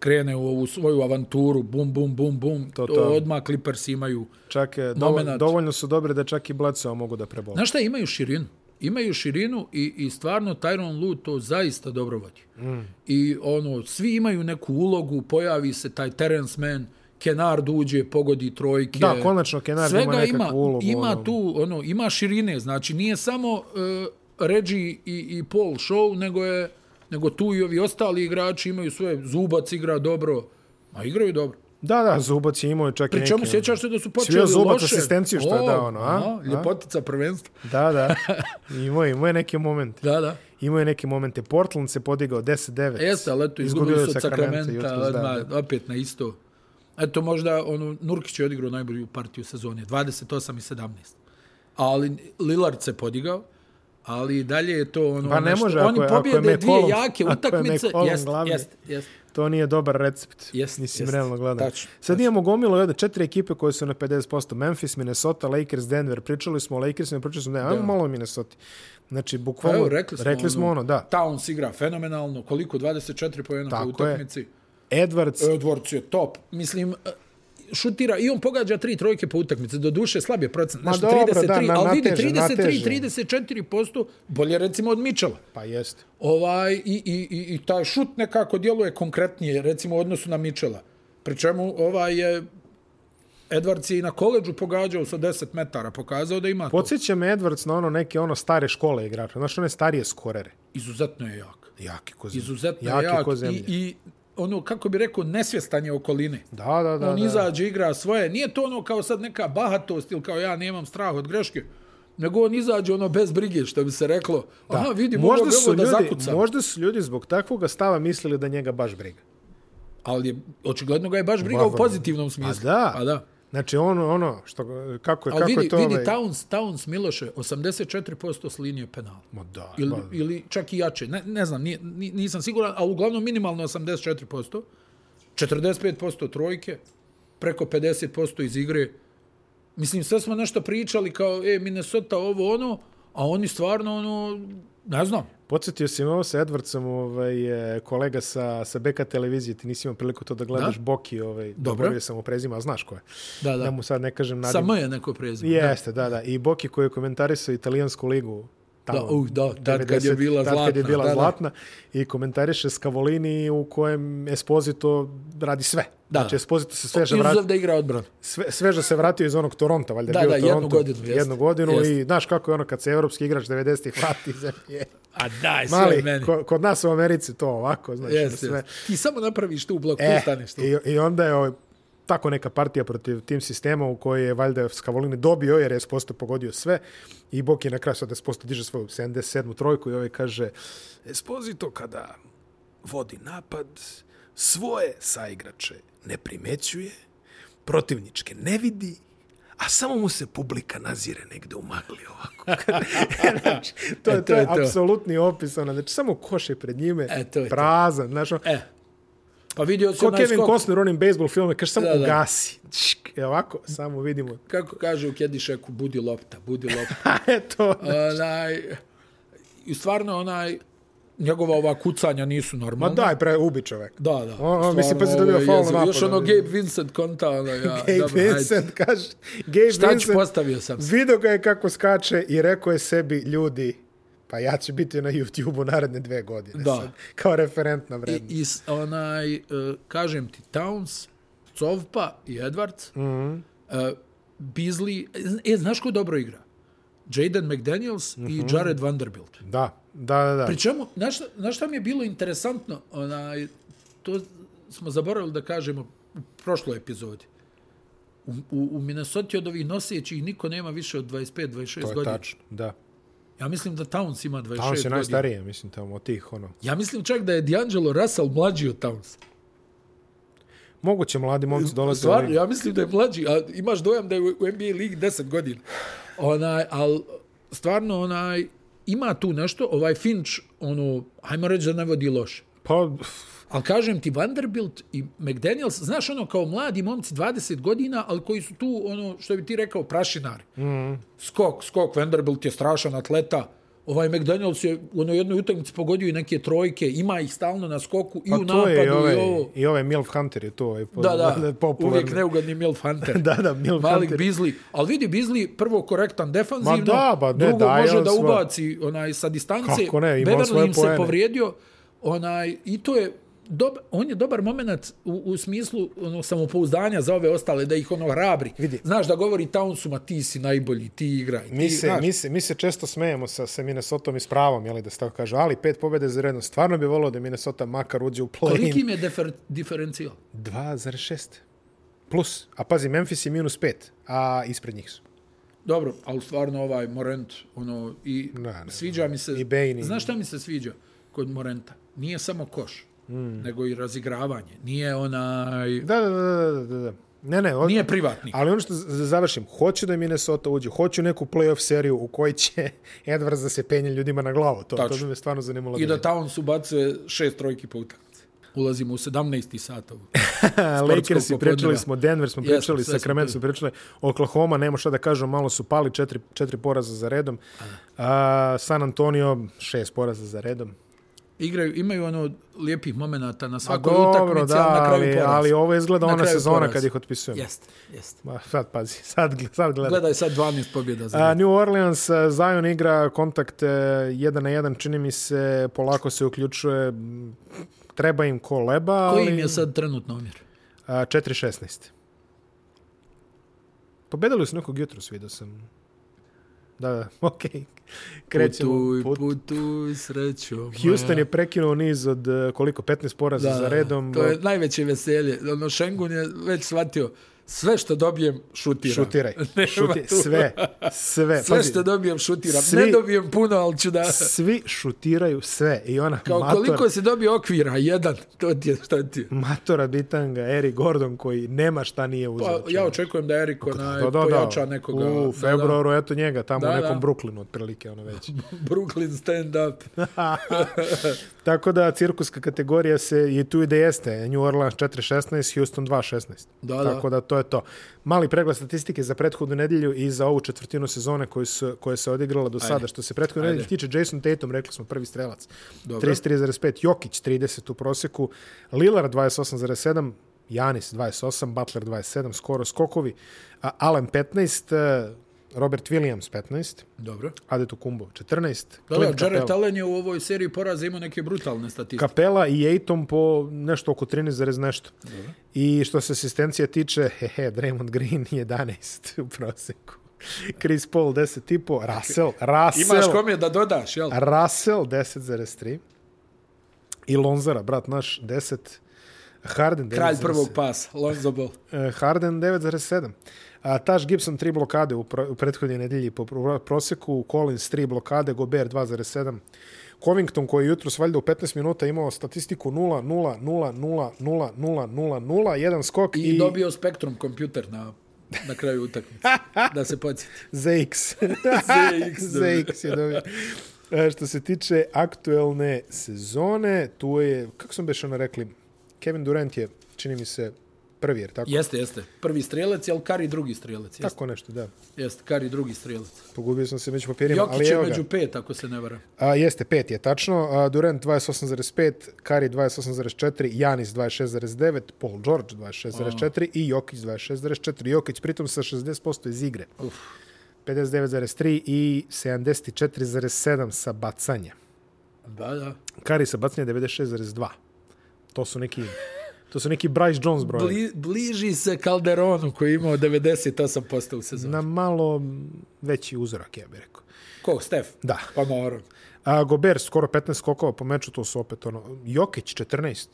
S1: krene u ovu svoju avanturu, bum, bum, bum, bum, to, to.
S2: to.
S1: odmah Clippers imaju.
S2: Čak je, dovoljno,
S1: Momenat.
S2: dovoljno su dobre da čak i Bledsoe mogu da prebole.
S1: Znaš šta, imaju širinu. Imaju širinu i, i stvarno Tyron Lu to zaista dobro vodi. Mm. I ono, svi imaju neku ulogu, pojavi se taj Terence Mann, Kenard uđe, pogodi trojke.
S2: Da, konačno Kenard ima
S1: Svega
S2: nekakvu
S1: ima,
S2: ulogu. ono.
S1: ima tu, ono, ima širine, znači nije samo uh, Reggie i, i Paul Show, nego je nego tu i ovi ostali igrači imaju svoje, Zubac igra dobro, a igraju dobro.
S2: Da, da, Zubac je imao čak i
S1: Pri
S2: neke...
S1: čemu sjećaš se da su počeli
S2: Svio ono. Zubac
S1: loše.
S2: asistenciju, što je dao, ono, a?
S1: aha,
S2: A?
S1: Ljepotica prvenstva.
S2: Da,
S1: *laughs*
S2: da. Imao je, imao je neke momente.
S1: Da, da.
S2: Imao je neke momente. Portland se podigao 10-9.
S1: E, Jeste, ali eto, izgubili su od Sakramenta,
S2: jutros, da, da.
S1: odmah, opet na isto. Eto, možda ono, Nurkić je odigrao najbolju partiju sezone, 28 i 17. Ali Lillard se podigao, ali i dalje je to ono...
S2: Pa ne
S1: nešto-
S2: može,
S1: Oni
S2: ako je- ako je
S1: pobjede dvije
S2: McCollum-
S1: jake
S2: ako je
S1: utakmice,
S2: McCollum
S1: jeste,
S2: glavni.
S1: jeste, jeste.
S2: To nije dobar recept.
S1: Jest,
S2: Mislim,
S1: jest.
S2: realno gledano.
S1: Tačno,
S2: Sad imamo gomilo jedne četiri ekipe koje su na 50%. Memphis, Minnesota, Lakers, Denver. Pričali smo o Lakersima, pričali smo o Denver. Ajmo malo o Minnesota. Znači,
S1: Pa
S2: bukvalno...
S1: evo, rekli smo,
S2: rekli smo ono, da.
S1: Towns igra fenomenalno, koliko? 24 pojena po
S2: Tako je.
S1: utakmici.
S2: Edwards,
S1: Edwards E, je top. Mislim, eh, šutira i on pogađa tri trojke po utakmici. Do duše slab je procent.
S2: Ma
S1: Znači,
S2: dobro,
S1: 33,
S2: da, na-
S1: ali vidi,
S2: nateže,
S1: 33,
S2: nateže.
S1: 34% bolje recimo od Mitchella.
S2: pa jeste.
S1: Ovaj, i, i, i, I taj šut nekako djeluje konkretnije, recimo u odnosu na Mitchella. Pri čemu ovaj je Edwards je i na koleđu pogađao sa 10 metara, pokazao da ima to.
S2: Podsjeća me Edwards na ono neke ono stare škole igrača. Znaš, one starije skorere.
S1: Izuzetno je jak.
S2: Jaki ko zemlja.
S1: Izuzetno
S2: Jaki
S1: je jak.
S2: ko zemlja.
S1: I, I ono, kako bi rekao, nesvjestan je okoline.
S2: Da, da, da.
S1: on
S2: da.
S1: izađe, igra svoje. Nije to ono kao sad neka bahatost ili kao ja nemam strah od greške, nego on izađe ono bez brige, što bi se reklo. Da. Aha, vidi, mogu
S2: možda
S1: ovo
S2: su,
S1: da
S2: ljudi,
S1: zakucam.
S2: možda su ljudi zbog takvog stava mislili da njega baš briga.
S1: Ali je, očigledno ga je baš briga
S2: Ba,
S1: u
S2: ba.
S1: pozitivnom smislu.
S2: da.
S1: Pa da.
S2: Znači ono, ono, što, kako je,
S1: Ali
S2: kako
S1: vidi,
S2: je to...
S1: vidi
S2: ovaj-
S1: Towns, Towns Miloše, 84% s linije penala.
S2: Ma da, pa,
S1: Ili,
S2: ba-
S1: ili čak i jače. Ne, ne znam, nije, ni- nisam siguran, ali uglavnom minimalno 84%. 45% trojke, preko 50% iz igre. Mislim, sve smo nešto pričali kao, e, Minnesota, ovo, ono, a oni stvarno, ono, ne znam.
S2: Podsjetio si me ovo sa Edwardsom, ovaj, e, kolega sa, sa BK televizije, ti nisi imao priliku to da gledaš da? Boki, ovaj, dobro. sam mu prezima, a znaš ko je.
S1: Da,
S2: Da, da
S1: da.
S2: mu sad ne kažem nadim.
S1: Sa M je neko prezime.
S2: Jeste, da, da. I Boki koji je komentarisao italijansku ligu. Tamo,
S1: Da, uh, da, tad kad je bila
S2: tad kad je
S1: zlatna,
S2: bila
S1: da, da.
S2: zlatna i komentariše Scavolini u kojem Esposito radi sve.
S1: Da.
S2: Znači Esposito se sveže vrati
S1: Izuzev da igra odbranu.
S2: sve, sveže se vratio iz onog Toronta, valjda je
S1: Da,
S2: bio
S1: da, jednu
S2: Toronto,
S1: godinu, jeste.
S2: jednu godinu i
S1: Jeste.
S2: znaš kako je ono kad se evropski igrač 90-ih vrati iz NBA.
S1: A daj, sve Mali,
S2: Mali,
S1: meni.
S2: ko, kod nas u Americi to ovako, znaš,
S1: Jes,
S2: sve.
S1: jes. Ti samo napraviš tu blok, tu
S2: E,
S1: staneš tu.
S2: i, I onda je ovaj, tako neka partija protiv tim sistema u kojoj je valjda Skavolini dobio jer je posto pogodio sve i Bok je na kraju sad posto diže svoju 77. trojku i ovaj kaže Esposito kada vodi napad svoje saigrače ne primećuje, protivničke ne vidi, a samo mu se publika nazire negde u magli
S1: *laughs*
S2: ovako. znači, to,
S1: E,
S2: je, to, je, apsolutni opis. Ono, znači, samo koš je pred njime,
S1: E, to je to.
S2: prazan. Znači, ono,
S1: E, pa vidio si
S2: Ko
S1: onaj
S2: Kevin
S1: skok.
S2: Costner u onim bejsbol filmu, kaže samo
S1: Da, da.
S2: ugasi. Čšk, e ovako, samo vidimo.
S1: *laughs* Kako kaže u Kedišeku, budi lopta, budi lopta.
S2: Eto,
S1: onaj, i stvarno onaj, njegova ova kucanja nisu
S2: ma
S1: normalna.
S2: pa daj, pre, ubi čovek.
S1: Da, da.
S2: O, o, mislim, pa
S1: Stvarno,
S2: si dobio
S1: ovo je
S2: faul na
S1: jezivo.
S2: napadu,
S1: Još ono
S2: vidim.
S1: Gabe Vincent konta, ono ja,
S2: *laughs* Gabe
S1: dobro, hajde.
S2: Vincent, kaže, Gabe
S1: Šta ću,
S2: Vincent,
S1: postavio sam.
S2: video ga je kako skače i rekao je sebi, ljudi, pa ja ću biti na YouTube-u naredne dve godine.
S1: Da.
S2: Sad, kao referentna
S1: I,
S2: vrednost.
S1: i s- onaj, e, kažem ti, Towns, Covpa i Edwards, mm
S2: Mhm.
S1: -hmm. Beasley, e, znaš ko dobro igra? Jaden McDaniels mm
S2: Mhm.
S1: -hmm. i Jared Vanderbilt.
S2: Da, da, da, da.
S1: Pri čemu, znaš, šta- znaš šta mi je bilo interesantno? Onaj, to smo zaboravili da kažemo u prošloj epizodi. U, u, u Minnesota od ovih nosećih niko nema više od 25-26
S2: to je
S1: godina.
S2: tačno, da.
S1: Ja mislim da Towns ima 26
S2: Towns je
S1: godina.
S2: najstariji, mislim, tamo od tih, ono.
S1: Ja mislim čak da je D'Angelo Russell mlađi od Towns.
S2: Moguće mladi momci dolaze u
S1: Stvarno,
S2: ligu.
S1: ja mislim da je mlađi, a imaš dojam da je u u NBA ligi 10 godina. Onaj, al stvarno onaj ima tu nešto, ovaj Finch, ono, ajmo reći da ne vodi loše.
S2: Pa,
S1: Ali kažem ti, Vanderbilt i McDaniels, znaš ono kao mladi momci 20 godina, ali koji su tu, ono što bi ti rekao, prašinari. Mm. Skok, skok, Vanderbilt je strašan atleta. Ovaj McDaniels je u onoj jednoj utakmici pogodio i neke trojke, ima ih stalno na skoku i
S2: pa
S1: u
S2: to
S1: napadu
S2: je i
S1: i
S2: ovaj,
S1: ovo.
S2: i ovaj Milf Hunter je to ovaj, po- *laughs*
S1: Da, da,
S2: popularni.
S1: uvijek neugodni
S2: *laughs*
S1: Milf Hunter.
S2: da, da, Milf
S1: Malik
S2: Hunter.
S1: Bizli. Ali vidi, Bizli prvo korektan defanzivno,
S2: Ma da, ba ne,
S1: drugo
S2: daje
S1: može
S2: on
S1: da
S2: svoje.
S1: ubaci onaj, sa distance.
S2: Kako ne, ima on
S1: Beverly
S2: svoje
S1: im
S2: poene.
S1: se povrijedio. Onaj, I to je dob, on je dobar moment u, u smislu ono, samopouzdanja za ove ostale, da ih ono hrabri.
S2: Vidi.
S1: Znaš da govori Townsuma, ti si najbolji, ti igraj.
S2: Mi
S1: ti,
S2: se,
S1: znaš,
S2: mi, se, mi se često smejemo sa, sa Minnesotom i s pravom, jeli, da se tako kaže, ali pet pobjede za redom. Stvarno bi volio da Minnesota makar uđe u
S1: koliki
S2: play-in.
S1: im je defer, diferencijal?
S2: 2,6. Plus. A pazi, Memphis je minus 5, a ispred njih su.
S1: Dobro, ali stvarno ovaj Morent, ono, i
S2: Da, ne,
S1: sviđa mi se...
S2: I Bane i-
S1: Znaš šta mi se sviđa kod Morenta? Nije samo koš, mm. nego i razigravanje. Nije onaj...
S2: Da, da, da, da, da, da. Ne, ne, od...
S1: Nije privatnik.
S2: Ali ono što z- z- završim, hoću da Minnesota uđe, hoću neku play-off seriju u kojoj će *laughs* Edwards da se penje ljudima na glavu. To, to
S1: Tačno.
S2: bi me stvarno zanimalo.
S1: I da
S2: vidim.
S1: Towns ubace šest trojki po utakmici. Ulazimo u 17. sat ovog.
S2: Lakers i
S1: popodneva.
S2: pričali smo, Denver smo
S1: Jesmo,
S2: pričali,
S1: sve smo
S2: Sacramento smo pričali, Oklahoma, nema šta da kažem, malo su pali, četiri, četiri poraza za redom. A, San Antonio, šest poraza za redom.
S1: Igraju, imaju ono lijepih momenata na
S2: A
S1: svakoj utakmici, ali na kraju
S2: ali,
S1: poraz.
S2: ali ovo izgleda
S1: Na
S2: ona
S1: kraju
S2: sezona
S1: poraz.
S2: kad ih otpisujemo.
S1: Jeste, jeste.
S2: Ma, sad pazi, *laughs* sad, gle- sad gledaj.
S1: Gledaj sad 12 pobjeda za
S2: A, New Orleans, e, Zion igra kontakt e, jedan na jedan, čini mi se, polako se uključuje, m, treba im ko leba, ali...
S1: Koji im je sad trenutno omjer?
S2: A, 4-16. Pobedali su nekog jutro, vidio sam. Da, da, *laughs* okej. Okay. Krećemo.
S1: Putuj,
S2: put.
S1: putuj, srećo.
S2: Houston je prekinuo niz od e, koliko, 15 poraza za redom.
S1: To je najveće veselje. Ono, Šengun je već shvatio sve što dobijem šutiram. *laughs*
S2: Šutiraj. Šuti,
S1: tu.
S2: sve, sve.
S1: Sve
S2: E, Pazi,
S1: što dobijem šutiram.
S2: Svi-
S1: Svi... Ne dobijem puno, ali ću da...
S2: svi šutiraju sve. I ona
S1: Kao
S2: matora,
S1: koliko se dobije okvira, jedan, to ti je, što ti je.
S2: matora bitanga, Eri Gordon koji nema šta nije uzeo.
S1: Pa, ja očekujem da Erik onaj da, da, pojača nekoga.
S2: U februaru, eto njega, tamo
S1: Da,
S2: u
S1: da.
S2: nekom Brooklynu, otprilike, ono već.
S1: Da, da. Brooklyn stand up.
S2: Tako da cirkuska kategorija se i tu i da jeste. New Orleans 4-16, Houston 2-16.
S1: Da, da.
S2: Tako da to je to. Mali pregled statistike za prethodnu nedelju i za ovu četvrtinu sezone koju su, koja se odigrala do sada. Što se prethodne nedelje tiče, Jason Tatum, rekli smo, prvi strelac.
S1: Dobro.
S2: 33,5, Jokić 30 u proseku, Lillard 28,7, Janis 28, Butler 27, skoro skokovi, a Allen 15, e, Robert Williams 15,
S1: Dobro.
S2: Adetu Kumbo 14,
S1: Da,
S2: Clint
S1: da, Jared
S2: Capela.
S1: Allen je u ovoj seriji poraza imao neke brutalne statistike.
S2: Kapela i Ejtom po nešto oko 13 zarez nešto. I što se asistencija tiče, hehe, Draymond Green *laughs* 11 u proseku. Chris Paul 10,5, Russell,
S1: Imaš
S2: Russell,
S1: kome da dodaš, jel?
S2: Russell 10,3 i Lonzara, brat naš, 10, Harden 9,7.
S1: Kralj prvog pasa, Lonzo Ball.
S2: E, Harden 9,7. A, Taš Gibson 3 blokade u, pro, u prethodnje nedelji po pro- proseku, Collins 3 blokade, Gobert 2,7. Covington koji je jutros valjda u 15 minuta imao statistiku 0 0 0 0 0 0 0 0 jedan skok i,
S1: I, dobio Spektrum kompjuter na, na kraju utakmice. da se podsjeti. *laughs*
S2: ZX.
S1: ZX, dobro.
S2: ZX je dobio. E, Što se tiče aktuelne sezone, tu je, kako sam beš ono rekli, Kevin Durant je, čini mi se, prvi, jer tako?
S1: Jeste, jeste. Prvi strelac, jel Kari drugi strelac? Jeste,
S2: Tako nešto, da.
S1: jeste Kari drugi strelac.
S2: Pogubio sam se među papirima, ali
S1: Jokić je
S2: evo ga.
S1: među pet, ako se ne varam.
S2: A, jeste, pet je tačno. A, Durant 28,5, Kari 28,4, Janis 26,9, Paul George 26,4 i Jokić 26,4. Jokić pritom sa 60% iz igre.
S1: Uf.
S2: 59,3 i 74,7 sa bacanja.
S1: Da, da.
S2: Kari sa bacanja 96,2. To su neki... To su neki Bryce Jones brojevi.
S1: Bli, bliži se Calderonu koji je imao 98% u sezoni.
S2: Na malo veći uzorak, ja bih rekao.
S1: Ko, Stef?
S2: Da.
S1: Pa moro.
S2: A, Gober skoro 15 skokova po meču, to su opet ono, Jokić 14,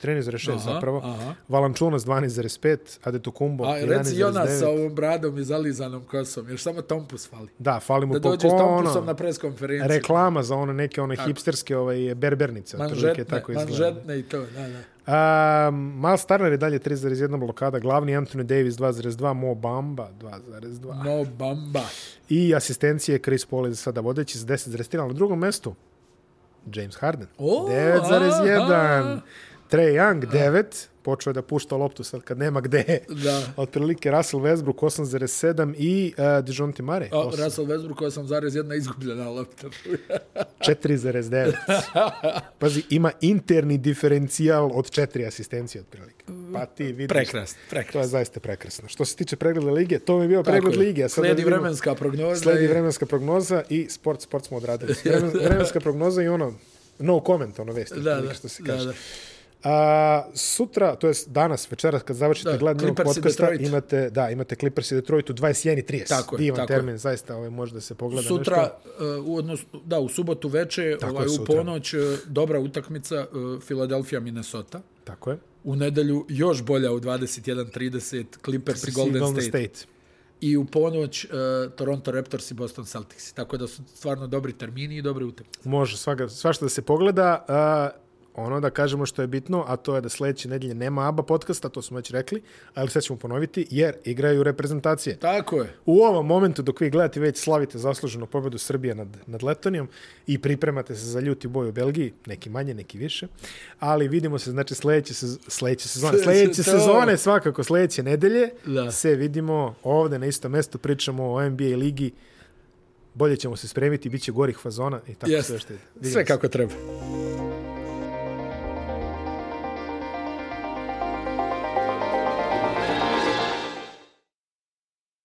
S2: 13,6
S1: Aha,
S2: zapravo, aha.
S1: aha.
S2: Valančunas 12,5, Adetokumbo
S1: A reci Jonas sa
S2: 11,9.
S1: ovom bradom i zalizanom kosom, još samo Tompus fali.
S2: Da, fali mu
S1: Da
S2: da
S1: dođe s Tompusom na
S2: Pa ono,
S1: preskonferenciju.
S2: reklama za one neke one hipsterske ovaj, berbernice, otprilike
S1: Manžetne,
S2: tako izgleda.
S1: manžetne i to, da, da.
S2: Um, Miles Turner je dalje 3,1 blokada, glavni Anthony Davis 2,2, Mo Bamba 2,2.
S1: No bamba.
S2: I asistencije Chris Paul je za sada vodeći s 10,3, ali na drugom mestu James Harden.
S1: O,
S2: 9,1.
S1: a.
S2: Trae Young 9, počeo je da pušta loptu sad kad nema gde.
S1: Da.
S2: *laughs* Otprilike Russell Westbrook 8,7 i uh, Dijonte Mare
S1: O, Russell Westbrook 8,1 izgubljena lopta.
S2: 4,9.
S1: *laughs*
S2: Pazi, ima interni diferencijal od četiri asistencije otprilike. Pa ti vidiš.
S1: Prekrasno,
S2: To je
S1: prekrasno.
S2: zaista prekrasno. Što se tiče pregleda lige, to mi je bio pregled lige. a sad da
S1: Sledi
S2: vidimo-
S1: vremenska prognoza.
S2: Sledi
S1: i-
S2: vremenska prognoza i sport, sport smo
S1: *laughs*
S2: odradili. Vremen, vremenska prognoza i ono, no comment, ono vesti,
S1: Da,
S2: otprilike
S1: da,
S2: što se
S1: da,
S2: kaže.
S1: da.
S2: A, sutra, to jest danas, večeras, kad završite
S1: Da,
S2: gledanje ovog
S1: Clippers i
S2: podcasta,
S1: Detroit.
S2: imate, da, imate Clippers i Detroit u 21.30.
S1: Tako je,
S2: Divan
S1: tako je.
S2: termin, zaista, ovaj, može da se pogleda
S1: Sutra,
S2: nešto.
S1: uh, u odnosu, da, u subotu veče,
S2: Tako
S1: ovaj,
S2: je,
S1: u
S2: sutra.
S1: ponoć, uh, dobra utakmica, uh, Philadelphia, Minnesota.
S2: Tako je.
S1: U nedelju još bolja u 21.30, Clippers i Golden,
S2: Golden
S1: State. State.
S2: State.
S1: I u ponoć, uh, Toronto Raptors i Boston Celtics. Tako da su stvarno dobri termini i dobre utakmice.
S2: Može, svaga, svašta da se pogleda. A, ono da kažemo što je bitno, a to je da sledeće nedelje nema ABBA podcasta, to smo već rekli, ali sad ćemo ponoviti, jer igraju reprezentacije.
S1: Tako je.
S2: U ovom momentu dok vi gledate već slavite zasluženu pobedu Srbije nad, nad Letonijom i pripremate se za ljuti boj u Belgiji, neki manje, neki više, ali vidimo se znači sledeće, sez, sledeće sezone,
S1: Sledeće
S2: sledeće
S1: sezone.
S2: sezone svakako sledeće nedelje
S1: Da.
S2: se vidimo ovde na istom mestu, pričamo o NBA ligi, bolje ćemo se spremiti, bit će gorih fazona i tako
S1: Jeste.
S2: sve što ide. Vidimo
S1: Sve
S2: se.
S1: kako treba.